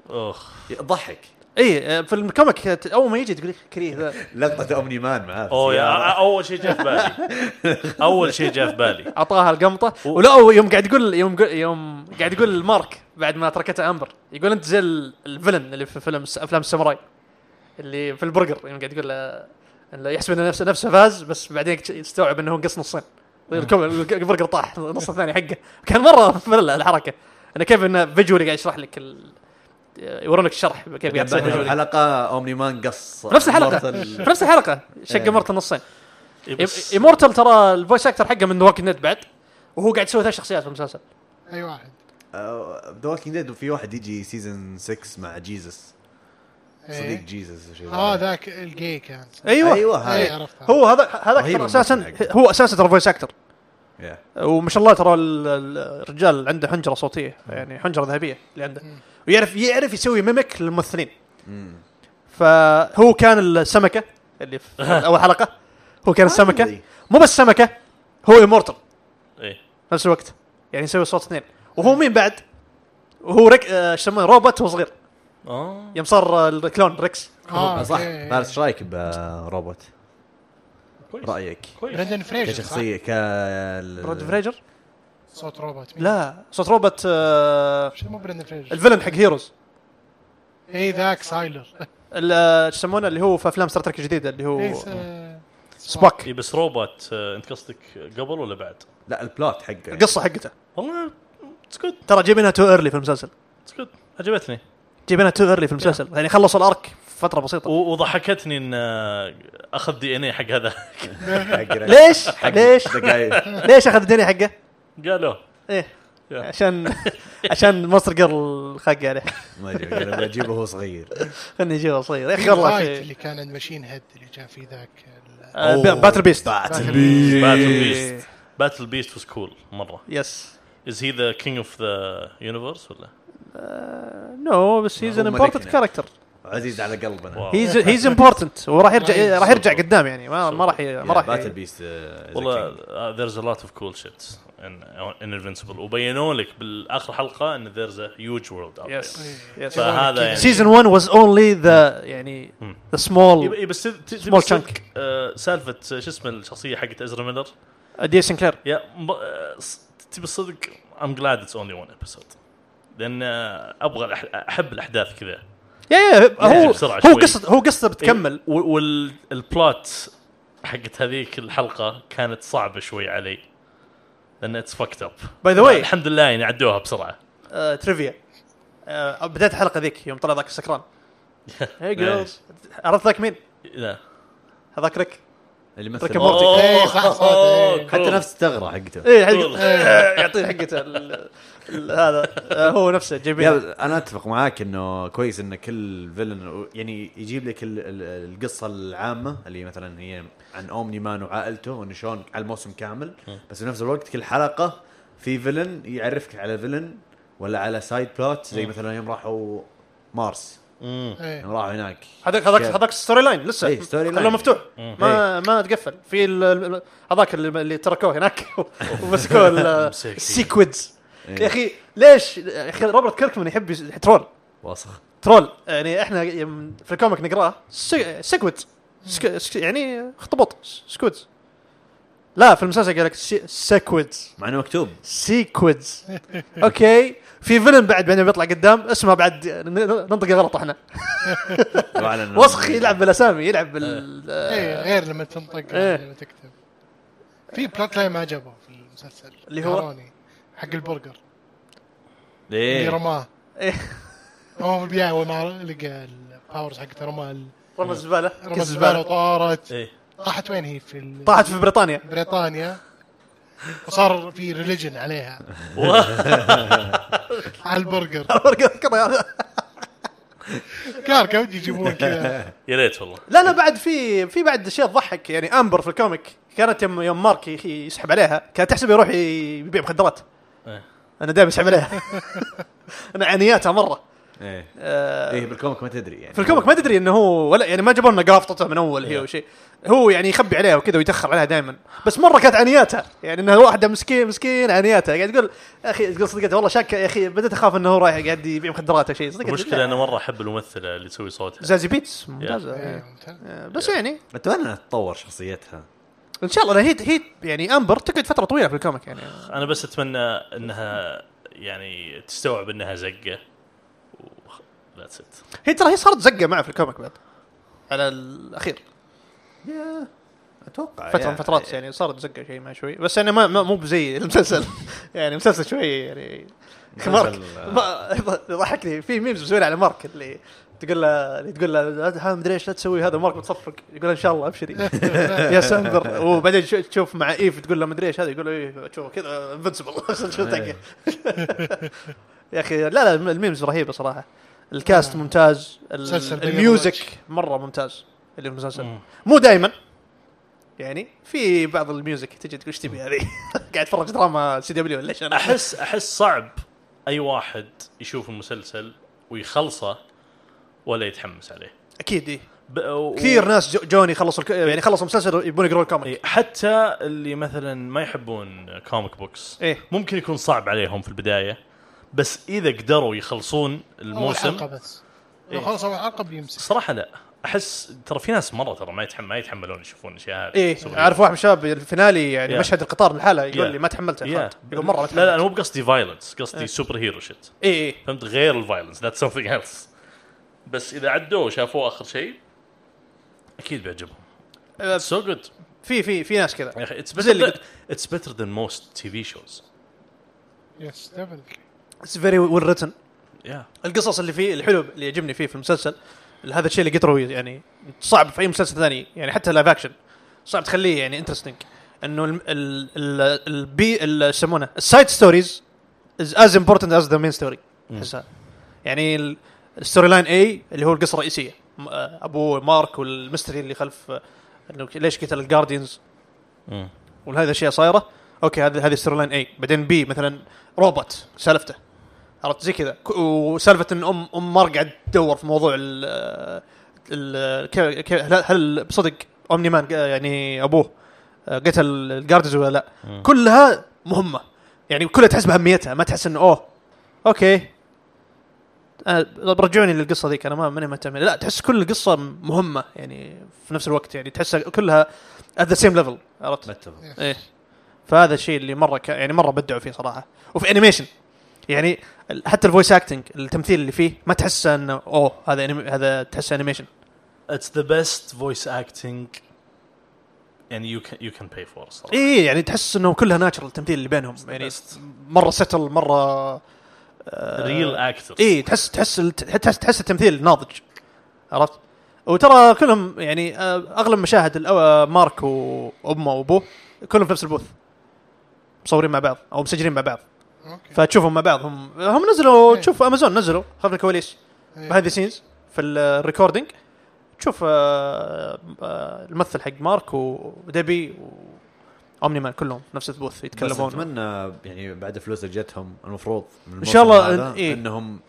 S2: اخ
S4: ضحك
S3: اي إيه، آه، في الكوميك اول ما يجي تقول لك كريه ذا
S4: لقطه اومني مان معاه في
S2: اوه يا
S4: السيارة.
S2: اول شيء جاء في بالي اول شيء جاء في بالي
S3: اعطاها القمطه
S2: و-
S3: ولا هو يوم قاعد يقول يوم قل- يوم قاعد يقول المارك بعد ما تركته امبر يقول انت زي ال- الفيلن اللي في فيلم افلام الساموراي اللي في البرجر يوم قاعد يقول له- إنه يحسب انه نفسه نفسه فاز بس بعدين يكت- يستوعب انه هو انقص نصين الكم- البرجر طاح النص الثاني حقه كان مره ممله الحركه انا كيف انه فيجولي قاعد يشرح لك ال... يورونك الشرح كيف قاعد يصير
S4: بعد
S3: فيجولي.
S4: الحلقه اومني مان قص
S3: في نفس الحلقه
S4: مرة ال-
S3: في نفس الحلقه شق
S4: إيه.
S3: مرت النصين
S2: إيه، بس-
S3: ايمورتال ترى الفويس اكتر حقه من ووكينج نت بعد وهو قاعد يسوي ثلاث شخصيات في المسلسل
S1: اي واحد
S4: آه، ذا ووكينج ديد في واحد يجي سيزون 6 مع جيزس
S1: إيه.
S4: صديق جيزس وشيء
S1: اه ذاك يعني. إيه، الجي كان
S3: ايوه, أيوة.
S4: ايوه
S1: اي
S4: هذا
S1: عرفتها
S3: هو هذا هذاك
S4: رهيب
S3: ترى اساسا
S4: الممثل حقه.
S3: هو اساسا ترى فويس اكتر
S4: يا.
S3: وما شاء الله ترى ال- ال- الرجال عنده حنجره صوتيه يعني حنجره ذهبيه اللي عنده ويعرف يعرف يسوي ميمك للممثلين
S4: مم.
S3: فهو كان السمكه اللي في اول حلقه هو كان السمكه
S4: أي.
S3: مو بس سمكه هو امورتال
S2: ايه
S3: نفس الوقت يعني يسوي صوت اثنين وهو مين بعد؟ وهو ريك آه، ايش يسمونه روبوت وهو صغير
S2: اه
S3: يوم صار آه، الكلون ريكس
S4: آه،
S1: اه
S4: صح
S1: أوكي.
S4: فارس ايش رايك بروبوت؟
S2: كويس
S4: رايك
S2: كويس
S1: برندن فريجر
S4: كشخصيه ك آه.
S3: رود فريجر
S1: صح؟ صوت روبوت مين؟
S3: لا صوت روبوت آه،
S1: شو مو برندن فريجر
S3: الفيلن حق هيروز
S1: اي ذاك سايلر
S3: ال- آه، ايش يسمونه اللي هو في افلام ستار تريك الجديده اللي هو
S1: إيه، س-
S3: سباك
S2: اي بس روبوت آه، انت قصدك قبل ولا بعد؟
S4: لا البلوت حقه
S3: القصه حقته
S2: والله اتس جود
S3: ترى جايبينها تو ايرلي في المسلسل
S2: اتس جود عجبتني
S3: جايبينها تو ايرلي في المسلسل يعني خلص الارك في فتره بسيطه
S2: و- وضحكتني ان آه، اخذ دي ان اي حق هذا
S4: حقه.
S3: ليش؟
S4: حق
S3: ليش؟
S4: دقايق.
S3: ليش اخذ الدنيا حقه؟
S2: قالوا
S3: ايه
S2: يا.
S3: عشان عشان مونستر جيرل خاق عليه
S4: ما ادري قال أبغى اجيبه وهو صغير
S3: خلني اجيبه صغير يا اخي
S1: في
S3: والله
S1: الفايت
S3: شيء.
S1: اللي كان عند ماشين هيد اللي كان في ذاك ال-
S3: آه، بي- باتل بيست
S4: باتل
S2: باتل
S4: بيست
S2: بيست باتل بيست واز كول مره
S3: يس
S2: از هي ذا كينج اوف ذا يونيفرس ولا؟
S3: نو بس هيز ان
S4: هم
S3: امبورتنت
S4: ملكنا.
S3: كاركتر
S4: عزيز على قلبنا
S2: واو.
S3: هيز هيز امبورتنت وراح يرجع
S1: رهيب.
S3: راح يرجع قدام يعني ما ما راح ي- ما راح
S4: باتل
S3: ي-
S4: بيست
S2: والله آه، ذيرز ا لوت اوف كول شيت ان انفنسبل وبينوا لك بالاخر حلقه ان ذيرز ا هيوج وورلد اوت
S3: يس يس
S2: فهذا يعني
S3: سيزون 1 واز اونلي ذا يعني
S2: Hmm.
S3: ذا سمول
S2: اي بس ت- ت-
S3: Small
S2: تمسك،
S3: chunk.
S2: آه، سالفه آه، شو اسمه الشخصيه حقت ازرا ميلر
S3: دي سنكلير
S2: يا م- آه، ص- تبي الصدق ام جلاد اتس اونلي ون ابيسود لان آه، ابغى الأح- احب الاحداث كذا
S3: يا يا هو
S2: بسرعة
S3: هو
S2: شوي. إيه.
S3: قصه هو قصه بتكمل
S2: والبلوت حقت هذيك الحلقه كانت صعبه شوي علي لان اتس فكت اب
S3: باي ذا واي
S2: الحمد لله يعني عدوها بسرعه
S3: تريفيا آه، بدايه الحلقه ذيك يوم طلع ذاك السكران Hey girls. عرفت ذاك مين؟
S2: لا
S3: هذاك ريك
S4: اللي
S3: ريك
S4: مثل
S3: أند مورتي.
S1: إيه، صح، صح، إيه.
S4: حتى نفس الثغره حقته
S3: ايه
S2: Cool.
S3: حق- يعطيه حقته ال- ال- هذا آه، هو نفسه جايبين
S4: يلا انا اتفق معاك انه كويس ان كل فيلن يعني يجيب لك ال- ال- القصه العامه اللي مثلا هي عن اومني مان وعائلته وانه شلون على الموسم كامل بس بنفس الوقت كل حلقه في فيلن يعرفك على فيلن ولا على سايد بلوت زي مثلا يوم راحوا مارس
S1: إيه.
S4: يوم راحوا هناك
S3: هذاك هذاك
S4: كيف؟
S3: هذاك ستوري لاين لسه
S4: إيه، story line.
S3: خلوه مفتوح
S2: إيه.
S3: ما ما تقفل في ال- ال- هذاك اللي, اللي تركوه هناك ومسكوه ال-
S2: مساكين.
S3: السيكويدز
S4: إيه.
S3: يا اخي ليش يا اخي روبرت كيركمان يحب يس- ترول
S4: واصخ
S3: ترول يعني احنا يم- في الكوميك نقراه سي- سيكويد سك- سك- يعني اخطبوط س- سكويدز لا في المسلسل قال لك سي- سيكويدز
S4: مع انه مكتوب
S3: سيكويدز اوكي في فيلم بعد بعدين بيطلع قدام اسمه بعد ن- ن- ننطق غلط احنا
S4: وعلى إنه-
S3: وسخ يلعب بالاسامي يلعب بال
S1: ايه غير لما تنطق
S3: إيه.
S1: لما تكتب في بلوت لاين ما جابه في المسلسل
S3: اللي هو؟
S1: قهروني. حق البرجر اللي
S4: ليه
S1: رماه
S3: إيه.
S1: هو في البدايه اول ما لقى الباورز حقته رمى ال-
S3: رمى الزباله
S1: رمى الزباله وطارت
S2: ايه
S1: طاحت وين هي في ال-
S3: طاحت في بريطانيا
S1: بريطانيا وصار في ريليجن عليها على البرجر كركب يجيبون كذا
S2: يا ليت والله
S3: لا لا بعد في في بعد اشياء تضحك يعني امبر في الكوميك كانت يوم يوم مارك يخ- يسحب عليها كانت تحسب يروح ي- يبيع مخدرات
S2: إيه.
S3: انا دائما اسحب عليها انا عنياتها مره
S4: ايه
S3: آه،
S4: ايه بالكوميك ما تدري يعني
S3: في الكوميك ما تدري انه هو ولا يعني ما جابوا لنا قرافطته من اول هي وشيء هو يعني يخبي عليها وكذا ويتاخر عليها دائما بس مره كانت عنياتها يعني انها واحده مسكين مسكين عنياتها قاعد تقول يا اخي تقول صدقت والله شاك يا اخي بديت اخاف انه هو رايح قاعد يبيع مخدرات او شيء صدقت
S2: المشكله انا مره احب الممثله اللي تسوي صوتها
S3: زازي بيتس ممتازه
S1: إيه،
S3: إيه.
S1: ممتاز.
S3: آه، بس يعني
S4: اتمنى انها تطور شخصيتها
S3: ان شاء الله لأن هي هي يعني امبر تقعد فتره طويله في الكوميك يعني
S2: انا بس اتمنى انها يعني تستوعب انها زقه ذاتس ات
S3: هي ترى هي صارت زقه معه في الكوميك بعد على الاخير
S4: يا اتوقع
S3: فتره من
S4: آه، يا.
S3: فترات يعني صارت زقه شيء ما شوي بس انا ما ما- مو بزي المسلسل يعني مسلسل شوي يعني مارك
S4: مسلسل- آه.
S3: ما- ضحكني في ميمز مسويين على مارك اللي تقول له اللي تقول له لا ت- ها مدري ايش لا تسوي هذا مارك متصفق يقول له ان شاء الله ابشري يا سندر وبعدين شو- تشوف مع ايف تقول له مدري ايش هذا يقول له إيه، تشوف كذا انفنسبل يا اخي لا لا الميمز رهيبه صراحه الكاست
S2: آه.
S3: ممتاز ال-
S1: مسلسل
S3: الميوزك
S1: بيض
S3: مره ممتاز اللي في المسلسل
S2: مم.
S3: مو دائما يعني في بعض الميوزك تجي تقول ايش تبي هذه قاعد اتفرج دراما سي دبليو ليش انا
S2: احس احس صعب اي واحد يشوف المسلسل ويخلصه ولا يتحمس عليه
S3: اكيد إيه.
S2: ب- و-
S3: كثير ناس جو- جوني خلصوا الك...
S2: إيه.
S3: يعني خلصوا المسلسل يبون يقرون الكوميك
S2: إي، إيه، حتى اللي مثلا ما يحبون كوميك بوكس
S3: إيه.
S2: ممكن يكون صعب عليهم في البدايه بس اذا قدروا يخلصون
S1: اول حلقه
S2: الموسم
S1: بس لو خلص اول حلقه بيمسك
S2: صراحه لا احس ترى في ناس مره ترى ما يتحمل ما يتحملون يشوفون اشياء هذه
S3: ايه
S2: سوبر هيرو.
S3: اعرف واحد من الشباب الفينالي يعني
S2: Yeah.
S3: مشهد القطار لحاله يقول
S2: Yeah.
S3: لي ما تحملته يا
S2: يا.
S3: خالد. يقول مره
S2: لا لا
S3: ما إيه، تحملت إيه.
S2: انا مو بقصدي فايلنس قصدي سوبر هيرو شيت
S3: اي اي
S2: فهمت غير الفايلنس ذات سمثينج ايلس بس اذا عدوه وشافوه اخر شيء اكيد بيعجبهم سو جود
S3: في في في ناس كذا
S2: يا اخي اتس
S3: زي اللي
S2: بيتر اتس بيتر ذان موست تي في شوز
S1: يس ديفنتلي
S3: اتس فيري ويل ريتن
S2: يا
S3: القصص اللي فيه الحلو اللي يعجبني فيه في المسلسل هذا الشيء اللي قدروا يعني صعب في اي مسلسل ثاني يعني حتى لايف اكشن صعب تخليه يعني انترستنج انه ال ال ال البي ال- يسمونه السايد ستوريز از از امبورتنت از ذا مين ستوري احسها يعني ال- الستوري لاين اي اللي هو القصه الرئيسيه م- آه، ابوه مارك والمستري اللي خلف آه، انه ليش قتل الجارديانز وهذه الاشياء صايره اوكي هذه هذه ستوري لاين اي بعدين بي مثلا روبوت سالفته عرفت زي كذا ك- وسالفه ان ام ام مار قاعد تدور في موضوع ال ال كيف- كيف- هل- هل بصدق اومني مان آه، يعني ابوه آه، قتل الجاردز ولا لا كلها مهمه يعني كلها تحس باهميتها ما تحس انه اوه اوكي أنا أه، رجعوني للقصه ذيك انا ما ماني مهتم لا تحس كل القصه مهمه يعني في نفس الوقت يعني تحسها كلها at the same level عرفت؟
S4: متفق
S3: ايه فهذا الشيء اللي مره ك... يعني مره بدعوا فيه صراحه وفي انيميشن يعني ال- حتى الفويس اكتنج التمثيل اللي فيه ما تحسه انه اوه هذا أنيم... هذا تحسه انيميشن
S2: اتس ذا بيست فويس اكتنج يعني يو كان يو كان باي فور صراحه
S3: اي يعني تحس انه كلها ناتشرال التمثيل اللي بينهم يعني مره ستل مره
S2: ريل اكتر
S3: اي إيه، تحس تحس الت- تحس تحس التمثيل ناضج عرفت وترى كلهم يعني آه، اغلب مشاهد الأو- آه، مارك وامه وابوه كلهم في نفس البوث مصورين مع بعض او مسجلين مع بعض
S1: اوكي
S3: فتشوفهم مع بعض هم هم نزلوا
S1: إيه.
S3: تشوف امازون نزلوا خلف الكواليس
S1: إيه.
S3: بهذه سينز في آه، الريكوردينج تشوف آه، آه، الممثل حق مارك وديبي واومني مان كلهم نفس البوث
S4: بس
S3: يتكلمون
S4: اتمنى يعني بعد الفلوس اللي جتهم المفروض من
S3: إن شاء
S4: الموسم
S3: الله
S4: هذا
S3: إن- إيه.
S4: انهم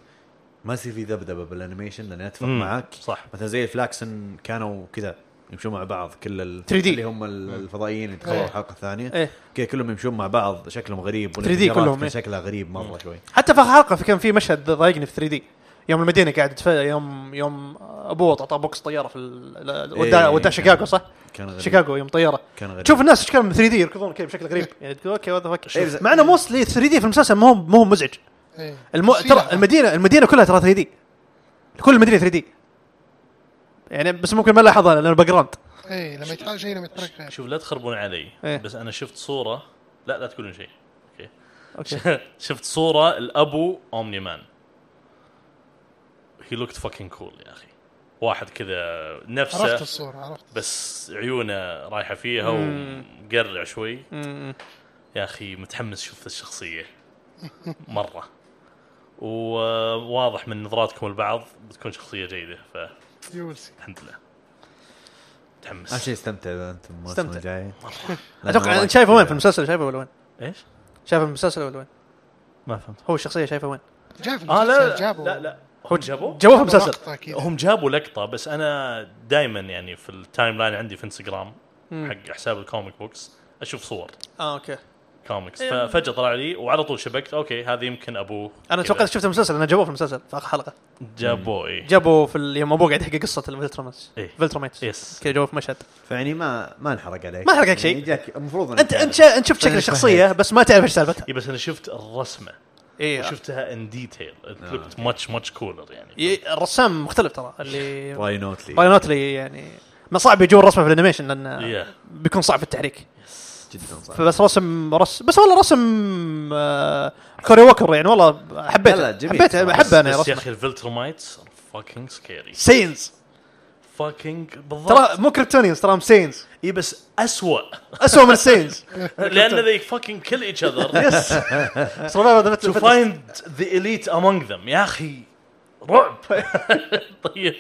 S4: ما يصير في ذبذبه بالانيميشن لاني اتفق
S2: مم.
S4: معك
S2: صح.
S4: مثلا زي الفلاكسن كانوا كذا يمشون مع بعض كل ال
S3: 3D.
S4: اللي هم ال- الفضائيين اللي دخلوا
S1: إيه.
S4: الحلقه الثانيه
S3: إيه.
S4: كذا كلهم يمشون مع بعض شكلهم غريب
S3: 3D
S4: والانفجارات
S3: كلهم،
S4: كان
S3: إيه.
S4: شكلها غريب مره شوي
S3: حتى في آخر حلقه في كان في مشهد ضايقني في 3 دي يوم المدينه قاعد يتف- يوم يوم ابوه اعطاه بوكس طياره في ال- ال- وداه
S4: إيه.
S3: وداه شيكاغو صح؟
S4: كان غريب
S3: شيكاغو يوم طياره
S4: كان غريب
S3: تشوف الناس ايش كانوا 3 دي يركضون كذا بشكل غريب يعني تقول اوكي وات ذا
S4: إيه،
S3: مع انه موستلي 3 دي في المسلسل مو مو هو مزعج
S1: إيه.
S3: الم... ترى المدينه المدينه كلها ترى 3 دي كل المدينه 3 دي يعني بس ممكن ما لاحظها لانه باك جراوند
S1: اي إيه، لما يتحرك شيء لما يتحرك غير
S2: شوف لا تخربون علي
S3: إيه.
S2: بس انا شفت صوره لا لا تقولون شيء اوكي شفت صوره الابو اومني مان هي لوكت فاكينج كول يا اخي واحد كذا
S1: عرفت
S2: نفسه
S1: الصوره عرفت
S2: بس عيونه رايحه فيها ومقرع شوي يا اخي متحمس اشوف الشخصيه مره وواضح من نظراتكم البعض بتكون شخصيه جيده فالحمد
S1: يو سي
S2: لله
S4: اهم
S2: متحمس
S4: شيء استمتع إذا انت الموسم
S3: استمتع.
S4: الجاي
S3: اتوقع انت شايفه وين في المسلسل شايفه ولا وين؟
S2: ايش؟
S3: شايفه في المسلسل ولا وين؟
S2: ما فهمت
S3: هو الشخصيه شايفه وين؟
S1: جاء في
S2: اه
S1: المسلسل،
S2: لا
S1: جابوا
S2: لا لا هم جابوه؟
S3: جابوه في المسلسل
S1: لقطة كذا.
S2: هم جابوا لقطه بس انا دائما يعني في التايم لاين عندي في انستغرام حق حساب الكوميك بوكس اشوف صور
S3: اه اوكي
S2: كوميكس ففجاه طلع لي وعلى طول شبكت اوكي هذه يمكن ابوه
S3: انا
S2: كذا.
S3: توقعت شفت المسلسل انا جابوه في المسلسل في اخر حلقه
S2: جابوه اي
S3: جابوه في ال- يوم ابوه قاعد يحكي قصه الفلترمس
S2: إيه.
S3: فلترميتس
S2: يس
S3: كذا جابوه في مشهد
S4: فيعني ما ما انحرق عليك
S3: ما انحرق عليك
S4: يعني
S3: شيء.
S4: جاك المفروض إنك
S3: انت
S4: تعرف.
S3: انت شا- انت شفت شكل
S4: أنا
S3: الشخصيه بس ما تعرف ايش سالفتها إيه.
S2: إي، إيه، بس انا شفت الرسمه إيه.
S3: اي
S2: وشفتها ان ديتيل لوكت ماتش ماتش كولر يعني
S3: ي- إيه، الرسام مختلف ترى اللي
S4: راي نوتلي
S3: راي نوتلي يعني ما صعب يجون رسمه في الانيميشن لان
S2: Yeah.
S3: بيكون صعب في التحريك
S4: جدا صعب
S3: فبس رسم رسم بس والله رسم آه، كوري ووكر يعني والله
S4: لا
S3: حبيته
S4: لا، جميل
S3: حبيته
S4: صراحة.
S3: احبه انا
S2: بس يا
S3: رسمه
S2: اخي الفلترمايتس فاكينج سكيري
S3: سينز
S2: فاكينج بالضبط
S3: ترى مو كريبتونيانز ترى هم سينز
S2: اي بس اسوء
S3: اسوء من السينز
S2: لان they fucking kill each other
S3: يس Survivor of the
S2: to
S3: fittest.
S2: find the elite among them يا اخي رعب طيب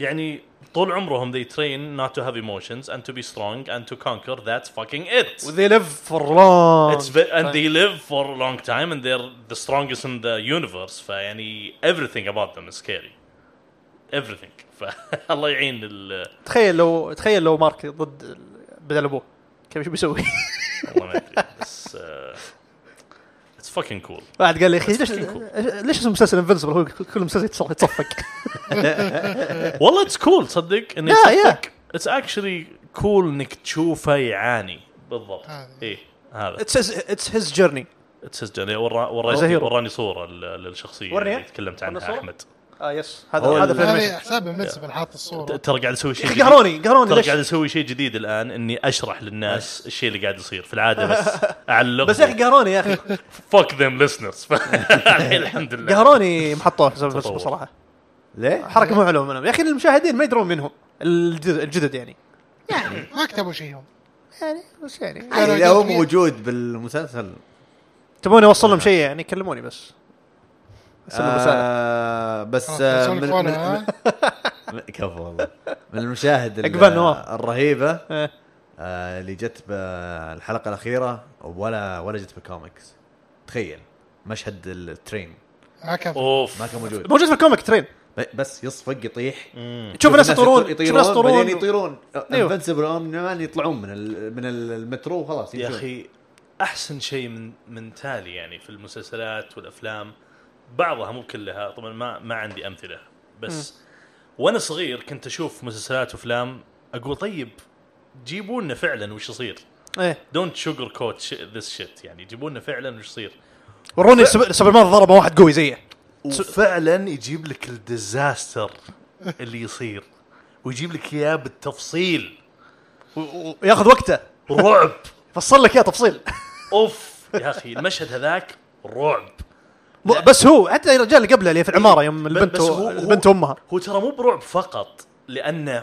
S2: يعني طول عمرهم they train not to have emotions and to be strong and to conquer that's fucking it
S3: وذي ليف فور لونج
S2: It's ve- and they live for a long time and they're the strongest in the universe فيعني everything about them is scary everything فالله يعين ال
S3: تخيل لو تخيل لو مارك ضد ال- بدل ابوه كيف شو بيسوي؟
S2: والله ما ادري بس آه، it's fucking cool
S3: واحد قال لي يا اخي ليش
S2: fucking
S3: ليش اسم المسلسل انفنسبل هو كل مسلسل يتصل- يتصفق
S2: والله it's cool تصدق انه
S3: Yeah,
S2: يصدق it's actually cool انك تشوفه يعاني بالضبط
S1: هذا.
S2: ايه هذا
S3: اتس هيز جيرني
S2: it's his journey ورا
S3: As a
S2: وراني
S3: hero.
S2: وراني صوره لل- للشخصيه
S3: ورني؟
S2: اللي تكلمت
S3: ورنا
S2: عنها
S3: صورة؟
S2: احمد
S3: اه يس
S4: هو
S3: هذا هذا
S4: ال-
S3: فيلم
S1: هذا حسابي منسب حاط
S2: ت-
S1: الصوره
S2: ترى قاعد اسوي شيء جديد.
S3: قهروني قهروني
S2: ترى
S3: ليش؟
S2: قاعد اسوي شيء جديد الان اني اشرح للناس الشيء اللي قاعد يصير في العاده بس اعلق
S3: بس يا اخي قهروني يا اخي
S2: فوك ذيم listeners الحين الحمد لله
S3: قهروني محطوه حسب بس
S2: تطور.
S3: بصراحه
S4: ليه؟
S3: حركه مو حلوه منهم يا اخي المشاهدين ما يدرون منهم الجدد, الجدد يعني
S1: يعني ما كتبوا شيء هم
S3: يعني بس يعني
S4: يعني لو موجود بالمسلسل
S3: تبوني اوصل لهم شيء يعني كلموني بس ارسلوا رساله
S4: آه بس
S1: خلاص،
S4: آه
S1: تلفون
S4: من- من-
S1: ها؟
S4: من- كفو والله من المشاهد ال-
S3: عقبال نواف.
S4: الرهيبه
S3: إيه.
S4: آه اللي جت بالحلقه الاخيره ولا ولا جت بالكوميكس تخيل مشهد الترين
S1: ما كان في-
S2: اوف
S4: ما كان موجود
S3: موجود في الكوميك ترين
S4: ب- بس يصفق يطيح
S3: تشوف ناس يطيرون تشوف
S4: يطيرون
S3: ناس يطيرون
S4: يطيرون يطيرون
S3: أيوه.
S4: انفنسبل مان يطلعون من ال- من المترو وخلاص
S2: يا
S4: يمشون.
S2: اخي احسن شيء من من تالي يعني في المسلسلات والافلام بعضها مو كلها طبعا ما ما عندي امثله بس وانا صغير كنت اشوف مسلسلات وافلام اقول طيب جيبوا لنا فعلا وش يصير
S3: ايه
S2: دونت شوجر كوت ذس شيت يعني جيبوا لنا فعلا وش يصير
S3: وروني السب- سوبر مان ضربه واحد قوي زيه
S2: وفعلا يجيب لك الديزاستر اللي يصير ويجيب لك اياه بالتفصيل
S3: وياخذ وقته
S2: رعب
S3: فصل لك اياه تفصيل
S2: اوف يا اخي المشهد هذاك رعب
S3: مو- بس هو حتى الرجال اللي قبله اللي في العماره يوم البنت
S2: بس هو-
S3: و...
S2: هو-
S3: البنت وامها
S2: هو ترى مو برعب فقط لانه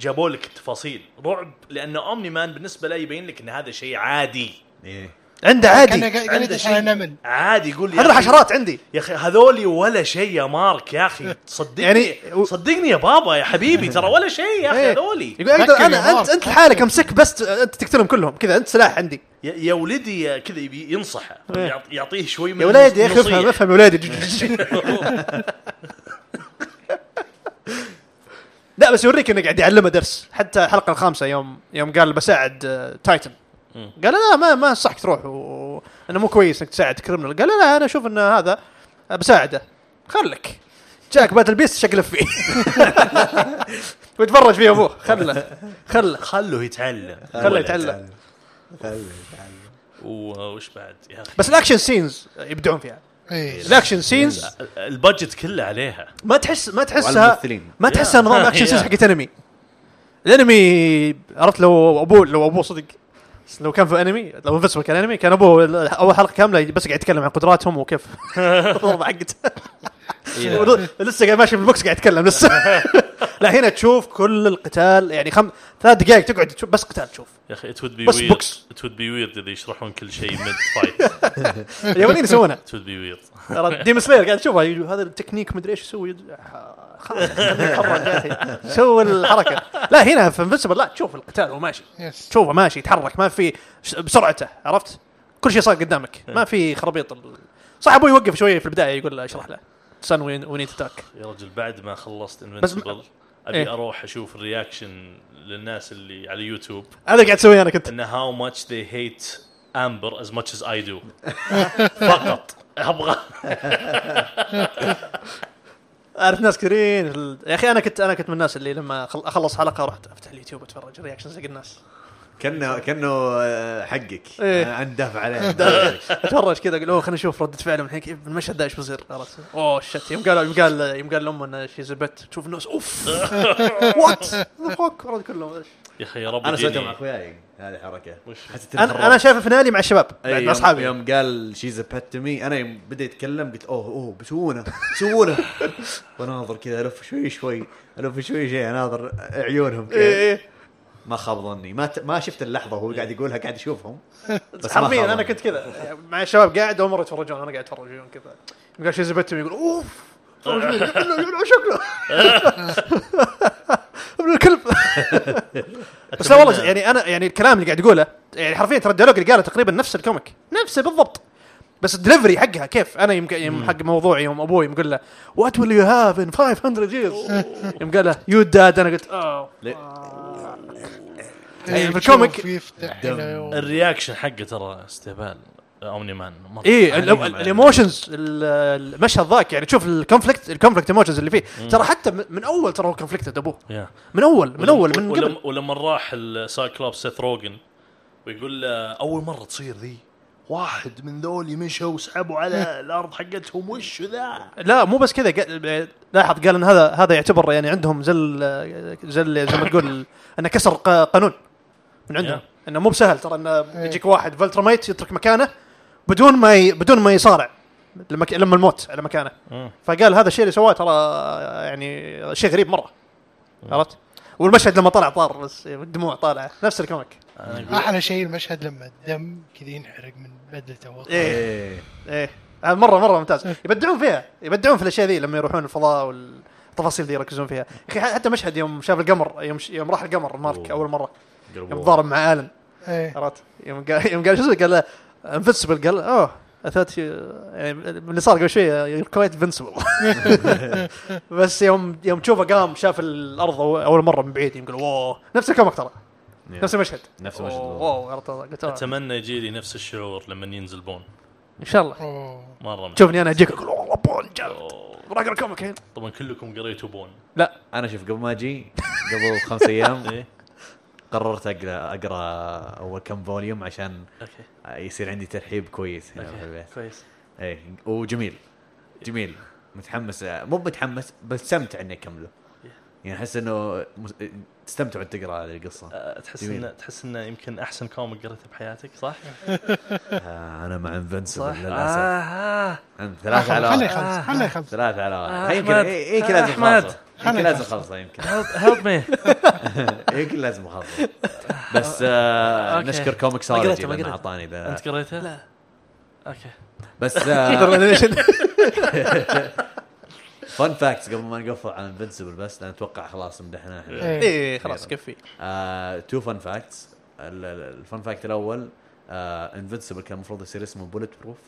S2: جابوا لك التفاصيل رعب لانه اومني مان بالنسبه له يبين لك ان هذا شيء عادي
S4: إيه.
S3: عنده
S1: كان
S3: عادي
S1: قاعد يدش على نمل
S2: عادي يقول يا
S3: هذول
S2: أخي-
S3: حشرات عندي
S2: يا اخي هذولي ولا شيء يا مارك يا اخي صدقني
S3: يعني-
S2: يعني صدقني يا بابا يا حبيبي ترى ولا شيء يا اخي
S3: إيه.
S2: هذولي
S3: يقول أقدر
S1: فكر يا
S3: انا
S1: مارك،
S3: انت انت لحالك امسك بس ت- انت تقتلهم كلهم كذا انت سلاح عندي
S2: يا- يا ولدي يا كذا يبي ينصحه
S3: إيه.
S2: يعط- يعطيه شوي من
S3: يا ولادي يا اخي
S2: نصيحة.
S3: افهم افهم يا ولادي لا بس يوريك انه قاعد يعلمه درس حتى الحلقه الخامسه يوم يوم قال بساعد آه، تايتن قال لا ما ما صحك تروح و... انه مو كويس انك تساعد كريمنال قال لا انا اشوف ان هذا آه، بساعده خلك جاك باتل بيست شكله فيه ويتفرج فيه ابوه خله خله
S2: خله يتعلم
S3: خله يتعلم
S2: و- وش بعد يا اخي
S3: بس الاكشن سينز يبدعون فيها
S1: اي
S3: الاكشن سينز
S2: البادجت كله عليها
S3: ما تحس ما تحسها
S4: والممثلين.
S3: ما تحسها
S2: Yeah.
S3: نظام اكشن
S2: Yeah.
S3: سينز حقت انمي الانمي عرفت لو ابوه لو ابوه صدق لو كان في انمي لو انفسبل كان انمي كان ابوه اول حلقه كامله بس قاعد يتكلم عن قدراتهم وكيف الضربه حقته إيه. لسه قاعد ماشي بالبوكس قاعد يتكلم لسه لا هنا تشوف كل القتال يعني خم ثلاث دقائق تقعد تشوف بس قتال تشوف
S2: يا اخي it would be
S3: بس
S2: weird
S3: بوكس.
S2: it would be weird اذا يشرحون كل شيء ميد فايت
S3: اليابانيين يسوونها
S2: it would be weird
S3: ديم سلاير قاعد تشوفها يجي هذا التكنيك مدري ايش يسوي خلاص سوى الحركه لا هنا في انفنسبل لا تشوف القتال وهو ماشي
S1: يس
S3: تشوفه ماشي يتحرك ما في ش- بسرعته عرفت كل شيء صار قدامك ما في خرابيط ال- صح ابوي يوقف شويه في البدايه يقول له اشرح له سن وين تاك
S2: يا رجل بعد ما خلصت
S3: بس
S2: انفنسبل ابي
S3: إيه.
S2: اروح اشوف الرياكشن للناس اللي على يوتيوب
S3: هذا اللي قاعد اسويه انا كنت
S2: ان هاو ماتش ذي هيت امبر از ماتش از اي دو فقط ابغى
S3: اعرف ناس كثيرين ال- يا اخي انا كنت انا كنت من الناس اللي لما خل- اخلص حلقه رحت افتح اليوتيوب اتفرج رياكشنز حق الناس
S4: كانه كانه آه، حقك
S3: إيه.
S4: آه، اندفع عليه
S3: اتفرج كذا اقول اوه خليني اشوف رده فعله من الحين كيف- المشهد ذا ايش بيصير عرفت اوه شت يوم قال يوم قال يوم قال لامه انه شيز بت تشوف الناس اوف وات فوق رد كلهم إيش.
S2: يا اخي يا رب
S4: انا سويتها
S2: يجيني-
S4: مع اخوياي هذه الحركه حسيت إني
S3: انا
S4: خربت.
S3: انا شايفه فينالي مع الشباب
S4: أي
S3: بعد مع
S4: يوم-
S3: اصحابي
S4: أيوة، يوم قال شيز بات تو مي انا يوم بدا يتكلم قلت اوه اوه بيسوونه بيسوونه واناظر كذا الف شوي شوي الف شوي شوي اناظر عيونهم كذا
S3: إيه، إيه.
S4: ما خاب ظني ما ت... ما شفت اللحظه وهو قاعد يقولها قاعد اشوفهم بس ما خاب
S3: حرفيا انا
S4: ظني.
S3: كنت كذا مع الشباب قاعد هم مرة يتفرجون انا قاعد اتفرج وياهم كذا قال شيء زبتهم يقول اوف تفرج مين؟ يقول له- يقول له شكله ابن الكلب بس لا والله يعني انا يعني الكلام اللي قاعد يقوله يعني حرفيا ترى الديالوج اللي قاله تقريبا نفس الكوميك نفسه بالضبط بس الدليفري حقها كيف انا يمكن يوم حق موضوعي يوم ابوي يوم قال له وات ويل يو هاف ان 500 years يوم قال له يو داد انا قلت اوه يعني في الكوميك-
S1: تشوف يفتح هنا و-
S2: الرياكشن حقه ترى استهبال اومني مان مرة.
S3: ايه
S2: أنا ما-
S3: الايموشنز المشهد ذاك يعني تشوف الكونفليكت الكونفليكت ايموشنز اللي فيه ترى حتى من من اول ترى هو كونفليكتد ابوه
S2: يا.
S3: من اول من اول من
S2: ولما-
S3: قبل
S2: ولما راح السايكلوب سيث روجن ويقول له اول مره تصير ذي واحد من ذولي مشوا وسحبوا على الارض حقتهم وش ذا؟
S3: لا مو بس كذا قال- لاحظ قال ان هذا هذا يعتبر يعني عندهم زي ال- زي ال- زي ما تقول انه كسر ق- قانون من عندهم انه مو بسهل ترى انه يجيك واحد فلترميت يترك مكانه بدون ما ي... بدون ما يصارع لما ك... لما الموت على مكانه
S2: مم.
S3: فقال هذا الشيء اللي سواه ترى يعني شيء غريب مره عرفت؟ والمشهد لما طلع طار بس الدموع طالعه نفس الكوميك
S2: آه.
S1: احلى شيء المشهد لما الدم كذا ينحرق من بدلته وهو طالع.
S3: ايه
S4: إيه.
S3: ايه هذا مره مره ممتاز يبدعون فيها يبدعون في الاشياء ذي لما يروحون الفضاء والتفاصيل ذي يركزون فيها يا اخي حتى مشهد يوم شاف القمر يوم, ش... يوم راح القمر مارك
S4: أوه.
S3: اول مره يوم
S4: قلبوه.
S3: تضارب مع الن
S1: ايه
S3: عرفت يوم قال يوم قال شو اسمه قال له انفنسبل قال اوه اثات يعني من اللي صار قبل شوي كويت انفنسبل بس يوم يوم تشوفه قام شاف الارض أو- اول مره من بعيد يوم قال واو نفس الكومك ترى
S4: إيه.
S3: نفس المشهد
S4: نفس المشهد.
S3: أوه، واو عرفت قلت آه.
S2: اتمنى يجي لي نفس الشعور لما ينزل بون
S3: ان شاء الله
S1: اوه
S2: مره مش.
S3: تشوفني انا اجيك اقول والله بون جلد راقر الكوميك هين
S2: طبعا كلكم قريتوا بون
S3: لا
S4: انا شوف قبل ما اجي قبل خمس ايام قررت اقرا اقرا اول كم فوليوم عشان
S2: اوكي
S4: يصير عندي ترحيب كويس هنا في البيت
S2: كويس
S4: اي وجميل جميل متحمس مو متحمس بستمتع اني اكمله يعني احس انه مس- تستمتع وانت تقرا هذه القصه
S2: أه، تحس
S4: جميل.
S2: انه تحس انه يمكن احسن كوميك قريته بحياتك صح؟
S4: آه انا مع انفنسبل للاسف
S2: آه
S4: أنا ثلاثة على
S1: خليه
S4: واحد
S1: يخلص خليه يخلص
S4: ثلاثة على واحد
S2: آه،
S4: يمكن
S2: أحمد.
S4: إيه- يمكن
S2: آه،
S4: لازم
S2: أحمد.
S4: اخلصه يمكن لازم اخلصه يمكن
S2: هيلب مي
S4: يمكن لازم اخلصه بس آه
S2: أوكي.
S4: نشكر كوميك
S2: ما
S4: سولوجي
S2: قريته، ما
S4: لانه
S2: قريته.
S4: اعطاني ذا
S2: انت قريته؟ لا اوكي
S4: بس آه،
S3: إيه،
S4: فن فاكتس قبل ما نقفل عن انفنسبل بس لان اتوقع خلاص مدحناه احنا
S1: إيه.
S3: ايه خلاص كفي
S4: تو فن فاكتس الفن فاكت الاول انفنسبل آه، كان المفروض يصير اسمه بولت بروف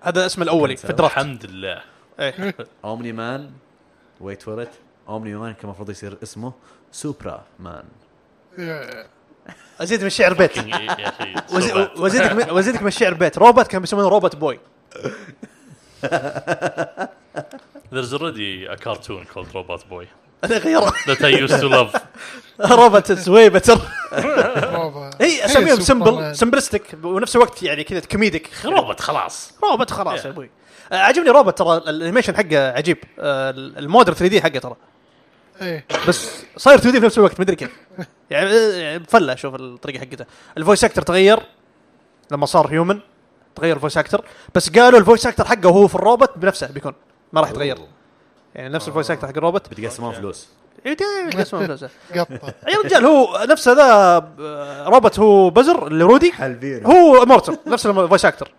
S3: هذا اسمه الاولي في الدرافت
S2: الحمد لله
S3: إيه.
S4: اومني مان ويت فور ات اومني مان كان المفروض يصير اسمه سوبرا مان
S1: إيه.
S3: ازيد من الشعر بيت
S2: يا اخي
S3: وزي-
S2: سرعة.
S3: وزيدك من وزيدك من الشعر بيت روبوت كان بيسمونه روبوت بوي
S2: There's already a cartoon called Robot Boy
S3: انا غيره
S2: that I used to love.
S3: روبوت زويبه ترى
S1: إيه. برافو.
S3: هي اساميهم
S1: سوبرمان.
S3: إيه، سمبل سمبلستيك ونفس الوقت يعني كذا كوميديك
S2: روبوت خلاص.
S3: روبوت خلاص يا ابوي آه، عجبني روبوت ترى الانيميشن حقه عجيب آه، المودر 3 دي حقه ترى
S1: ايه
S3: بس صاير 2 دي في نفس الوقت مدري كيف يعني يعني فله شوف الطريقه حقته الفويس اكتر تغير لما صار هيومن تغير الفويس اكتر بس قالوا الفويس اكتر حقه هو في الروبوت بنفسه بيكون ما راح يتغير يعني نفس الفويس اكتر حق الروبوت إيه،
S4: بتقسمون فلوس
S3: يتقسمون بنفسه.
S1: قطه
S3: يا رجال هو نفس هذا آه، روبوت هو بزر اللي رودي
S4: حلبير
S3: هو مورتل نفس الفويس اكتر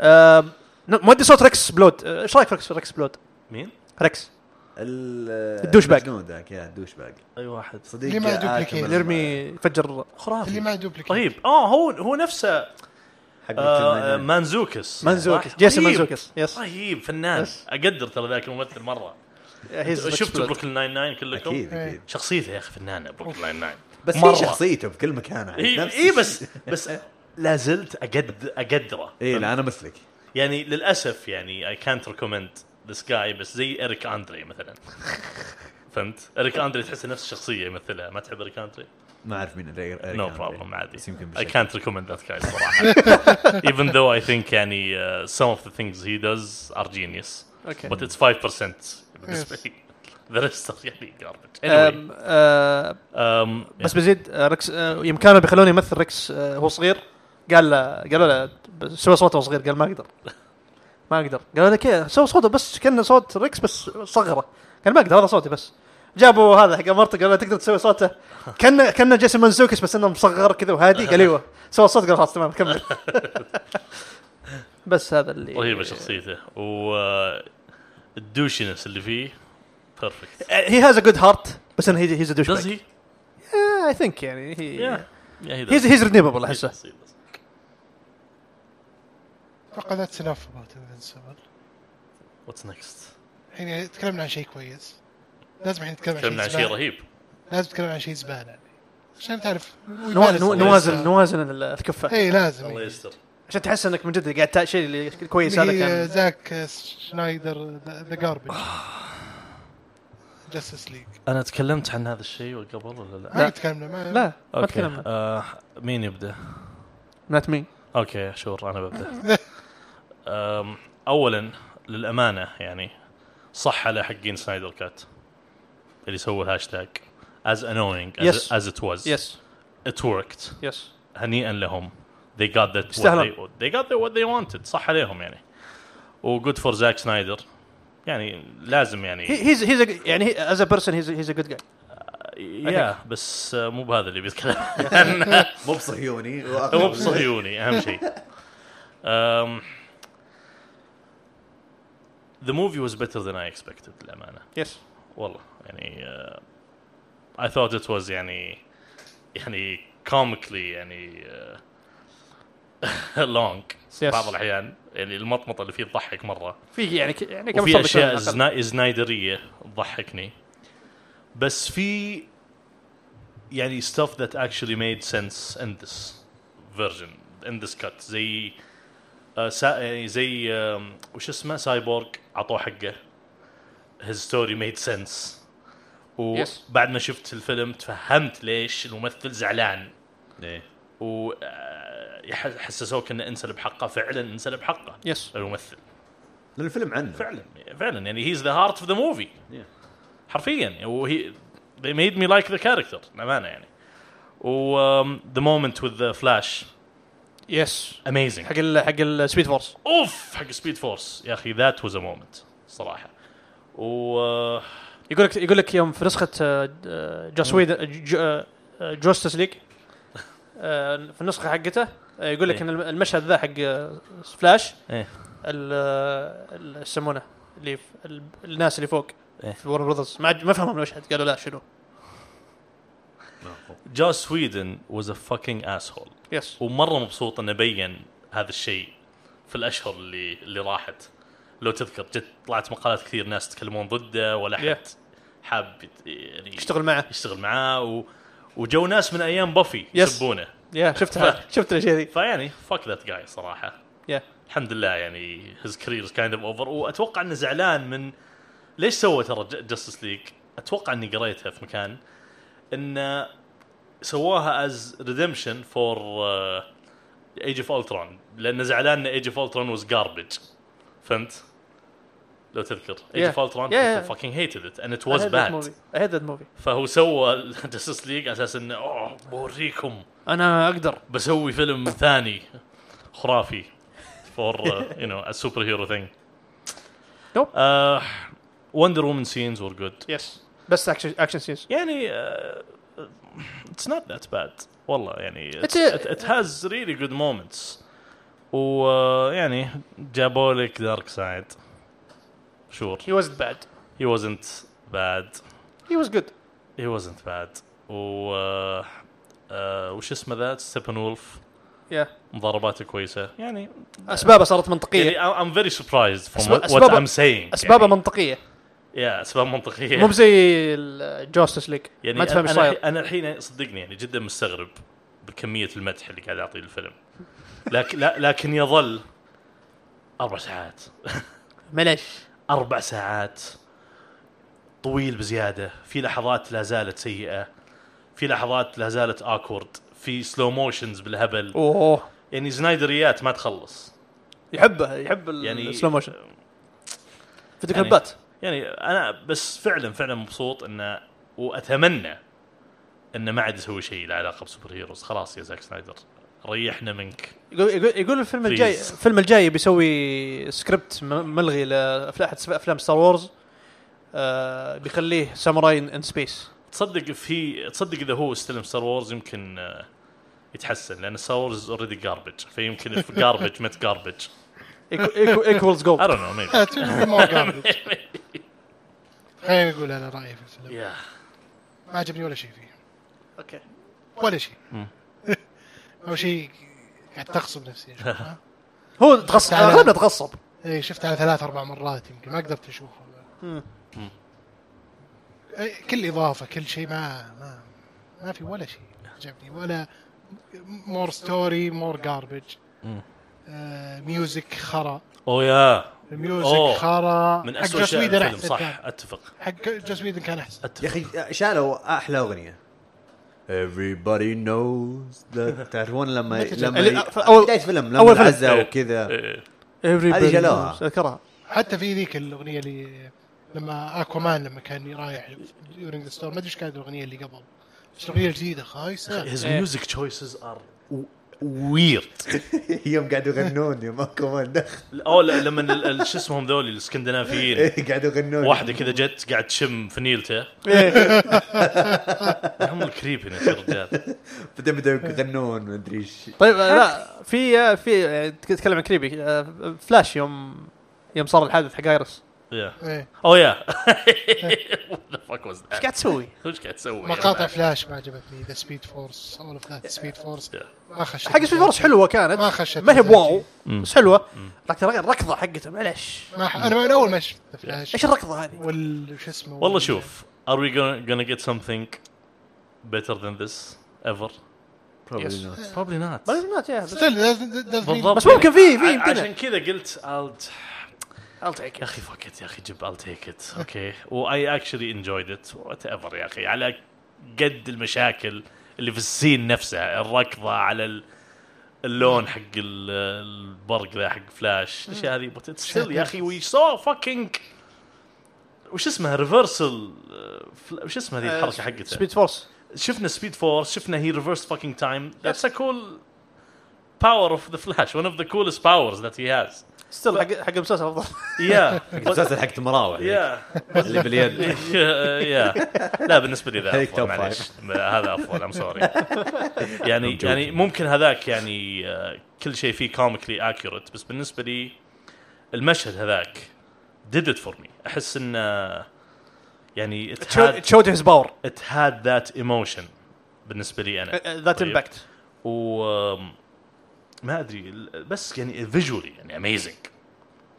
S3: آه، مؤدي صوت ريكس بلود آه، ايش رايك في ريكس- ريكس بلود؟
S2: مين؟
S3: ريكس الدوش
S4: الدوش
S3: باج.
S4: ذاك يا الدوش باج
S2: اي واحد.
S4: صديق
S1: اللي ما
S4: آكل
S1: دوبليكيت.
S4: من-
S3: يرمي يفجر
S1: اللي
S2: خرافي.
S1: ما دوبليكيت
S2: طيب اه هو هو نفسه
S4: حق
S2: آه،
S4: الفيلم.
S2: مانزوكس
S3: منزوكس
S2: صح؟
S3: جيسون
S2: رهيب.
S3: منزوكس يس
S2: رهيب فنان
S3: بس.
S2: اقدر ترى ذاك الممثل مره شفتوا بروكلين ناين ناين كلكم؟
S4: اكيد
S1: إيه.
S4: اكيد
S2: شخصيته يا اخي فنانه بروكلين ناين ناين
S4: بس
S2: مرة.
S4: هي شخصيته بكل مكان
S2: اي
S4: نفس
S2: إي بس بس لا زلت أقد اقدره
S4: اي إيه، لا انا مثلك
S2: يعني للاسف يعني اي كانت ريكومند ذيس جاي بس زي اريك اندري مثلا فهمت؟ اريك اندري تحس نفس الشخصيه يمثلها ما تحب اريك اندري؟
S4: ما اعرف مين اللي
S2: نو بروبلم عادي
S4: بس يمكن
S2: اي
S4: بشكل
S2: كانت ريكومند ذات جاي صراحه even though I think يعني uh, some of the things he does are genius
S3: اوكي
S2: but it's 5% بالنسبه لي the rest are يعني garbage anyway
S3: أم، آه،
S2: um,
S3: بس بزيد آه، ريكس آه، يوم كانوا بيخلوني يمثل ريكس آه، هو صغير قال له قالوا له بس سوى صوته وهو صغير قال ما اقدر ما اقدر قالوا له كيف سوى صوته بس كانه صوت ريكس بس صغره قال ما اقدر هذا صوتي بس جابوا هذا حق مرته قالوا له تقدر تسوي صوته كان كان جيسون منزوكس بس انه مصغر كذا وهادي قال ايوه سوى الصوت قال خلاص تمام كمل بس هذا اللي
S2: رهيبه شخصيته و الدوشنس اللي فيه بيرفكت
S3: هي هاز ا جود هارت بس انه هيز ا دوش
S2: داز هي؟
S3: اي ثينك يعني هي
S2: يا يا هي
S3: هيز
S2: does.
S3: هيز ريديمبل
S2: He
S3: احسه
S2: does, he does.
S1: اتوقع ذاتس انف اباوت سمر
S2: What's next؟
S1: الحين تكلمنا عن شيء كويس لازم الحين نتكلم عن شيء
S2: تكلمنا عن شيء
S1: زبالة.
S2: رهيب
S1: لازم نتكلم عن شيء زباله يعني. عشان تعرف
S3: نوا-
S1: ويبالغ
S3: نوا-
S1: الصوت.
S3: نوازن نوازن الكفه
S1: اي لازم
S2: الله
S1: اللي
S2: يستر
S3: عشان تحس انك من جد قاعد تا- شيء اللي كويس هذا
S1: هي
S3: كان
S1: زاك شنايدر ذا جاربج جاستس ليج
S2: انا تكلمت عن هذا الشيء قبل ولا لا؟
S1: ما تكلمنا ما
S3: لا ما
S2: اوكي
S3: تكلمنا
S2: آه مين يبدا؟
S3: نات مي
S2: اوكي شور انا ببدا أم، اولا للامانه يعني صح على حقين سنايدر كات اللي سووا الهاشتاج as annoying as,
S3: Yes.
S2: as it was
S3: يس
S2: it worked
S3: يس
S2: هنيئا لهم they got that what
S3: يستاهلون.
S2: they, they got that what they wanted صح عليهم يعني وجود فور زاك سنايدر يعني لازم يعني
S3: هيز هيز يعني از ا بيرسون هيز هيز ا جود جاي
S2: يا بس آه، مو بهذا اللي بيتكلم عنه
S4: مو بصهيوني
S2: هو بصهيوني اهم شيء أم، The movie was better than I expected للأمانة
S3: يس
S2: والله يعني uh, I thought it was يعني يعني comically يعني uh, long
S3: Yes.
S2: بعض الأحيان يعني المطمطة اللي فيه تضحك مرة
S3: في يعني ك- يعني كم
S2: وفي
S3: صوت
S2: اشياء
S3: بيسوي على الأقل.
S2: زنا... زنايدريه تضحكني بس في يعني stuff that actually made sense in this version in this cut زي آه، سا... يعني زي آم، وش اسمه سايبورغ عطوه حقه his story made sense
S3: Yes.
S2: وبعد ما شفت الفيلم تفهمت ليش الممثل زعلان آه، وحسسوك انه انسلب حقه فعلا انسلب حقه
S3: يس
S2: الممثل
S4: لان الفيلم عنه
S2: فعلا فعلا يعني هيز ذا هارت اوف ذا موفي
S4: Yeah.
S2: حرفيا وهي يعني they made me like the character للامانه يعني و um, the moment with the flash
S3: يس
S2: amazing
S3: حق ال حق السبيد فورس
S2: اوف حق سبيد فورس يا اخي ذات was a moment صراحه و uh,
S3: يقول لك يقول لك يوم في نسخه آه، آه،
S2: Mm.
S3: جوس ويدن ج- آه، آه، جوستس ليج آه، في النسخه حقته آه، يقول لك
S2: إيه.
S3: ان الم- المشهد ذا حق آه، فلاش
S2: إيه.
S3: ال- آه، ال- يسمونه اللي في- ال- الناس اللي فوق
S2: إيه.
S3: في ورن براذرز ما عج- ما فهموا المشهد قالوا لا شنو
S2: جوس ويدن was a fucking asshole
S3: يس
S2: ومره مبسوط انه بين هذا الشيء في الاشهر اللي اللي راحت لو تذكر جت طلعت مقالات كثير ناس يتكلمون ضده ولا احد
S3: Yeah.
S2: حاب يت- يعني
S3: يشتغل معه
S2: يشتغل معاه و... وجو ناس من ايام بافي
S3: يس.
S2: يسبونه
S3: يا شفتها شفت الاشياء ذي
S2: فيعني فاك ذات جاي صراحه
S3: يا
S2: الحمد لله يعني هيز كارير كايند اوف اوفر واتوقع انه زعلان من ليش سوى ترى جاستس ليج؟ اتوقع اني قريتها في مكان انه سواها از ريدمشن فور ايج اوف الترون لانه زعلان ان ايج اوف الترون واز جاربج فهمت؟ لو تذكر ايج
S3: Yeah.
S2: اوف الترون
S3: Yeah, yeah.
S2: fucking hated it and it was bad
S3: اي هيد موفي
S2: فهو سوى جاستس ليج على اساس انه اوه بوريكم
S3: انا اقدر
S2: بسوي فيلم ثاني خرافي uh, فور يو نو سوبر هيرو ثينج
S3: Nope.
S2: Uh, وندر وومن سينز ور جود
S3: يس بس اكشن اكشن سينز
S2: يعني اتس نوت ذات باد والله يعني
S3: It's a-
S2: ات هاز ريلي جود مومنتس ويعني جابوا لك دارك سايد شور
S3: هي واز باد
S2: هي wasn't bad
S3: هي واز جود
S2: he wasn't bad و آه، آه، وش اسمه ذا ستيبن وولف
S3: يا
S2: مضارباته كويسه يعني
S3: اسبابها صارت منطقيه
S2: يعني I- I'm very surprised from
S3: أسباب-
S2: what, what
S3: أسباب-
S2: I'm saying
S3: اسبابها
S2: يعني.
S3: منطقيه
S2: يا اسباب منطقيه
S3: مو زي الجوستس ليج
S2: يعني
S3: ما تفهم ايش
S2: أنا-
S3: صاير
S2: انا الحين صدقني يعني جدا مستغرب بكميه المدح اللي قاعد اعطيه الفيلم لكن لا- لكن يظل اربع ساعات يعني-
S3: معليش
S2: اربع ساعات طويل بزياده في لحظات لا زالت سيئه في لحظات لا زالت اكورد في سلو موشنز بالهبل
S3: اوه
S2: يعني زنايدريات ما تخلص
S3: يحبها يحب
S2: يعني-
S3: السلو موشن فيديو
S2: يعني-
S3: كليبات
S2: يعني انا بس فعلا فعلا مبسوط انه واتمنى انه ما عاد يسوي شيء له علاقه بسوبر هيروز خلاص يا زاك سنايدر ريحنا منك
S3: يقول يقول, يقول الفيلم الجاي
S2: Please.
S3: الفيلم الجاي بيسوي سكريبت م- ملغي لاحد افلام ستار وورز آه بيخليه ساموراي ان سبيس
S2: تصدق في تصدق اذا هو استلم ستار وورز يمكن آه، يتحسن لان ستار وورز اوريدي جاربج فيمكن في جاربج مت جاربج
S3: ايكوالز
S2: اي
S3: جولد
S2: دونت نو ميبي
S1: لا تشوف ما قابل. خليني اقول انا رايي في الفيلم
S2: يا
S1: ما عجبني ولا شيء فيه
S3: اوكي
S1: ولا شيء
S2: مم.
S1: اول شيء قاعد تغصب نفسي أشوفه، ها؟
S3: هو تغصب
S1: تعال.
S3: اغلبنا تغصب
S1: اي شفت على ثلاث اربع مرات يمكن ما قدرت اشوفه أي، إيه، كل اضافه كل شيء ما ما ما في ولا شيء عجبني ولا مور ستوري مور جاربج
S2: مم.
S1: ميوزك آه، خرا
S2: او يا أوه.
S1: الميوزك خرا
S2: Oh, من
S1: حق
S2: اسوء
S1: جوس
S2: شيء
S1: ويدن
S2: الفيلم
S1: احسن كان.
S2: صح اتفق
S1: حق جوس ويدن كان احسن
S4: يا
S2: اتفق
S4: اخي شالوا احلى اغنيه Everybody knows that تعرفون لما
S1: متى
S4: لما
S3: اللي-
S4: ي-
S3: أول-
S4: بداية فيلم لما
S3: أول فيلم.
S4: العزة
S2: إيه.
S4: وكذا
S2: إيه.
S4: هذه شالوها.
S3: اذكرها
S1: حتى في ذيك الاغنيه اللي لما اكوامان لما كان رايح ديورنج ذا ستور ما ادري ايش كانت الاغنيه اللي قبل بس الاغنيه الجديده خايسه
S2: his music choices are weird
S4: يوم قاعدوا يغنون يوم كمان دخل
S2: او لا- لما ال- ال- شو اسمهم ذول الاسكندنافيين
S4: قاعدوا إيه، يغنون
S2: واحده كذا جت قاعد تشم فنيلته هم الكريبنس يا رجال
S4: بعدين بدأوا يغنون ما ادري ايش
S3: طيب آه، لا في آه، في آه، تتكلم عن كريبي آه، فلاش يوم يوم صار الحادث حق ايرس
S2: يا
S1: إيه.
S2: او يا فاك واز
S3: ايش قاعد تسوي؟
S2: وش قاعد تسوي يا
S1: مقاطع
S2: رجال؟
S1: فلاش ما عجبتني ذا سبيد فورس اول اوف ذات سبيد فورس ما خشيت
S3: حق سبيد فورس حلوه كانت
S1: ما خشيت
S3: ما هي واو
S2: مم.
S3: بس حلوه لكن الركضه حقته معلش
S1: ما ح... انا من اول ما شفت فلاش
S3: ايش الركضه هذه؟
S1: وال شو اسمه
S2: والله
S1: وال-
S2: شوف are we gonna, gonna get something better than this ever
S4: Probably not.
S2: probably not
S3: بس ما تيها، بس-
S1: Still, doesn't- doesn't mean-
S2: بالضبط
S3: بس ممكن في في
S2: ع-
S3: يمكن
S2: عشان كذا قلت I'll
S3: I'll take
S2: يا اخي فكت يا اخي جيب I'll take it اوكي واي اكشلي enjoyed it وات ايفر يا اخي على قد المشاكل اللي في السين نفسها الركضه على ال- اللون حق ال- البرق ذا حق فلاش الاشياء هذه بس ستيل يا اخي وي سو فاكينج وش اسمها ريفرسل وش اسمها هذه الحركه حقتها
S3: سبيد فورس
S2: شفنا سبيد فورس شفنا هي ريفرس فاكينج تايم ذاتس ا كول باور اوف ذا فلاش ون اوف ذا كولست باورز ذات هي هاز
S3: ستيل حق حق المسلسل افضل
S2: يا
S4: المسلسل حق المراوح
S2: يا
S4: اللي باليد
S2: يا لا بالنسبه لي ذا
S4: هيك
S2: افضل
S4: top five.
S2: معليش هذا افضل ام سوري يعني يعني ممكن هذاك يعني آه، كل شيء فيه كوميكلي اكيوريت بس بالنسبه لي المشهد هذاك did it for me احس انه يعني it had,
S3: شوت هيز باور
S2: it had that emotion بالنسبه لي انا
S3: ذات
S2: طيب.
S3: امباكت
S2: و آم، ما ادري ال- بس يعني فيجولي يعني اميزنج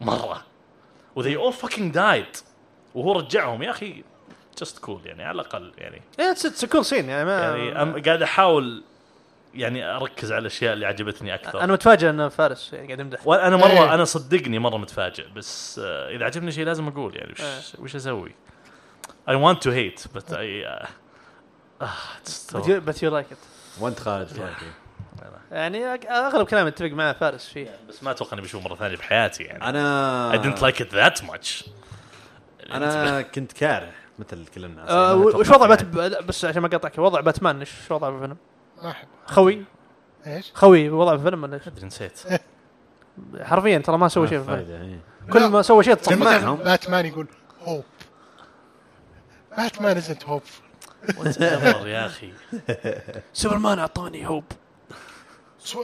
S2: مره وذي اول فاكينج دايد وهو رجعهم يا اخي جست كول cool يعني على الاقل يعني
S3: اتس كول سين يعني ما
S2: يعني أم قاعد احاول يعني اركز على الاشياء اللي عجبتني اكثر
S3: انا متفاجئ ان فارس يعني قاعد يمدح
S2: وانا مره
S1: إيه.
S2: انا صدقني مره متفاجئ بس آه، اذا عجبني شيء لازم اقول يعني وش وش اسوي؟ I want to hate but I uh, آه، it's so-
S3: بس يو لايك ات
S4: وانت خالد فاكر.
S3: يعني أك- اغلب كلامي اتفق مع فارس فيه
S2: بس ما اتوقع اني بشوف مره ثانيه في حياتي يعني
S4: انا
S2: I didn't like it that much.
S4: انا كنت كاره مثل اللي تكلمنا عنه.
S3: آه،
S4: أنا
S3: و-
S4: أتوقع
S3: وش وضع
S4: يعني.
S3: بات لا، بس عشان ما اقاطعك وضع باتمان ايش إيش وضعه في الفيلم؟
S1: ما احب
S3: خوي
S1: ايش؟
S3: خوي وضعه في الفيلم ولا إيش؟
S2: نسيت
S3: حرفيا ترى ما سوى شيء في الفيلم
S4: فايدة، إيه.
S3: كل ما سوى شيء تصفق
S4: جمعهم.
S1: جمعهم باتمان يقول هوب باتمان ازنت هوب
S2: يا اخي
S3: سوبرمان اعطاني هوب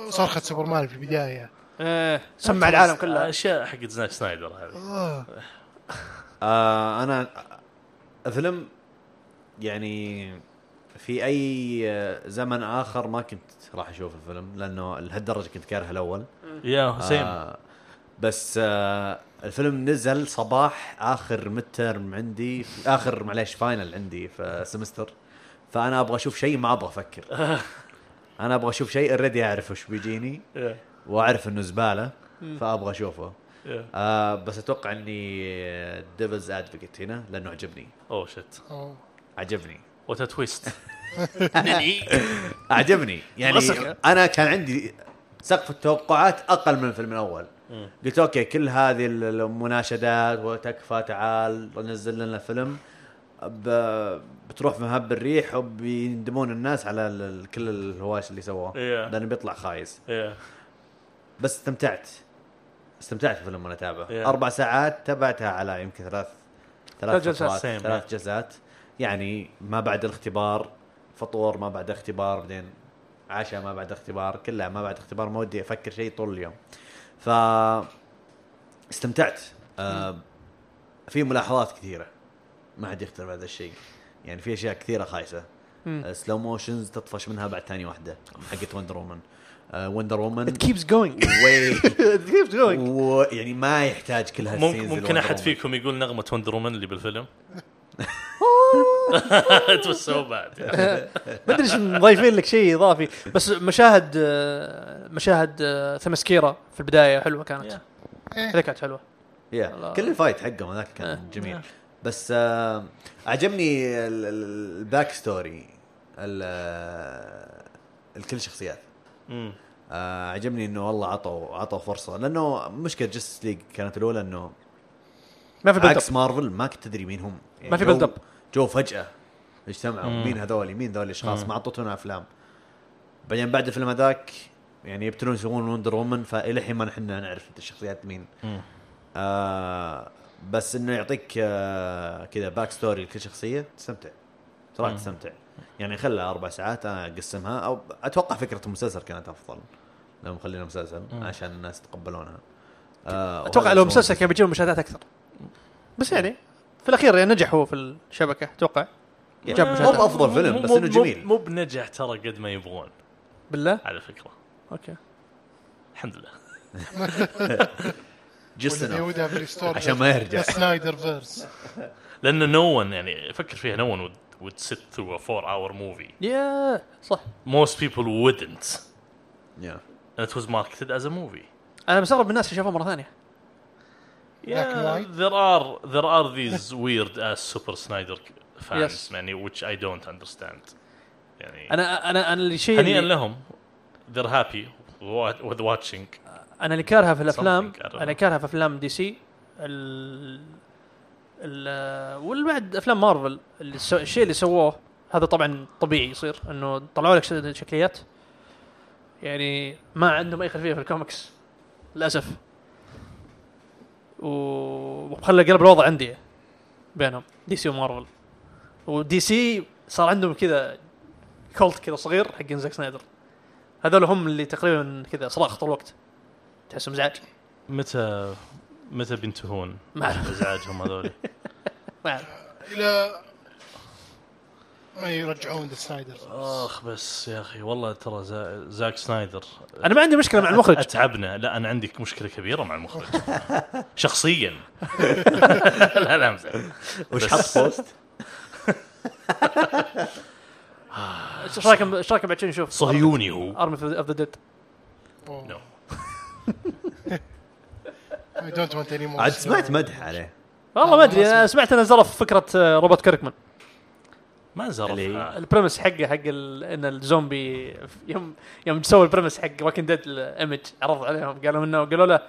S1: صرخة سوبرمان في البداية
S2: أه.
S3: ايه سمع العالم كله
S2: اشياء حقت زاك سنايدر هذه
S1: آه.
S4: آه انا فيلم يعني في اي زمن اخر ما كنت راح اشوف الفيلم لانه لهالدرجه كنت كاره الاول
S2: يا حسين
S4: آه بس آه الفيلم نزل صباح اخر مترم عندي اخر معليش فاينل عندي في سمستر فانا ابغى اشوف شيء ما ابغى افكر انا ابغى اشوف شيء اوريدي اعرف وش بيجيني واعرف انه زباله فابغى اشوفه آه بس اتوقع اني ديفلز ادفوكيت هنا لانه عجبني
S2: اوه شت
S1: أوه.
S4: عجبني
S2: وات تويست
S4: اعجبني يعني
S2: غصب.
S4: انا كان عندي سقف التوقعات اقل من الفيلم الاول قلت اوكي كل هذه المناشدات وتكفى تعال نزل لنا فيلم ب- بتروح في مهب الريح وبيندمون الناس على ال- كل الهواش اللي سووه
S2: إيه.
S4: لانه بيطلع خايس بس استمتعت استمتعت في الفيلم وانا اتابعه
S2: إيه.
S4: اربع ساعات تابعتها على يمكن ثلاث ثلاث
S3: جلسات.
S4: جلسات
S2: Same,
S4: ثلاث جلسات يعني ما بعد الاختبار فطور ما بعد اختبار بعدين عشاء ما بعد اختبار كلها ما بعد اختبار ما ودي افكر شيء طول اليوم ف استمتعت آه في ملاحظات كثيره ما حد يختلف على هذا الشيء يعني في اشياء كثيره خايسه سلو موشنز آه، تطفش منها بعد ثاني واحده حقت آه، وندر وومن وندر وومن
S3: كيبس جوينج كيبس جوينج
S4: ويعني يعني ما يحتاج كل
S2: ممكن
S4: هالسينز
S2: ممكن
S4: لوندر
S2: احد
S4: وومن.
S2: فيكم يقول نغمه وندر وومن اللي بالفيلم
S3: Oh.
S2: توسعوا بعد
S3: ما ادري ايش مضايفين لك شيء اضافي بس مشاهد آه، مشاهد آه، ثمسكيره في البدايه حلوه كانت هذه كانت حلوه
S4: يا
S3: الله.
S4: كل الفايت حقهم هذاك كان جميل بس آه، عجبني ال- ال- الباك ستوري ال- الكل شخصيات
S2: مم.
S4: آه، عجبني انه والله عطوا عطوا فرصه لانه مشكله جستس ليج كانت الاولى انه
S3: ما في بلد
S4: عكس مارفل ما كنت تدري مين هم يعني
S3: ما في
S4: جو-
S3: build up.
S4: جو فجاه اجتمعوا مين هذول مين هذول الاشخاص ما اعطتونا افلام بعدين بعد الفيلم هذاك يعني يبتلون يسوون وندر وومن فالحين ما نحن نعرف الشخصيات مين
S2: مم.
S4: آه بس انه يعطيك آه كذا باك ستوري لكل شخصيه تستمتع صراحه تستمتع يعني خلى اربع ساعات انا اقسمها او اتوقع فكره المسلسل كانت افضل لو مخلينا مسلسل عشان الناس تقبلونها آه
S3: اتوقع
S4: وهذا
S3: لو
S4: يسوون
S3: مسلسل كان بيجيب مشاهدات اكثر بس يعني في الاخير يعني نجح هو في الشبكه اتوقع جاب
S4: يعني مو
S3: مشاهدات.
S4: بافضل فيلم
S2: مو-
S4: بس
S2: مو-
S4: انه جميل
S2: مو بنجح ترى قد ما يبغون
S3: بالله
S2: على فكره
S3: اوكي
S2: الحمد لله
S4: جست
S1: والذي
S4: enough.
S1: يودها في الستوري
S4: عشان ما يرجع
S1: سنايدر فيرس
S2: لانه نو ون يعني فكر فيها نو ون would sit through a four hour movie
S3: يا صح
S2: most people wouldn't
S4: Yeah.
S2: and it was marketed as a movie
S3: انا مستغرب من الناس اللي شافوه مره ثانيه
S1: Black and
S2: Yeah,
S1: white.
S2: there are there are these weird ass Super Snyder fans
S3: Yes.
S2: يعني which I don't understand يعني
S3: انا انا انا اللي شيء
S2: هنيئا
S3: اللي
S2: لهم they're happy wa- with watching
S3: انا اللي كارهه في الافلام
S2: Something, I don't know.
S3: انا كارهه في افلام دي سي ال ال والبعد افلام مارفل اللي سو... الشيء اللي سووه هذا طبعا طبيعي يصير انه طلعوا لك ش- شكليات يعني ما عندهم اي خلفيه في الكوميكس للاسف و- وخلى قلب الوضع عندي بينهم دي سي ومارفل ودي سي صار عندهم كذا كولت كذا صغير حق زاك سنايدر هذول هم اللي تقريبا كذا صراخ طول الوقت تحسهم ازعاج
S2: متى متى بينتهون
S3: ما أعرف.
S2: ازعاجهم هذول
S3: ما أعرف.
S1: الى ما يرجعون Oh. ذا سنايدر فيرس
S2: اخ بس يا اخي والله ترى زا- زاك سنايدر
S3: انا ما عندي مشكله مع المخرج
S2: اتعبنا لا انا عندي مشكله كبيره مع المخرج شخصيا لا لا امزح
S4: وش حط بوست؟
S3: ايش رايك ايش رايك بعد شوي نشوف
S2: صهيوني هو
S3: ارمي اوف ذا ديد
S2: No.
S1: اي دونت ونت اني مور
S4: عاد سمعت مدح عليه
S3: والله ما ادري انا سمعت انا زرف فكره آه، روبرت كيركمان
S2: ما
S4: اللي-
S2: زرف
S3: البريمس حقه حق ال- ان الزومبي يوم يوم سووا البريمس حق واكن ديد الايمج عرض عليهم قالوا انه قالوا له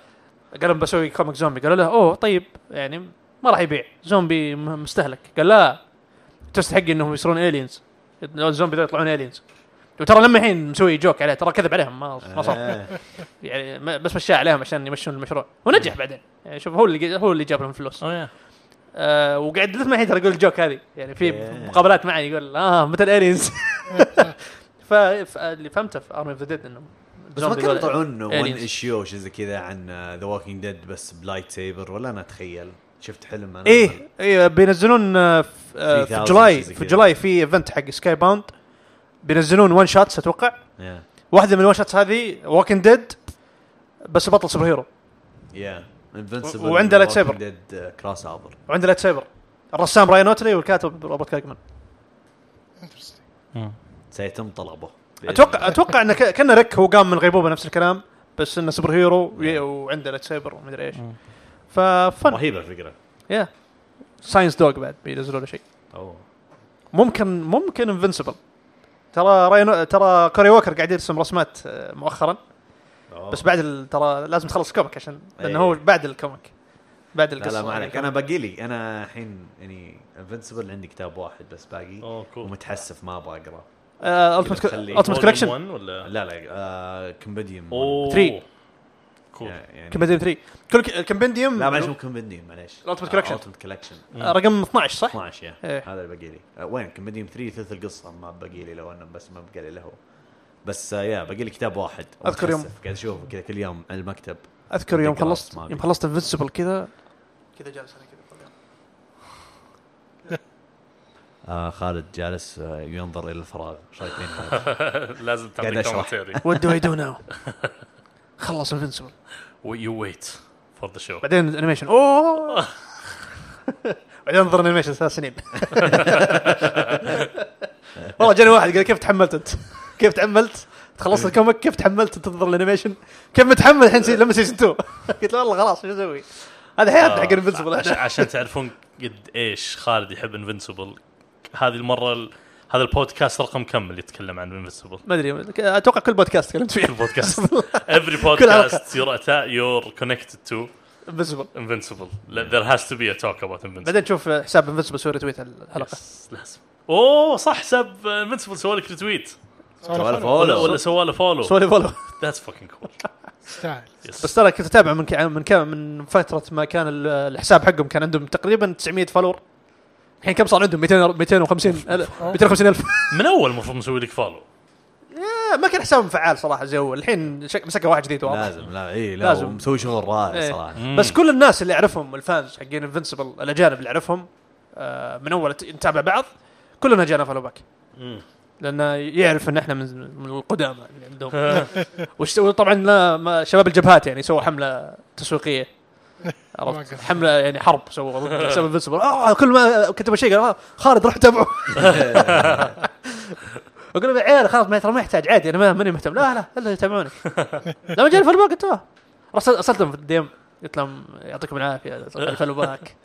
S3: قال لهم بسوي كوميك زومبي قالوا له اوه طيب يعني ما راح يبيع زومبي م- مستهلك قال لا توست حقي انهم يصيرون الينز الزومبي ذول يطلعون الينز وترى لما الحين مسوي جوك عليه ترى كذب عليهم ما ما صار
S4: آه.
S3: يعني ما- بس مشاه عليهم عشان يمشون المشروع ونجح بعدين يعني شوف هو اللي هو اللي جاب لهم فلوس
S2: اه
S3: آه وقعد لما الحين ترى يقول الجوك هذه يعني في
S4: Yeah.
S3: مقابلات معي يقول اه متى الالينز فاللي فهمته في ارمي اوف ذا ديد انه
S4: بس ما
S3: الزومبي
S4: كانوا
S3: دول-
S4: يطلعون ون
S3: Aliens.
S4: ايشيو وشي زي كذا عن آه، ذا ووكينج ديد بس بلايت سيبر ولا انا اتخيل شفت حلم انا
S3: ايه ايه بينزلون آه، في آه، في
S4: 3000
S3: جولاي
S4: زي
S3: في
S4: كذا.
S3: جولاي في ايفنت حق سكاي باوند بينزلون وان شوتس اتوقع
S4: يا
S3: واحده من الوان شوتس هذه ووكن ديد بس بطل سوبر هيرو
S4: يا انفنسبل
S3: وعنده light saber.
S4: ديد كروس اوفر
S3: وعنده لايت سيبر الرسام راين اوتلي والكاتب روبرت كاركمان
S4: سيتم طلبه
S3: اتوقع اتوقع انه ك- كان ريك هو قام من غيبوبه نفس الكلام بس انه سوبر هيرو
S4: إيه.
S3: وي- وعنده لايت سيبر ومدري ايش ففن
S4: رهيبه الفكره
S3: يا ساينس دوغ بعد بينزلوا له شيء
S4: اوه
S3: ممكن ممكن انفنسبل ترى راين ترى كوري ووكر قاعد يرسم رسمات آه، مؤخرا
S4: أوه.
S3: بس بعد ال- ترى لازم تخلص الكوميك عشان
S4: أي.
S3: لانه هو بعد الكوميك بعد
S4: إيه. لا
S3: القصه
S4: لا ما عليك انا باقي لي انا الحين يعني انفنسبل عندي كتاب واحد بس باقي
S2: اوه كول
S4: ومتحسف ما ابغى اقراه
S3: التمت
S4: تخليه.
S3: التمت كولكشن
S2: ولا Oh,
S4: لا لا كومبيديوم
S2: اوه
S3: Three.
S2: المفروض
S4: آه، يعني
S3: كومبنديوم 3 كل ك- الكومبنديوم
S4: لا معلش مو كومبنديوم معليش
S3: Ultimate Collection.
S4: التمت كولكشن
S3: رقم 12 صح؟
S4: 12 يا
S3: إيه.
S4: هذا اللي باقي لي آه، وين كومبنديوم 3 ثلث القصه ما باقي لي لو انه بس ما باقي لي له بس آه، يا باقي لي كتاب واحد
S3: أذكر يوم-
S4: متحسف، قاعد اشوفه كذا كل يوم على المكتب
S3: اذكر يوم
S4: Dead Glass
S3: خلصت
S4: ما أبي.
S3: يوم خلصت انفنسبل كذا كذا جالس انا كذا
S4: آه خالد جالس آه، ينظر الى الفراغ ايش رايك فيني هذا؟
S2: لازم
S4: قاعد
S2: تعطي
S4: أشرح.
S2: كومنتري
S3: وات دو اي دو ناو خلص انفنسبل
S2: يو ويت فور ذا شو
S3: بعدين انيميشن اوه بعدين انظر انيميشن ثلاث سنين والله جاني واحد قال كيف تحملت انت؟ كيف تحملت؟ تخلصت الكوميك كيف تحملت تنظر الانيميشن؟ كيف متحمل الحين سي- لما سيزون 2؟ قلت له والله خلاص شو اسوي؟ هذا
S2: آه،
S3: حياتنا حق انفنسبل
S2: عشان,
S3: احنا
S2: عشان تعرفون قد ايش خالد يحب انفنسبل هذه المره ال- هذا البودكاست رقم كم اللي يتكلم عن انفنسبل
S3: ما ادري اتوقع كل بودكاست تكلمت فيه
S2: بودكاست every
S3: حلقة.
S2: podcast you're atta- you're connected to
S3: انفنسبل
S2: invincible there has to be a talk about invincible
S3: بعدين تشوف حساب انفنسبل سوري تويت الحلقه
S2: Yes, لازم اوه صح سب انفنسبل سوى لك ريتويت
S4: ولا
S1: سوالف
S2: ولا
S4: فولو
S2: ولا سوى له فولو
S3: سوري فولو
S2: ذاتس فوكينج كول
S1: تستاهل
S3: بس ترى كنت اتابع من كا- من كا- من فتره ما كان ال- الحساب حقهم كان عندهم تقريبا 900 فالور الحين كم صار عندهم 200 250 250 الف
S2: من اول المفروض مسوي لك فولو
S3: آه، ما كان حسابهم فعال صراحه زي اول الحين شك- مسكه واحد جديد واضح
S4: لازم لا اي لا
S3: لازم.
S4: لازم مسوي شغل رائع
S3: إيه.
S4: صراحه
S3: بس كل الناس اللي اعرفهم الفانز حقين انفنسبل الاجانب اللي اعرفهم آه، من اول ت- نتابع بعض كلنا جانا فولو باك لانه يعرف ان احنا من من القدامى اللي عندهم وش- وطبعا لا ما شباب الجبهات يعني سووا حمله تسويقيه عرفت حمله يعني حرب سووا ضد حساب انفنسبل آه كل ما كتبوا شيء قال آه، خالد روح تابعه اقول لهم يا عيال خلاص ما ترى ما يحتاج عادي انا ما- ماني مهتم لا لا الا يتابعوني لما جاني فولو باك قلت له رسلت ارسلتهم في الديم قلت لهم يعطيكم العافيه الفولو باك